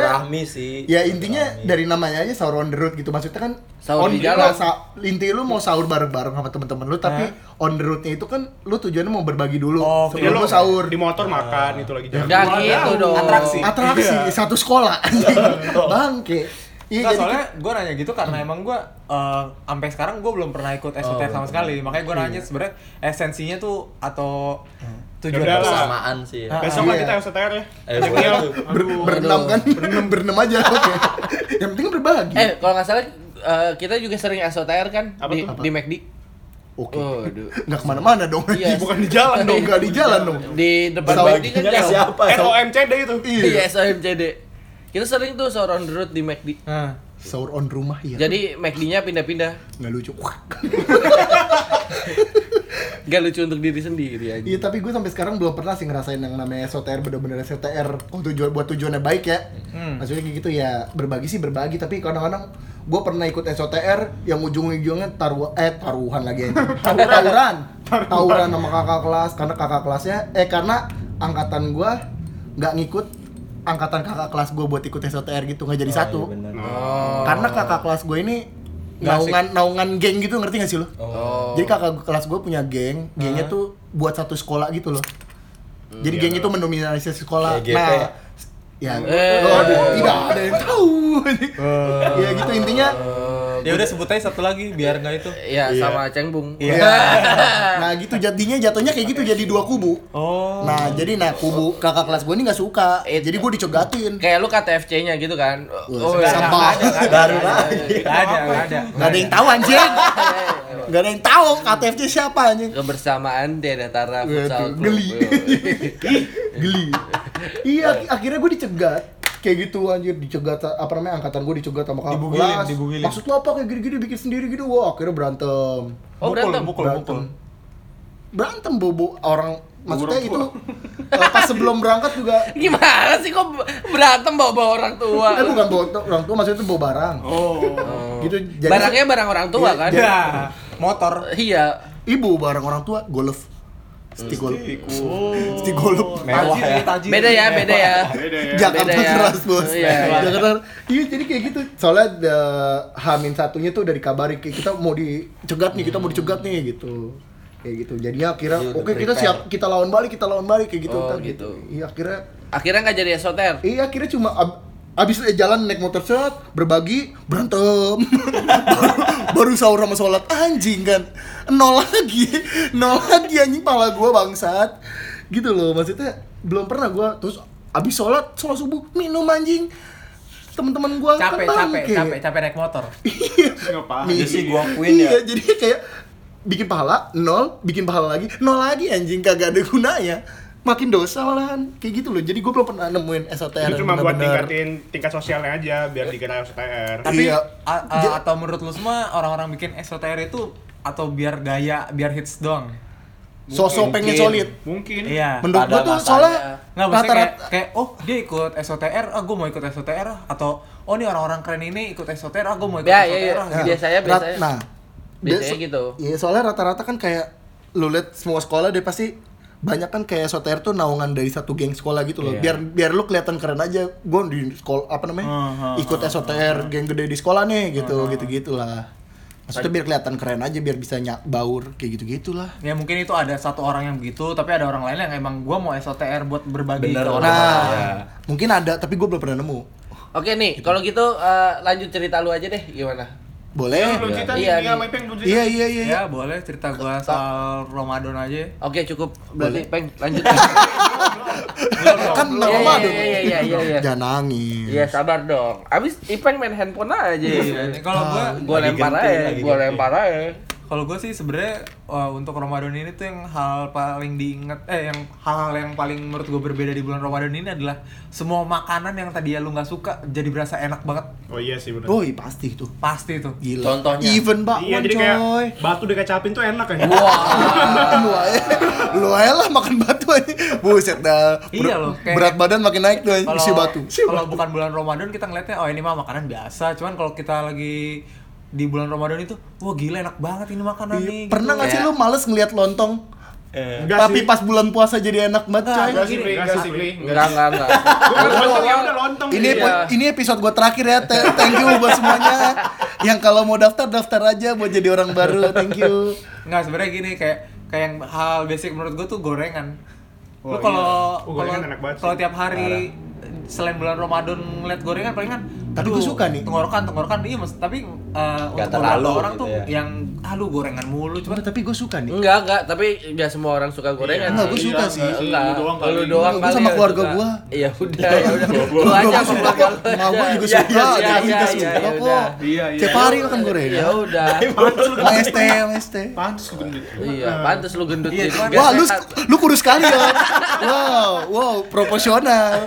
Speaker 6: silaturahmi sih.
Speaker 2: ya intinya
Speaker 6: Silaturahmi.
Speaker 2: dari namanya aja sahur on the road gitu maksudnya kan
Speaker 3: Sahur
Speaker 2: on
Speaker 3: di jalan.
Speaker 2: nah, sa- inti lu mau sahur bareng-bareng sama temen-temen lu tapi on the roadnya itu kan lu tujuannya mau berbagi dulu
Speaker 1: Oh,
Speaker 5: Iya,
Speaker 2: sebelum
Speaker 5: lu
Speaker 2: lu sahur
Speaker 5: di motor makan itu lagi jalan.
Speaker 3: Enggak gitu dong.
Speaker 1: Atraksi.
Speaker 2: atraksi satu sekolah bangke iya
Speaker 1: Nggak,
Speaker 2: jadi
Speaker 1: soalnya gue nanya gitu karena emang gue eh, sampai sekarang gue belum pernah ikut SOTR sama sekali makanya gue nanya sebenarnya esensinya tuh atau tujuan
Speaker 5: Yaudah lah.
Speaker 6: persamaan sih. Ya.
Speaker 5: Besok kan
Speaker 2: Iya.
Speaker 5: kita STR ya.
Speaker 6: Eh, boleh tuh.
Speaker 2: ber- berenam kan berenam berenam aja oke yang penting berbagi
Speaker 3: Eh, kalau nggak salah eh, kita juga sering SOTR kan
Speaker 5: Apa
Speaker 3: di,
Speaker 5: tuh?
Speaker 3: di McD.
Speaker 2: oke
Speaker 3: Waduh.
Speaker 2: nggak kemana-mana dong
Speaker 3: oh. Iya.
Speaker 2: bukan di jalan dong nggak di jalan dong
Speaker 3: Di depan
Speaker 2: Sama
Speaker 3: McD kan
Speaker 6: Baginya ke
Speaker 3: jauh.
Speaker 6: siapa?
Speaker 5: Eh, SOMCD itu.
Speaker 3: Iya, SOMCD. Kita sering tuh sahur on the road di McD.
Speaker 1: Nah,
Speaker 2: sahur on rumah ya
Speaker 3: Jadi McD-nya pindah-pindah.
Speaker 2: nggak lucu
Speaker 3: Gak lucu untuk diri sendiri aja.
Speaker 2: iya tapi gue sampai sekarang belum pernah sih ngerasain yang namanya SOTR bener-bener SOTR oh, tujuan buat tujuannya baik ya maksudnya kayak gitu ya berbagi sih berbagi tapi kadang-kadang gue pernah ikut SOTR yang ujung-ujungnya taruh eh taruhan lagi anjing. tawuran tawuran sama kakak kelas karena kakak kelasnya eh karena angkatan gue nggak ngikut angkatan kakak kelas gue buat ikut SOTR gitu nggak jadi
Speaker 6: Oh, iya,
Speaker 2: satu
Speaker 6: bener.
Speaker 2: karena kakak kelas gue ini naungan naungan geng gitu ngerti gak sih lo?
Speaker 3: Oh.
Speaker 2: Jadi kakak kelas gue punya geng, gengnya
Speaker 3: Hmm, iya,
Speaker 2: tuh buat satu sekolah gitu loh. Jadi geng itu mendominasi sekolah.
Speaker 6: Kayak GP.
Speaker 2: Nah, Ya,
Speaker 3: Eh.
Speaker 2: aduh, tidak ada yang tahu. ya gitu intinya.
Speaker 1: Ya udah sebut aja satu lagi biar nggak itu.
Speaker 3: Iya, sama Cengbung.
Speaker 2: Ya.
Speaker 3: Eh.
Speaker 2: Nah gitu jadinya jatuhnya kayak gitu jadi dua kubu.
Speaker 1: Oh.
Speaker 2: Nah jadi nah kubu kakak kelas gue ini nggak suka. Jadi gue dicegatin.
Speaker 3: Kayak lu KTFC-nya gitu kan. Oh,
Speaker 2: Wah, Iya, sampah.
Speaker 6: Baru lagi.
Speaker 1: Gak ada, nggak ada.
Speaker 2: Gak ada yang tahu anjing. Gak ada yang tahu KTFC siapa anjing.
Speaker 3: Kebersamaan di antara
Speaker 2: Waduh,
Speaker 3: futsal club.
Speaker 2: Iya, geli.
Speaker 3: iya.
Speaker 2: Geli. Iya ak- akhirnya gue dicegat kayak gitu anjir dicegat apa namanya angkatan gue dicegat sama kakak
Speaker 1: Dibugilin,
Speaker 2: kelas.
Speaker 1: dibugilin.
Speaker 2: Maksud lo apa kayak gini-gini bikin sendiri gitu. Wah akhirnya berantem.
Speaker 3: Oh, berantem.
Speaker 1: Mukul, mukul.
Speaker 2: Berantem bobo orang maksudnya itu eh, pas sebelum berangkat juga
Speaker 3: Gimana sih kok berantem bawa-bawa orang tua?
Speaker 2: eh bukan bawa orang tua maksudnya itu bawa barang.
Speaker 5: Oh.
Speaker 2: Gitu jadi Iya,
Speaker 3: Barangnya barang orang tua kan?
Speaker 1: Ya, motor.
Speaker 3: Iya.
Speaker 2: ibu barang orang tua golf. Stick golf. Stick golf.
Speaker 1: Mewah ya.
Speaker 3: Beda ya, beda ya.
Speaker 2: Iya.
Speaker 5: Beda ya.
Speaker 2: Jakarta
Speaker 3: Beda ya.
Speaker 2: keras bos.
Speaker 3: Iya.
Speaker 2: Jakarta. Iya jadi kayak gitu. Soalnya the Hamin satunya tuh udah dikabari kayak kita mau dicegat nih, kita
Speaker 3: Hmm.
Speaker 2: mau dicegat nih gitu. Kayak gitu. Jadinya akhirnya
Speaker 6: Jadi udah
Speaker 2: oke kita
Speaker 6: prepare.
Speaker 2: siap kita lawan balik, kita lawan balik kayak gitu
Speaker 3: Iya, Oh,
Speaker 2: kan
Speaker 3: gitu.
Speaker 2: Iya akhirnya
Speaker 3: Akhirnya nggak jadi esoter.
Speaker 2: iya akhirnya cuma ab- abis jalan naik motor set, berbagi, berantem. baru, baru sahur sama sholat anjing kan. Nol lagi. Nol lagi anjing pala gua bangsat. Gitu loh maksudnya belum pernah gua terus abis sholat sholat subuh minum anjing teman-teman gua kan
Speaker 8: capek, capek,
Speaker 2: bangke.
Speaker 8: capek, capek naik motor.
Speaker 5: Ngapain?
Speaker 6: Itu Ah, sih gua akuin
Speaker 2: Iya,
Speaker 6: ya.
Speaker 2: jadi kayak bikin pahala nol, bikin pahala lagi nol lagi anjing kagak ada gunanya. Makin dosa malahan kayak gitu loh. Jadi gue belum pernah nemuin SOTR yang
Speaker 5: Itu cuma buat
Speaker 2: bener-bener.
Speaker 5: tingkatin tingkat sosialnya aja biar dikira STR.
Speaker 1: Tapi
Speaker 2: Iya.
Speaker 1: a- a- atau menurut lu semua orang-orang bikin SOTR itu atau biar gaya, biar hits doang.
Speaker 2: Sosok pengen solid.
Speaker 5: Mungkin.
Speaker 1: Iya.
Speaker 2: Menurut gue
Speaker 6: Ada
Speaker 2: tuh
Speaker 6: masanya.
Speaker 2: soalnya
Speaker 1: Nggak maksudnya kayak,
Speaker 2: rata-rata
Speaker 1: kayak, oh dia ikut SOTR, ah gue mau ikut SOTR ah. atau oh ini orang-orang keren ini ikut SOTR, ah gue mau ikut
Speaker 3: Ya,
Speaker 1: SOTR
Speaker 3: ya, ya.
Speaker 1: ah.
Speaker 2: Nah,
Speaker 3: Biasanya,
Speaker 2: rat-
Speaker 3: biasanya.
Speaker 2: Nah,
Speaker 3: Biasanya
Speaker 2: dia-
Speaker 3: gitu.
Speaker 2: Iya, soalnya rata-rata kan kayak lu lihat semua sekolah deh pasti banyak kan kayak SOTR tuh naungan dari satu geng sekolah gitu loh. Biar biar lu kelihatan keren aja. Gue di sekolah apa namanya? ikut SOTR geng gede di sekolah nih gitu, gitu-gitulah. Maksudnya biar kelihatan keren aja biar bisa nyak baur kayak gitu-gitulah.
Speaker 1: Ya mungkin itu ada satu orang yang begitu, tapi ada orang lain yang emang gue mau SOTR buat berbagi
Speaker 6: Bener
Speaker 1: ke orang.
Speaker 6: orang.
Speaker 2: Nah,
Speaker 6: Iya.
Speaker 2: mungkin ada tapi gue belum pernah nemu.
Speaker 3: Oke nih, kalau gitu eh, lanjut cerita lu aja deh, gimana?
Speaker 5: Yang
Speaker 2: Boleh?
Speaker 5: belum
Speaker 3: Iya,
Speaker 5: cerita nih,
Speaker 3: nih.
Speaker 5: yang sama Ipeng belum cerita.
Speaker 2: Iya, iya, iya.
Speaker 1: Ya boleh cerita gue soal Ramadan aja.
Speaker 3: Oke cukup berarti peng lanjut.
Speaker 2: Kan
Speaker 3: Iya, iya,
Speaker 2: nama dong.
Speaker 3: iya, iya, iya, iya, iya.
Speaker 2: Jangan nangis.
Speaker 3: Iya sabar dong. Abis Ipeng main handphone aja.
Speaker 1: Iya. Kalau gue
Speaker 3: Gua lempar aja, gua lempar aja.
Speaker 1: Kalau gue sih sebenarnya uh, untuk Ramadan ini tuh yang hal paling diingat eh yang hal-hal yang paling menurut gue berbeda di bulan Ramadan ini adalah semua makanan yang tadi ya lu nggak suka jadi berasa enak banget
Speaker 5: Oh iya sih benar.
Speaker 2: Woi, pasti itu.
Speaker 1: pasti itu.
Speaker 2: Gila.
Speaker 6: Contohnya.
Speaker 2: Even bakwan
Speaker 5: Iya, jadi kayak
Speaker 2: coy.
Speaker 5: batu dikecapin tuh enak kan.
Speaker 2: lu aja, lu aja lah makan batu aja. Buset dah.
Speaker 1: Iya loh, kayak-
Speaker 2: Berat badan makin naik tuh anjing, si batu. Si
Speaker 1: kalau
Speaker 2: batu.
Speaker 1: bukan bulan Ramadan kita ngeliatnya oh ini mah makanan biasa cuman kalau kita lagi di bulan Ramadan itu wah gila enak banget ini makanan nih gitu.
Speaker 2: Iya, Pernah nggak sih
Speaker 6: Ya.
Speaker 2: lu males ngeliat lontong?
Speaker 5: Enggak
Speaker 2: Tapi
Speaker 5: sih.
Speaker 2: pas bulan puasa jadi enak banget coy.
Speaker 3: Ah,
Speaker 5: Enggak sih, Pri. enggak sih, Pri.
Speaker 2: Iya.
Speaker 3: Enggak, enggak, enggak.
Speaker 5: Gua lontong ya udah lontong.
Speaker 2: Ini
Speaker 5: Pri.
Speaker 3: Iya.
Speaker 2: epi- ini episode gua terakhir ya. Te- Thank you buat semuanya. Yang kalau mau daftar daftar aja buat jadi orang baru. Thank you.
Speaker 1: Nggak sebenarnya gini kayak kayak yang hal basic menurut gue tuh gorengan.
Speaker 5: Oh,
Speaker 1: Lu kalau
Speaker 5: iya. Oh, gorengan
Speaker 1: kalau-
Speaker 5: enak banget sih.
Speaker 1: kalau tiap hari selain bulan Ramadan ngeliat gorengan palingan
Speaker 2: Tapi
Speaker 1: aduh,
Speaker 2: gua suka nih.
Speaker 1: Tenggorokan, tenggorokan iya Mas, tapi eh, untuk
Speaker 6: terlalu
Speaker 1: beberapa orang
Speaker 6: gitu
Speaker 1: tuh
Speaker 6: ya.
Speaker 1: yang aduh gorengan mulu
Speaker 2: Cuma
Speaker 1: cuma
Speaker 2: tapi gua suka nih.
Speaker 3: Enggak, enggak, tapi enggak semua orang suka gorengan.
Speaker 2: Enggak,
Speaker 5: Iya,
Speaker 2: gua suka sih.
Speaker 5: enggak
Speaker 3: Enggak,
Speaker 5: Lu doang
Speaker 3: lu
Speaker 5: kali.
Speaker 3: doang
Speaker 2: Gua
Speaker 3: kali
Speaker 2: sama
Speaker 3: yang
Speaker 2: keluarga
Speaker 3: suka.
Speaker 2: gua.
Speaker 3: Iya udah, ya udah. Lu
Speaker 2: Keluarga
Speaker 3: aja
Speaker 2: gua
Speaker 3: sama
Speaker 2: suka
Speaker 3: keluarga
Speaker 2: kok.
Speaker 3: lu
Speaker 2: Emak gua
Speaker 3: aja.
Speaker 2: juga
Speaker 3: Iya,
Speaker 2: suka,
Speaker 3: iya,
Speaker 2: jadi
Speaker 3: iya,
Speaker 2: juga
Speaker 3: iya,
Speaker 2: suka
Speaker 3: iya,
Speaker 2: kok.
Speaker 3: udah.
Speaker 5: Iya, iya.
Speaker 2: Tiap hari kan makan
Speaker 3: Ya
Speaker 2: gorengan.
Speaker 3: udah.
Speaker 2: MST, MST.
Speaker 5: Pantes lu gendut.
Speaker 3: Iya, pantes lu gendut. Iya,
Speaker 2: Wah, lu lu kurus sekali ya. Wow, wow, proporsional.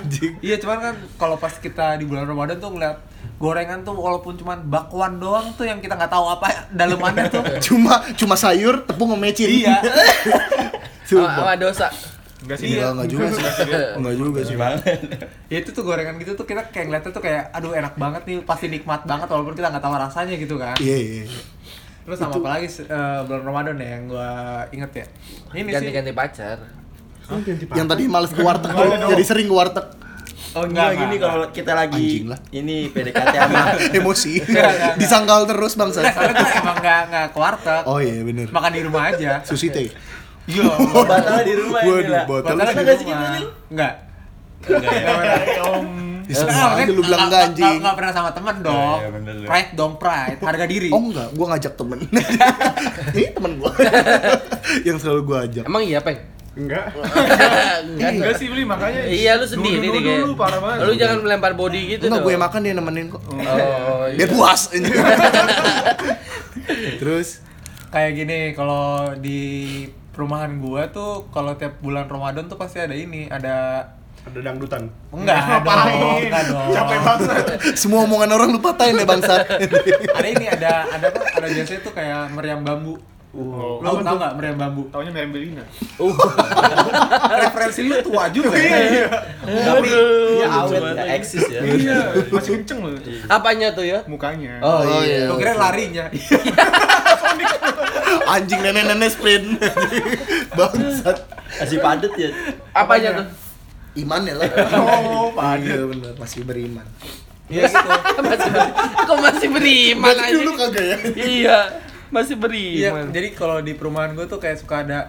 Speaker 2: Anjing.
Speaker 1: iya cuman kan kalau pas kita di bulan Ramadan tuh ngeliat gorengan tuh walaupun cuman bakwan doang tuh yang kita nggak tahu apa dalemannya tuh
Speaker 2: cuma cuma sayur, tepung ngemecin.
Speaker 1: Iya.
Speaker 3: Sama sama dosa.
Speaker 5: Enggak sih.
Speaker 2: Iya, enggak juga sih. Enggak juga sih.
Speaker 1: ya itu tuh gorengan gitu tuh kita kayak ngeliatnya tuh kayak aduh enak banget nih pasti nikmat banget walaupun kita nggak tahu rasanya gitu kan
Speaker 2: Iya, iya.
Speaker 1: Terus sama apa lagi eh, bulan Ramadan ya yang gua inget ya? Ini sih.
Speaker 3: Ganti-ganti pacar.
Speaker 2: Yang tadi males ke warteg tuh, jadi sering ke warteg.
Speaker 6: Oh enggak,
Speaker 1: Enggak,
Speaker 6: gini
Speaker 1: enggak.
Speaker 6: kalau kita lagi
Speaker 2: Anjing lah.
Speaker 6: ini PDKT sama
Speaker 2: Emosi.
Speaker 1: Enggak, enggak.
Speaker 2: Disangkal terus bangsa.
Speaker 1: Soalnya gua emang nggak nggak ke warteg.
Speaker 2: Oh iya, bener.
Speaker 1: Makan di rumah aja.
Speaker 2: Susi teh.
Speaker 1: Yo.
Speaker 5: Iya.
Speaker 6: batal di rumah ini
Speaker 2: Waduh,
Speaker 6: lah.
Speaker 2: batal
Speaker 1: Batal
Speaker 6: Batal
Speaker 1: di
Speaker 6: enggak sih
Speaker 1: rumah.
Speaker 6: gitu nih?
Speaker 1: Enggak.
Speaker 6: Enggak ya.
Speaker 2: Ya, semua aja lu bilang enggak anjing.
Speaker 1: Enggak pernah sama temen dong.
Speaker 6: Iya, iya, bener lu.
Speaker 1: Pride dong, pride. Harga diri.
Speaker 2: Oh enggak, gua ngajak temen Ini temen gua Yang selalu gua ajak
Speaker 3: Emang iya, Peng?
Speaker 5: Enggak.
Speaker 3: Enggak.
Speaker 5: Enggak sih beli makanya.
Speaker 3: Iya, lu sendiri
Speaker 5: Dulu
Speaker 3: nih
Speaker 5: dulu,
Speaker 3: kayak.
Speaker 5: dulu parah banget.
Speaker 3: Lu jangan melempar body gitu
Speaker 2: Enggak, gue
Speaker 3: dong.
Speaker 2: yang makan dia nemenin kok
Speaker 3: Oh,
Speaker 2: Dia
Speaker 3: iya.
Speaker 2: puas Terus
Speaker 1: Kayak gini, kalau di perumahan gua tuh kalau tiap bulan Ramadan tuh pasti ada ini, ada
Speaker 5: Ada dangdutan.
Speaker 1: enggak dong,
Speaker 5: Ngapain?
Speaker 1: enggak dong.
Speaker 5: Capek banget.
Speaker 2: Semua omongan orang lu patahin ya bangsa
Speaker 1: Ada ini, ada ada apa? Ada biasanya tuh kayak meriam bambu.
Speaker 5: Oh,
Speaker 1: Lo tau nggak meriam bambu?
Speaker 5: Taunya Meriam Belina.
Speaker 1: Referensi lu tua juga ya.
Speaker 6: Iya, awet ya, eksis ya.
Speaker 5: Iya, masih kenceng loh.
Speaker 3: Apanya tuh ya?
Speaker 5: Mukanya.
Speaker 3: Oh,
Speaker 2: Oh, iya.
Speaker 3: iya.
Speaker 1: Lo kira larinya.
Speaker 2: Anjing nenek-nenek sprint Bangsat
Speaker 6: Masih padet ya.
Speaker 3: Apanya tuh?
Speaker 2: Iman ya lah
Speaker 5: Oh,
Speaker 2: Iya bener, masih beriman
Speaker 1: Ya gitu.
Speaker 3: Masih Kok masih beriman
Speaker 2: Berarti
Speaker 3: aja?
Speaker 2: dulu kagak ya
Speaker 3: Iya, masih
Speaker 1: Iya,
Speaker 3: beriman.
Speaker 1: jadi kalau di perumahan gue tuh kayak suka ada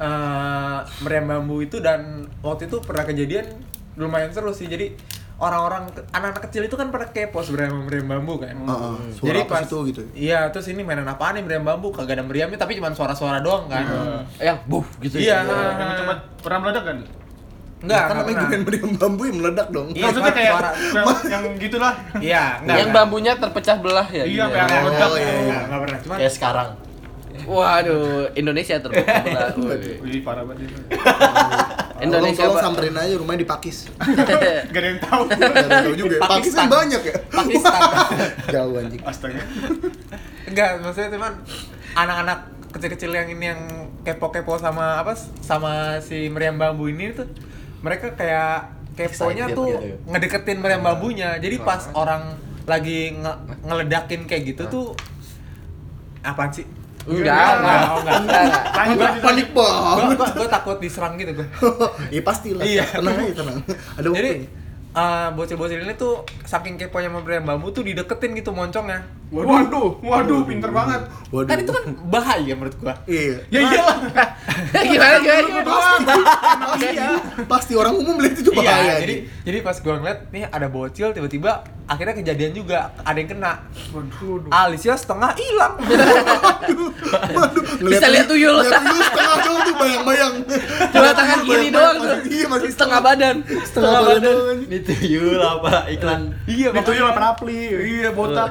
Speaker 1: eh, meriam bambu itu dan waktu itu pernah kejadian lumayan seru sih. Jadi orang-orang anak-anak kecil itu kan pada kepo sebenarnya sama meriam bambu kan.
Speaker 2: Heeh, suara apa sih tuh gitu?
Speaker 1: Iya, terus ini mainan apaan nih meriam bambu? Kagak ada meriamnya tapi cuma suara-suara doang kan.
Speaker 2: Iya.
Speaker 3: Yang buh gitu
Speaker 1: Iya.
Speaker 3: ya.
Speaker 5: Yang cepat pernah meledak kan?
Speaker 1: Enggak,
Speaker 2: Kan
Speaker 1: enggak
Speaker 2: namanya
Speaker 1: pernah.
Speaker 2: gue main meriam bambu ya meledak dong
Speaker 1: Iya,
Speaker 5: Maksudnya
Speaker 1: cuma
Speaker 5: kayak
Speaker 1: suara.
Speaker 5: yang, yang gitulah.
Speaker 1: Iya, enggak.
Speaker 3: Yang bambunya terpecah belah ya.
Speaker 5: Iya,
Speaker 3: gitu
Speaker 5: kayak
Speaker 3: ya?
Speaker 5: yang meledak.
Speaker 2: Oh, iya, iya.
Speaker 1: Enggak pernah. Cuma
Speaker 6: Kayak sekarang.
Speaker 3: Waduh, Indonesia terpecah belah. Wih.
Speaker 5: Wih, parah banget itu.
Speaker 2: Tolong,
Speaker 3: Iya. Indonesia
Speaker 2: tolong
Speaker 3: Pak.
Speaker 2: samperin aja rumahnya di Pakis
Speaker 5: Gak ada yang tahu.
Speaker 2: Gak ada tahu juga ya. Pakis kan banyak ya
Speaker 1: Pakistan.
Speaker 2: Jauh anjing
Speaker 5: Astaga.
Speaker 1: Enggak, maksudnya cuman anak-anak kecil-kecil yang ini yang kepo-kepo sama apa sama si meriam bambu ini tuh mereka kayak keponya
Speaker 6: Excited
Speaker 1: tuh
Speaker 6: gitu ya. ah.
Speaker 1: ngedeketin meriam bambunya. Jadi pas orang lagi nge- ngeledakin kayak
Speaker 6: Ah.
Speaker 1: gitu tuh apaan sih?
Speaker 3: Enggak, enggak,
Speaker 1: Oh, enggak.
Speaker 3: enggak, enggak.
Speaker 2: Gua panik
Speaker 1: Gua-
Speaker 2: banget
Speaker 1: gua- gua takut diserang gitu gua.
Speaker 2: Iya pastilah
Speaker 1: Iya.
Speaker 2: Tenang aja tenang Ada
Speaker 1: Jadi
Speaker 2: waktu
Speaker 1: eh, bocil-bocil ini tuh saking keponya sama meriam bambu tuh dideketin gitu moncongnya.
Speaker 5: Waduh, waduh, waduh, pinter banget.
Speaker 2: Waduh
Speaker 1: Kan itu kan bahaya menurut gua.
Speaker 2: Iya
Speaker 5: Ya iyalah.
Speaker 3: Gimana gimana? gimana?
Speaker 2: Pasti Iya. Pasti orang umum lihat itu bahaya
Speaker 1: Iya, jadi jadi pas gua ngeliat nih ada bocil tiba-tiba akhirnya kejadian juga ada yang kena.
Speaker 5: Waduh.
Speaker 1: Alisnya setengah hilang.
Speaker 2: Waduh, ngeliat-
Speaker 3: Bisa lihat tuyul.
Speaker 2: Ngeliat tuyul setengah doang tuh bayang-bayang
Speaker 3: Cuma tangan kiri doang tuh.
Speaker 2: Masih- Iya masih
Speaker 3: Setengah badan.
Speaker 2: Setengah badan
Speaker 6: Ini tuyul apa iklan
Speaker 5: Iya, itu yang penapli. Iya, botak.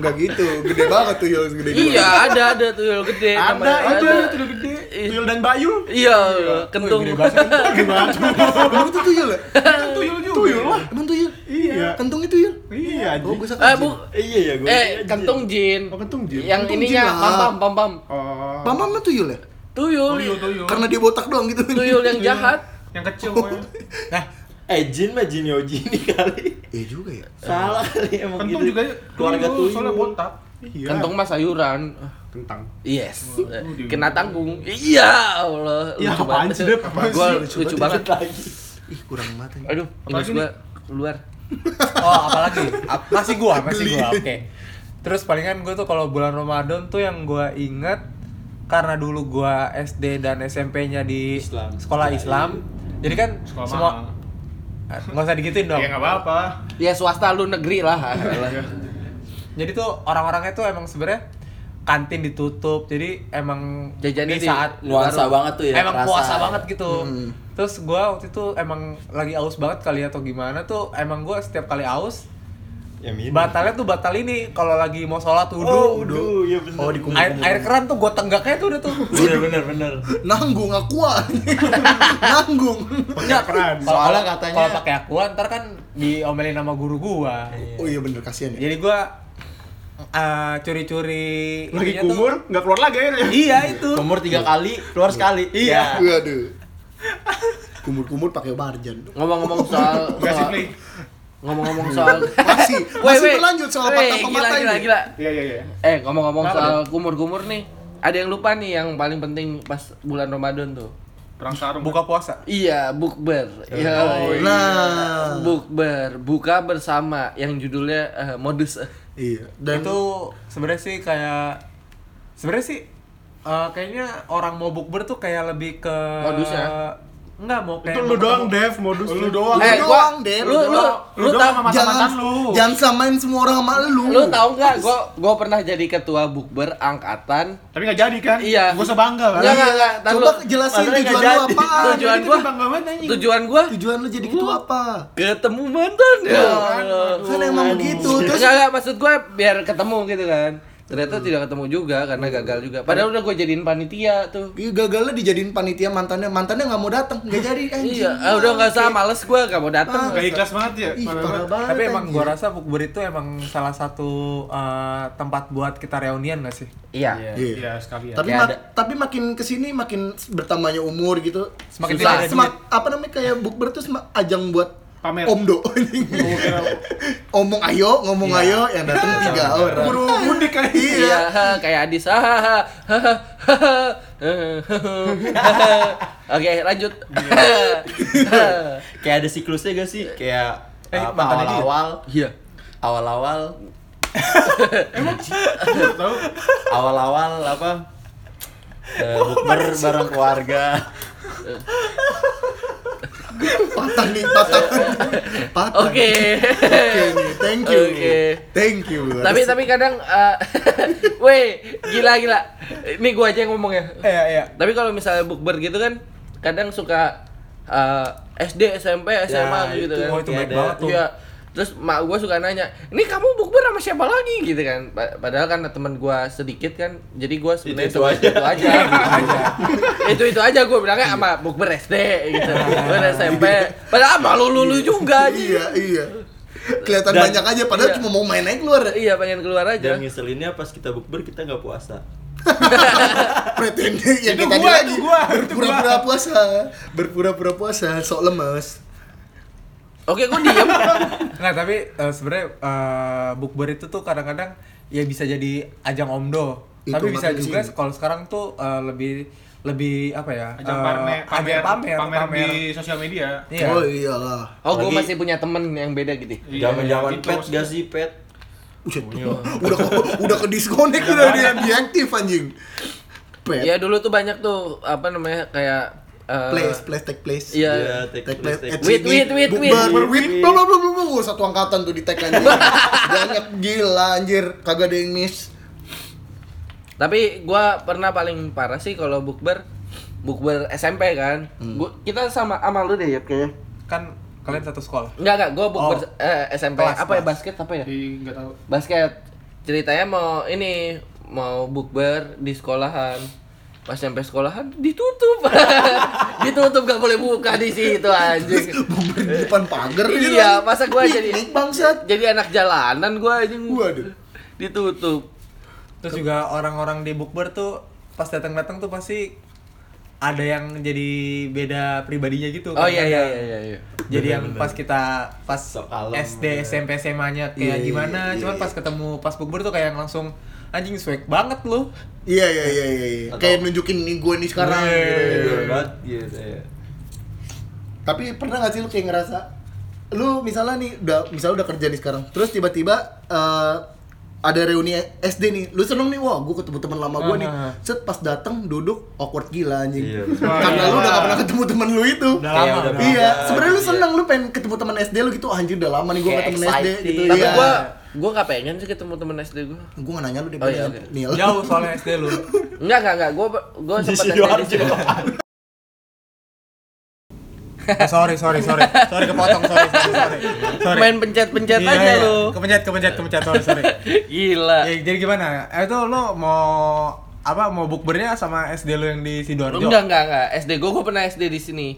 Speaker 2: Enggak gitu Gede banget tuyul segede gua.
Speaker 3: Iya, ada ada tuyul gede.
Speaker 5: Ada,
Speaker 3: namanya.
Speaker 5: ada, tuyul gede.
Speaker 3: Iya.
Speaker 5: Tuyul dan Bayu.
Speaker 3: Iya, kentung.
Speaker 5: Gimana?
Speaker 2: Emang itu tuyul ya?
Speaker 5: Tuyul juga. Tuyul lah.
Speaker 2: Emang tuyul?
Speaker 5: Iya.
Speaker 2: Kentungnya tuyul?
Speaker 5: Iya,
Speaker 2: Oh
Speaker 5: anjing.
Speaker 2: gue
Speaker 3: Eh,
Speaker 2: sakit
Speaker 3: bu,
Speaker 6: Iya ya gue.
Speaker 3: eh, kentung jin.
Speaker 5: Oh, kentung jin.
Speaker 3: Yang
Speaker 2: Kentung
Speaker 3: ininya
Speaker 2: jin lah.
Speaker 3: pam pam pam pam.
Speaker 5: Oh. iya.
Speaker 2: Mama mah tuyul ya?
Speaker 3: Tuyul,
Speaker 5: Tuyul, tuyul.
Speaker 2: Karena dia botak doang gitu
Speaker 3: tuyul yang jahat.
Speaker 5: Yang kecil pokoknya.
Speaker 1: Nah,
Speaker 6: Eh Jin mah Jin Yojini kali.
Speaker 2: Iya juga ya
Speaker 6: Salah kali emang
Speaker 5: Kentung
Speaker 6: gitu.
Speaker 5: juga ya.
Speaker 6: keluarga
Speaker 5: Oh, tuyul,
Speaker 6: tuyul.
Speaker 5: Soalnya botak. Iya.
Speaker 3: Kentung mas sayuran.
Speaker 5: kentang.
Speaker 3: Yes,
Speaker 5: Waduh.
Speaker 3: kena tanggung. Iya, Allah.
Speaker 5: Ya,
Speaker 3: Lucu
Speaker 5: apaan
Speaker 3: banget.
Speaker 5: sih, Dep? Apaan
Speaker 3: Gua
Speaker 5: sih?
Speaker 3: lucu banget.
Speaker 6: lagi.
Speaker 2: Ih kurang mata nih.
Speaker 3: Aduh, ingat
Speaker 5: Apalagi
Speaker 3: gua keluar.
Speaker 1: oh apalagi Ap- masih gua, masih gua. Oke. Terus palingan gua tuh kalau bulan Ramadan tuh yang gua inget karena dulu gua SD dan SMP-nya di
Speaker 6: Islam.
Speaker 1: sekolah Islam. Jadi kan
Speaker 5: Sekolah
Speaker 1: semua
Speaker 5: mahal.
Speaker 1: Eh, nggak usah digituin dong.
Speaker 5: Ya enggak apa-apa.
Speaker 3: Ya swasta lu negeri lah.
Speaker 1: Jadi tuh orang-orangnya tuh emang sebenarnya kantin ditutup. Jadi emang
Speaker 3: Jajannya
Speaker 1: di
Speaker 3: di
Speaker 1: saat
Speaker 6: Nuansa
Speaker 1: baru-
Speaker 6: banget tuh ya.
Speaker 1: emang
Speaker 6: kerasa. Hmm.
Speaker 1: puasa banget gitu. Terus gua waktu itu emang lagi aus banget kali atau gimana tuh emang gua setiap kali aus
Speaker 6: Ya minum.
Speaker 1: batalnya tuh batal ini kalau lagi mau sholat
Speaker 6: Oh,
Speaker 1: wudhu
Speaker 6: udah, ya bener.
Speaker 2: Oh, dikumpulin.
Speaker 1: air, air keran tuh gua tenggaknya tuh udah tuh
Speaker 6: Bener bener bener.
Speaker 2: Nanggung aku ah. Nanggung.
Speaker 5: Enggak peran.
Speaker 1: Kalau-
Speaker 6: Soalnya
Speaker 1: kalau-
Speaker 6: katanya-
Speaker 1: kalau pakai aku ntar kan diomelin sama guru gua
Speaker 2: Oh iya bener kasihan ya.
Speaker 1: jadi gua eh, curi-curi
Speaker 5: Lagi
Speaker 1: ininya Iya, tuh.
Speaker 5: kumur, enggak keluar lagi airnya.
Speaker 1: iya itu
Speaker 6: Kumur tiga kali, keluar sekali.
Speaker 5: Ya.
Speaker 6: Iya.
Speaker 2: Waduh. Kumur-kumur pakai barjan.
Speaker 3: Ngomong-ngomong soal,
Speaker 5: Enggak sih,
Speaker 3: soal-
Speaker 5: Pli.
Speaker 3: ngomong-ngomong soal
Speaker 2: Masih
Speaker 3: Woi,
Speaker 2: masih
Speaker 3: woi.
Speaker 2: berlanjut soal
Speaker 3: Woi,
Speaker 2: patah
Speaker 3: gila,
Speaker 2: pemata
Speaker 3: gila,
Speaker 2: ini.
Speaker 3: gila.
Speaker 5: Iya, iya, iya.
Speaker 3: Eh, ngomong-ngomong soal kumur-kumur nih. Ada yang lupa nih yang paling penting pas bulan Ramadan tuh.
Speaker 5: Perang sarung.
Speaker 1: buka puasa
Speaker 3: Iya, bukber. Iya.
Speaker 2: Nah.
Speaker 3: Bukber, buka bersama yang judulnya eh, modus.
Speaker 2: Iya. Dan
Speaker 1: itu sebenarnya sih kayak sebenarnya sih eh, kayaknya orang mau bukber tuh kayak lebih ke
Speaker 3: Modus ya?
Speaker 1: Enggak mau kayak
Speaker 5: Itu lu doang, Dev, modus lu doang.
Speaker 2: Eh,
Speaker 5: Lu
Speaker 2: gua-
Speaker 3: lu
Speaker 2: Dev,
Speaker 3: lu
Speaker 2: lu
Speaker 3: lu,
Speaker 5: lu doang sama
Speaker 3: tahu
Speaker 5: mantan
Speaker 2: jangan
Speaker 5: lu.
Speaker 2: jangan samain semua orang sama lu.
Speaker 3: lu tahu nggak gua gua pernah jadi ketua bukber angkatan
Speaker 5: Tapi nggak jadi kan?
Speaker 3: Iya.
Speaker 5: Gua sebangga kan.
Speaker 3: Enggak, enggak, enggak. Tar
Speaker 2: Coba
Speaker 3: lu.
Speaker 2: jelasin
Speaker 6: Padahal
Speaker 2: tujuan
Speaker 6: nggak
Speaker 2: lu
Speaker 6: jadi.
Speaker 2: apaan?
Speaker 3: Tujuan
Speaker 5: Itu
Speaker 3: gua
Speaker 5: bangga banget anjing.
Speaker 3: tujuan gua
Speaker 2: Tujuan lu jadi ketua apa?
Speaker 3: ketemu mantan ya. Allah.
Speaker 5: Oh,
Speaker 2: Kan emang begitu. Terus
Speaker 3: Enggak, enggak, maksud gue biar ketemu gitu kan. Ternyata tidak ketemu juga karena gagal juga. Padahal udah gue jadiin panitia tuh.
Speaker 2: Iya, gagalnya dijadiin panitia mantannya. Mantannya nggak mau datang, nggak jadi anjing.
Speaker 3: Iya, ah, udah nggak usah, males gue gak mau dateng.
Speaker 5: Nggak ikhlas banget ya.
Speaker 2: Ih,
Speaker 5: Parah
Speaker 2: parah
Speaker 5: banget.
Speaker 2: banget.
Speaker 1: tapi emang
Speaker 2: anjing.
Speaker 1: gua rasa bukber itu emang salah satu eh, tempat buat kita reunian gak sih?
Speaker 2: Iya.
Speaker 6: Iya.
Speaker 5: Iya, sekalian.
Speaker 3: Ya,
Speaker 2: tapi
Speaker 6: Kayak
Speaker 2: mak-
Speaker 6: ada-
Speaker 2: tapi makin kesini makin bertambahnya umur gitu
Speaker 1: Semakin
Speaker 2: susah.
Speaker 1: tidak ada
Speaker 2: Semak- apa namanya kayak bukber tuh semak- ajang buat
Speaker 5: Pamer.
Speaker 2: omdo omong ayo ngomong ayo yang datang tiga orang
Speaker 5: Buru mudik kan.
Speaker 3: Iya, ha, kayak Adis. ha, ha, ha, ha, ha, ha, ha, ha. Oke, lanjut.
Speaker 6: Kayak ada siklusnya gak sih? Kayak
Speaker 1: Eh,
Speaker 6: apa,
Speaker 1: mantannya dia?
Speaker 6: awal-awal,
Speaker 3: Iya.
Speaker 6: awal-awal, awal-awal apa? eh, bukber bareng keluarga.
Speaker 2: patah nih patah patah
Speaker 3: Oke.
Speaker 2: Oke nih, thank you
Speaker 3: Oke.
Speaker 2: thank you
Speaker 3: Tapi tapi kadang eh weh, gila gila. Ini gue aja yang ngomong ya.
Speaker 1: Iya, iya.
Speaker 3: Tapi kalau misalnya bukber gitu kan kadang suka eh, SD, SMP, SMA
Speaker 6: Ya,
Speaker 3: gitu
Speaker 6: itu.
Speaker 3: kan.
Speaker 1: Oh itu
Speaker 6: Kayak
Speaker 1: baik
Speaker 6: ada-
Speaker 1: banget tuh.
Speaker 3: Iya. Terus mak gue suka nanya, ini kamu bukber sama siapa lagi gitu kan? Pa- Padahal kan teman gue sedikit kan, jadi gue sebenarnya
Speaker 6: Itu-itu
Speaker 3: itu,
Speaker 6: aja.
Speaker 3: itu, aja. itu itu aja gue bilangnya sama bukber SD gitu, bukber SMP. Padahal sama lulu-lulu juga.
Speaker 2: iya iya kelihatan
Speaker 6: Dan-
Speaker 2: banyak aja padahal
Speaker 3: iya.
Speaker 2: cuma mau main aja keluar
Speaker 3: Iya pengen keluar aja.
Speaker 6: Dan ngeselinnya pas kita bukber kita nggak puasa.
Speaker 2: pretending yang
Speaker 5: Itu
Speaker 2: kayak tadi
Speaker 5: gua,
Speaker 2: lagi
Speaker 5: itu gua, itu
Speaker 2: berpura-pura puasa berpura-pura puasa sok lemes
Speaker 3: Oke, gue diem.
Speaker 1: Nggak, tapi eh, sebenarnya eh, bukber itu tuh kadang-kadang ya bisa jadi ajang omdo.
Speaker 2: Itu
Speaker 1: tapi bisa
Speaker 2: makanya
Speaker 1: juga
Speaker 2: sih.
Speaker 1: kalau sekarang tuh eh, lebih lebih apa ya?
Speaker 5: Ajang
Speaker 1: eh,
Speaker 5: pamer, pamer,
Speaker 1: ajang pamer, pamer,
Speaker 5: di sosial media.
Speaker 1: Iya.
Speaker 2: oh iyalah
Speaker 3: Oh, gue masih
Speaker 6: Lagi-
Speaker 3: punya temen yang beda gitu.
Speaker 2: Iya,
Speaker 6: Zaman-zaman
Speaker 5: Gitu,
Speaker 6: pet
Speaker 5: maksudnya.
Speaker 6: gak sih pet?
Speaker 2: Udah,
Speaker 3: Oh, iya.
Speaker 2: udah udah ke disconnect udah dia diaktif anjing. Pet.
Speaker 3: Ya dulu tuh banyak tuh apa namanya kayak eh,
Speaker 2: Place, place, take place.
Speaker 3: Iya.
Speaker 6: Iya, take
Speaker 2: Take place.
Speaker 6: place, take
Speaker 2: at
Speaker 3: Wait,
Speaker 2: sini.
Speaker 3: wait, wait, wait.
Speaker 2: Bukber, berwit. Blah, blah, blah, blah, blah. Wah, Satu angkatan tuh di tag anjing. Banyak gila anjir, kagak ada yang miss.
Speaker 3: Tapi gua pernah paling parah sih kalau bukber bukber SMP kan. Gua, kita sama sama lu deh ya kayaknya.
Speaker 1: Kan kalian satu sekolah.
Speaker 3: Enggak enggak, gua bukber
Speaker 1: Oh.
Speaker 3: eh, SMP.
Speaker 1: Kelas,
Speaker 3: apa ya
Speaker 1: kelas.
Speaker 3: basket apa ya?
Speaker 5: Jadi nggak tahu.
Speaker 3: Basket. Ceritanya mau ini mau bukber di sekolahan. Pas nyampe sekolahan ditutup. ditutup gak boleh buka di situ anjing.
Speaker 2: Bukber di depan pagar gitu,
Speaker 3: iya,
Speaker 2: anjing.
Speaker 3: masa gua jadi
Speaker 2: Piknik, bangsat.
Speaker 3: jadi anak jalanan gua anjing.
Speaker 2: Waduh.
Speaker 3: Ditutup.
Speaker 1: Terus juga orang-orang di bukber tuh pas datang-datang tuh pasti ada yang jadi beda pribadinya gitu.
Speaker 3: Oh iya iya
Speaker 1: kadang-kadang.
Speaker 3: iya iya.
Speaker 1: Jadi yang pas kita pas
Speaker 6: Sok kalem,
Speaker 1: SD
Speaker 6: ya.
Speaker 1: SMP SMA-nya kayak
Speaker 2: Iya,
Speaker 1: gimana,
Speaker 2: iya,
Speaker 1: cuman
Speaker 2: iya.
Speaker 1: pas ketemu pas bukber tuh kayak langsung anjing swag banget lu.
Speaker 2: Iya, iya, iya, iya, iya. Kayak nunjukin nih gue nih sekarang.
Speaker 3: Iya,
Speaker 6: Iya,
Speaker 2: gitu.
Speaker 6: Jujur banget gitu ya.
Speaker 2: Tapi pernah gak sih lu kayak ngerasa lu misalnya nih udah misalnya udah kerja nih sekarang, terus tiba-tiba eh, ada reuni SD nih, lu seneng nih, wah gue ketemu teman lama gue nih,
Speaker 1: Ah.
Speaker 2: set pas datang duduk awkward gila anjing,
Speaker 6: Iya.
Speaker 2: karena lu udah gak pernah ketemu temen lu itu,
Speaker 1: Udah
Speaker 6: Kayak
Speaker 1: lama.
Speaker 6: udah
Speaker 1: udah.
Speaker 2: iya,
Speaker 6: lama,
Speaker 2: sebenarnya lu
Speaker 6: iya.
Speaker 2: seneng lu pengen ketemu teman SD lu gitu, anjir udah lama nih gue
Speaker 6: Kayak
Speaker 2: gak temen SD
Speaker 6: excited.
Speaker 2: gitu,
Speaker 3: Tapi
Speaker 2: iya.
Speaker 3: gua gua gak pengen sih ketemu temen SD gua.
Speaker 2: gue gak nanya lu deh,
Speaker 3: Oh, iya, oke.
Speaker 2: Niel.
Speaker 1: Jauh soalnya SD lu.
Speaker 3: Enggak, enggak, enggak. Gue gue
Speaker 6: Di
Speaker 3: sempat
Speaker 6: Sidoarjo.
Speaker 1: Eh, sorry, sorry, sorry. Sorry kepotong, sorry, sorry. sorry. sorry.
Speaker 3: Main pencet-pencet
Speaker 1: Iya,
Speaker 3: aja
Speaker 1: iya.
Speaker 3: lu.
Speaker 1: Kepencet, kepencet, kepencet, sorry, sorry.
Speaker 3: Gila.
Speaker 1: Ya, jadi gimana? Eh, itu lu mau apa mau bukbernya sama SD lu yang di Sidoarjo?
Speaker 3: Enggak, enggak, enggak. SD gue gue pernah SD di sini.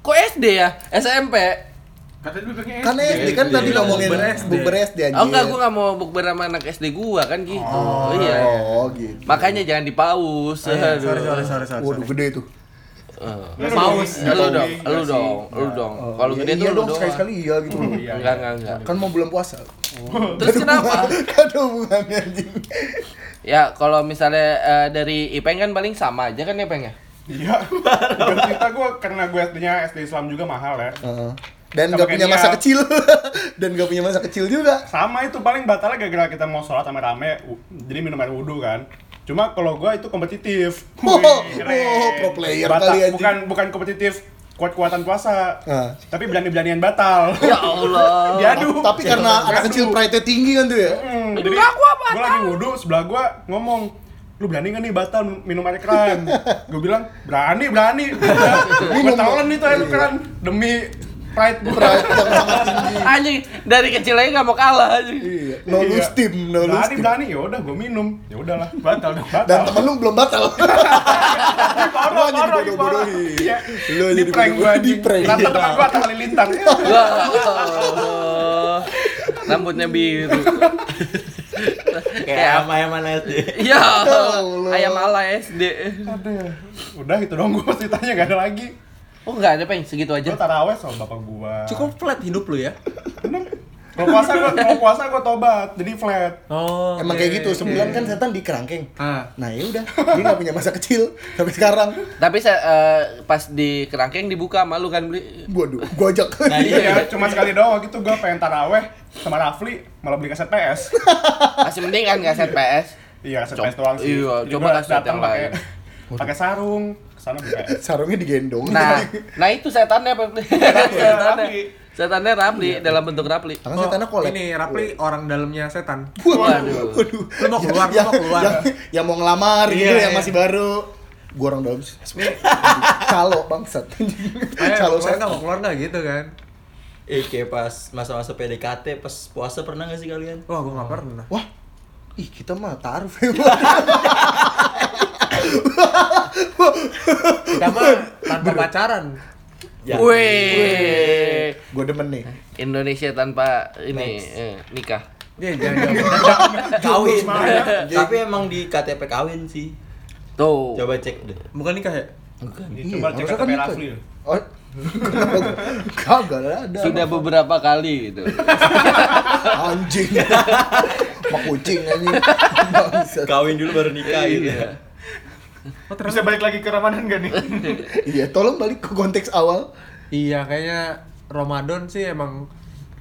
Speaker 3: Kok SD ya? SMP.
Speaker 5: Kata dulu pengen.
Speaker 2: Kan SD kan tadi
Speaker 6: Iya,
Speaker 2: ngomongin
Speaker 1: bukber SD.
Speaker 2: bukber SD anjir.
Speaker 3: Oh enggak, gue nggak mau bukber sama anak SD gua kan gitu. iya.
Speaker 2: Oh gitu.
Speaker 3: Makanya jangan dipaus.
Speaker 1: Eh,
Speaker 3: Aduh.
Speaker 1: sorry, sorry, sorry, sorry.
Speaker 2: Waduh gede tuh.
Speaker 3: Eh,
Speaker 5: Nggak
Speaker 3: Paus,
Speaker 5: sih, nggak
Speaker 3: lu
Speaker 5: sih,
Speaker 3: dong,
Speaker 5: nggak
Speaker 3: lu
Speaker 5: sih.
Speaker 3: dong, lu dong. Kalau
Speaker 2: Iya,
Speaker 3: gede tuh
Speaker 2: iya dong
Speaker 3: lu doang. Oh,
Speaker 2: sekali-sekali iya gitu.
Speaker 3: Enggak, enggak,
Speaker 5: Iya.
Speaker 3: enggak.
Speaker 2: Kan mau bulan puasa.
Speaker 3: Terus kenapa?
Speaker 2: Gak ada hubungannya anjing.
Speaker 3: Ya kalau misalnya eh, dari Ipeng kan paling sama aja kan Ipeng ya?
Speaker 5: Iya. Gak cerita gue karena gue SD-nya SD Islam juga mahal ya.
Speaker 2: Oh. Dan
Speaker 5: Sama
Speaker 2: gak
Speaker 5: kayak
Speaker 2: punya
Speaker 5: Mia.
Speaker 2: masa kecil. Dan gak punya masa kecil juga.
Speaker 5: Sama itu paling batalnya gara-gara kita mau sholat sama rame, u- jadi minum air wudhu kan. Cuma kalau gue itu kompetitif.
Speaker 2: Oh,
Speaker 5: Wih, keren.
Speaker 2: oh, pro player
Speaker 5: Batak-
Speaker 2: kali, anjing.
Speaker 5: Bukan bukan kompetitif kuat-kuatan puasa.
Speaker 2: Ah.
Speaker 5: Tapi berani-beranian batal.
Speaker 6: Ya Allah.
Speaker 5: Diadu.
Speaker 2: tapi kan
Speaker 5: Iya,
Speaker 2: karena anak kecil pride tinggi kan tuh ya.
Speaker 5: Hmm, jadi gua lagi wudhu sebelah gua ngomong lu berani gak nih batal minum air keran? Gue bilang berani berani. Gue tawaran itu air keran demi pride
Speaker 2: "Iya."
Speaker 5: gue.
Speaker 2: Pride yang sangat tinggi.
Speaker 3: Anjing, dari kecil aja nggak mau kalah anjing.
Speaker 2: Iya. No
Speaker 5: Iya.
Speaker 2: lose team, no lose
Speaker 5: berani
Speaker 2: team.
Speaker 5: berani ya udah gue minum ya udahlah batal dong
Speaker 2: Dan
Speaker 5: batal.
Speaker 2: temen lu belum batal. Lu
Speaker 5: parah
Speaker 2: aja
Speaker 5: parah lagi parah.
Speaker 2: dibodoh-bodohin.
Speaker 5: Iya.
Speaker 2: Lu aja
Speaker 5: Di prank gue
Speaker 2: dibodoh-bodohin. Di prank.
Speaker 5: anjing. Rata teman gue atau lintang.
Speaker 3: Wah, Ya Allah. Rambutnya biru.
Speaker 6: Kayak sama yang mana SD.
Speaker 3: Ya,
Speaker 2: Allah.
Speaker 3: ayam ala SD.
Speaker 5: Aduh. Udah itu dong gue ceritanya gak ada lagi.
Speaker 3: Oh nggak ada peng, segitu
Speaker 5: Gue
Speaker 3: aja.
Speaker 5: taraweh sama bapak gue.
Speaker 6: Cukup flat hidup lu ya.
Speaker 5: Kalau puasa gue kalau puasa gue tobat jadi flat.
Speaker 7: Oh.
Speaker 2: Emang kayak gitu, sebulan kan setan di kerangkeng.
Speaker 7: Ah.
Speaker 2: Nah ya udah, dia nggak punya masa kecil sampai sekarang.
Speaker 3: Tapi saya, eh, pas di kerangkeng dibuka malu kan beli.
Speaker 2: Waduh, gua ajak.
Speaker 6: Nah,
Speaker 5: Iya, ya, cuma sekali doang waktu itu gue pengen taraweh sama Rafli malah beli kaset PS.
Speaker 3: Masih mending kan nggak set PS.
Speaker 5: Iya kaset
Speaker 3: Coba-
Speaker 5: PS doang sih.
Speaker 3: iya,
Speaker 5: Jadi
Speaker 3: coba
Speaker 5: gua
Speaker 3: kaset yang
Speaker 5: datang pakai
Speaker 3: lain.
Speaker 5: pakai sarung kesana beli PS.
Speaker 2: Sarungnya digendong.
Speaker 3: Nah, nah itu setannya Peng. setannya.
Speaker 5: Rapli.
Speaker 3: Setannya Rapli dalam bentuk Rapli.
Speaker 2: Tangan setannya Iya. kolek.
Speaker 7: Oh, Ini Rapli orang dalamnya setan.
Speaker 3: Waduh.
Speaker 2: Waduh.
Speaker 7: Lu mau keluar, lu
Speaker 2: yang,
Speaker 7: mau keluar.
Speaker 2: yang, Iya, yang mau ngelamar
Speaker 7: Iya,
Speaker 2: gitu, yang
Speaker 7: iya.
Speaker 2: masih baru. Gua orang dalam. Calo bangsat.
Speaker 7: Eh,
Speaker 2: Calo
Speaker 7: mau keluar nggak
Speaker 2: setan.
Speaker 7: mau keluar nggak gitu kan?
Speaker 6: Eh kayak pas masa-masa PDKT pas puasa pernah gak sih kalian?
Speaker 7: Wah, gua
Speaker 2: Oh.
Speaker 7: nggak pernah.
Speaker 2: Wah, ih kita mah taruh.
Speaker 7: Kita mah tanpa pacaran.
Speaker 6: Ya.
Speaker 3: Wih.
Speaker 2: Gua demen nih.
Speaker 3: Indonesia tanpa ini eh, nikah.
Speaker 7: Iya, jangan.
Speaker 6: Kawin. Tapi emang di KTP kawin sih.
Speaker 3: Tuh.
Speaker 6: Coba cek deh.
Speaker 7: Bukan nikah ya?
Speaker 5: Coba cek
Speaker 2: harusnya
Speaker 5: KTP
Speaker 2: kan
Speaker 5: Rafli. ya.
Speaker 2: gitu. Oh, kenapa gua? Kagak ada.
Speaker 3: Sudah beberapa kali gitu.
Speaker 2: anjing. Mak kucing anjing. Bangsat.
Speaker 6: Kawin dulu baru nikah gitu.
Speaker 3: Iya.
Speaker 7: Oh,
Speaker 5: Bisa balik lagi ke Ramadan gak nih?
Speaker 2: Iya, tolong balik ke konteks awal.
Speaker 7: Iya, kayaknya Ramadan sih emang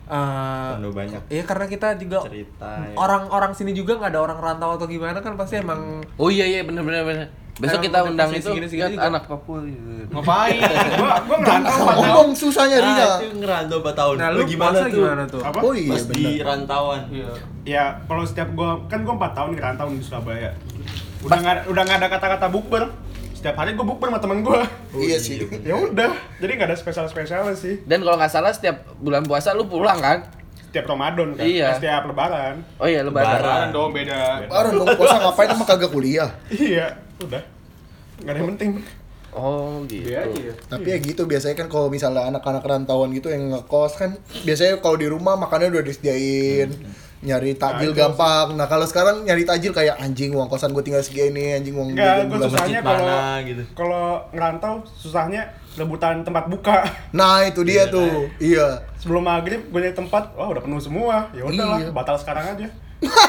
Speaker 7: eh,
Speaker 6: Penuh banyak
Speaker 7: Iya karena kita juga
Speaker 6: cerita. ya.
Speaker 7: orang-orang sini juga nggak ada orang rantau atau gimana kan pasti emang
Speaker 3: Oh iya iya bener bener bener. Besok
Speaker 7: Emang
Speaker 3: kita
Speaker 7: udah
Speaker 3: undang
Speaker 7: posisi
Speaker 3: itu
Speaker 7: segini-segini
Speaker 3: lihat
Speaker 7: juga.
Speaker 3: anak Papua gitu.
Speaker 5: Ngapain? Gua gua
Speaker 2: Dan
Speaker 5: ngerantau
Speaker 2: asal
Speaker 5: empat tahun.
Speaker 2: ngomong susah nyarinya.
Speaker 6: Ah, itu ngerantau 4 tahun.
Speaker 7: Nah, lu
Speaker 6: gimana
Speaker 7: puasa
Speaker 6: tuh?
Speaker 7: gimana tuh?
Speaker 5: Apa?
Speaker 2: Oh iya
Speaker 6: Pas di
Speaker 2: benar.
Speaker 6: rantauan.
Speaker 5: Ya, kalau setiap gua kan gua 4 tahun ngerantau di Surabaya. Udah nggak udah nggak ada kata-kata bukber. Setiap hari gua bukber sama teman gua.
Speaker 2: Iya sih.
Speaker 5: Ya udah, jadi nggak ada spesial-spesialnya sih.
Speaker 3: Dan kalau nggak salah setiap bulan puasa lu pulang kan?
Speaker 5: Setiap Ramadan kan,
Speaker 3: Iya.
Speaker 5: Eh, setiap lebaran.
Speaker 3: Oh iya lebaran.
Speaker 6: Lebaran.
Speaker 5: Lebaran dong beda.
Speaker 2: Orang mau puasa ngapain emang kagak kuliah.
Speaker 5: Iya, udah. Gak ada yang penting.
Speaker 3: Oh gitu.
Speaker 2: Tapi ya gitu biasanya kan kalau misalnya anak-anak rantauan gitu yang ngekos kan biasanya kalau di rumah makannya udah disediain. Nyari takjil gampang. Nah, kalau sekarang nyari takjil kayak anjing uang kosan gue tinggal segini, anjing uang jajan
Speaker 5: Enggak,
Speaker 2: gua
Speaker 5: gue
Speaker 2: lama."
Speaker 5: susahnya
Speaker 6: masjid
Speaker 5: kalau
Speaker 6: mana, gitu.
Speaker 5: kalau ngerantau susahnya rebutan tempat buka.
Speaker 2: Nah, itu dia tuh. Iya.
Speaker 5: Sebelum maghrib gue nyari tempat, wah udah penuh semua. Ya udahlah, batal sekarang aja.
Speaker 2: Iya.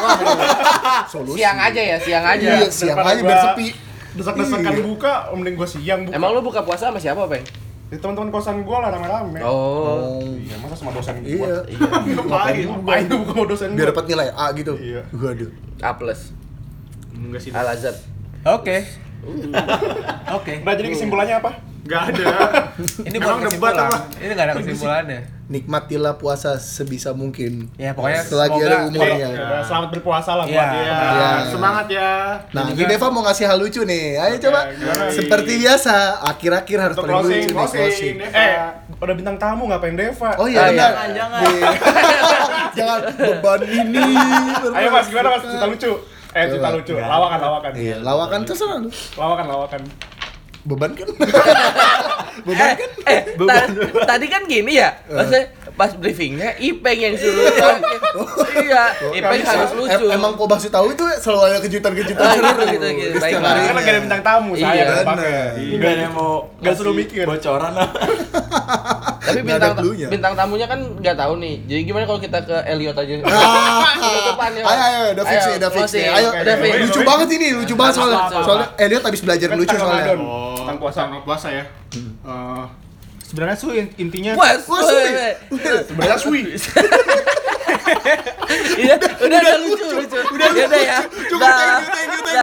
Speaker 2: Solusi.
Speaker 3: Siang aja ya, siang aja.
Speaker 2: Iya, siang
Speaker 5: Daripada
Speaker 2: aja biar
Speaker 5: gua
Speaker 2: sepi.
Speaker 5: Desak-desakan
Speaker 2: Iya.
Speaker 5: buka, oh, mending gue siang buka.
Speaker 3: Emang lu buka puasa sama siapa, Peng?
Speaker 5: Jadi teman-teman kosan gue lah rame-rame.
Speaker 3: Oh.
Speaker 5: Iya, masa sama dosen gue?
Speaker 2: Iya.
Speaker 5: Ngapain? Ngapain gue buka sama dosen gue?
Speaker 2: Biar dapat nilai A gitu.
Speaker 5: Iya.
Speaker 2: Waduh.
Speaker 3: Oh, A plus.
Speaker 5: Enggak sih.
Speaker 3: Al Azhar.
Speaker 7: Oke. Oke.
Speaker 5: Nah, jadi kesimpulannya apa? Gak ada.
Speaker 7: Ini bukan kesimpulan. Ini nggak ada kesimpulannya.
Speaker 2: Nikmatilah puasa sebisa mungkin.
Speaker 7: Ya pokoknya
Speaker 2: Selagi
Speaker 7: semoga
Speaker 2: ada umurnya.
Speaker 5: Selamat berpuasa lah buat
Speaker 7: Iya.
Speaker 5: dia.
Speaker 2: Iya.
Speaker 5: Semangat ya.
Speaker 2: Nah, ini Deva mau ngasih hal lucu nih. Ayo
Speaker 5: Oke,
Speaker 2: coba.
Speaker 5: gimana nih?
Speaker 2: Seperti biasa, akhir-akhir harus
Speaker 5: Untuk
Speaker 2: paling lucu
Speaker 5: closing,
Speaker 2: nih
Speaker 5: closing.
Speaker 2: closing.
Speaker 5: Eh, udah bintang tamu ngapain Deva?
Speaker 2: Oh iya, benar.
Speaker 6: Jangan, jangan.
Speaker 2: Di- jangan beban ini.
Speaker 5: Ayo mas, gimana mas? Cerita lucu. Eh, cerita
Speaker 2: Coba.
Speaker 5: lucu. Lawakan, lawakan.
Speaker 2: Iya, lawakan terserah lu.
Speaker 5: Lawakan, lawakan.
Speaker 2: Beban kan?
Speaker 3: Eh, eh ta- tadi kan gini ya, maksudnya pas briefingnya Ipeng yang suruh Iya, Ipeng
Speaker 5: bisa.
Speaker 3: harus lucu.
Speaker 2: Em- Emang kok Basu tahu itu selalu ada kejutan-kejutan
Speaker 3: Ah,
Speaker 2: seru.
Speaker 3: gitu, gitu, gitu.
Speaker 2: Di setiap
Speaker 3: Baiklah.
Speaker 2: harinya.
Speaker 5: Kan lagi ada bintang tamu, saya
Speaker 3: Iya,
Speaker 5: ada pakai.
Speaker 2: bener.
Speaker 5: Iya.
Speaker 6: Gak ada yang mau
Speaker 5: Nggak suruh
Speaker 6: ngasih
Speaker 5: mikir.
Speaker 6: Bocoran lah.
Speaker 3: Tapi
Speaker 2: Nggak ada
Speaker 3: bintang
Speaker 2: cluenya.
Speaker 3: bintang tamunya kan nggak tahu nih. Jadi gimana kalau kita ke ya. Elliot aja? Penutupan, Elliot.
Speaker 2: Ah, Ayo, ayo, udah fix nih, udah fix nih.
Speaker 3: closing.
Speaker 2: Ayo,
Speaker 5: Oke,
Speaker 2: udah
Speaker 5: oke.
Speaker 2: fix. lucu banget ini, lucu banget soalnya.
Speaker 3: Apa, apa, apa.
Speaker 2: Soalnya Elliot habis belajar
Speaker 5: Kan
Speaker 2: lucu
Speaker 5: tentang Ramadan.
Speaker 2: soalnya.
Speaker 5: Tentang puasa.
Speaker 9: puasa ya. Eh, sebenarnya tuh in- intinya
Speaker 3: Wah,
Speaker 2: Wah,
Speaker 3: wah,
Speaker 2: sulit.
Speaker 3: wah.
Speaker 5: Sebenarnya sui.
Speaker 3: Iya, udah, udah lucu, Ya lucu. Udah, udah ya.
Speaker 2: Cukup,
Speaker 3: Dah.
Speaker 2: thank you, thank you, thank you.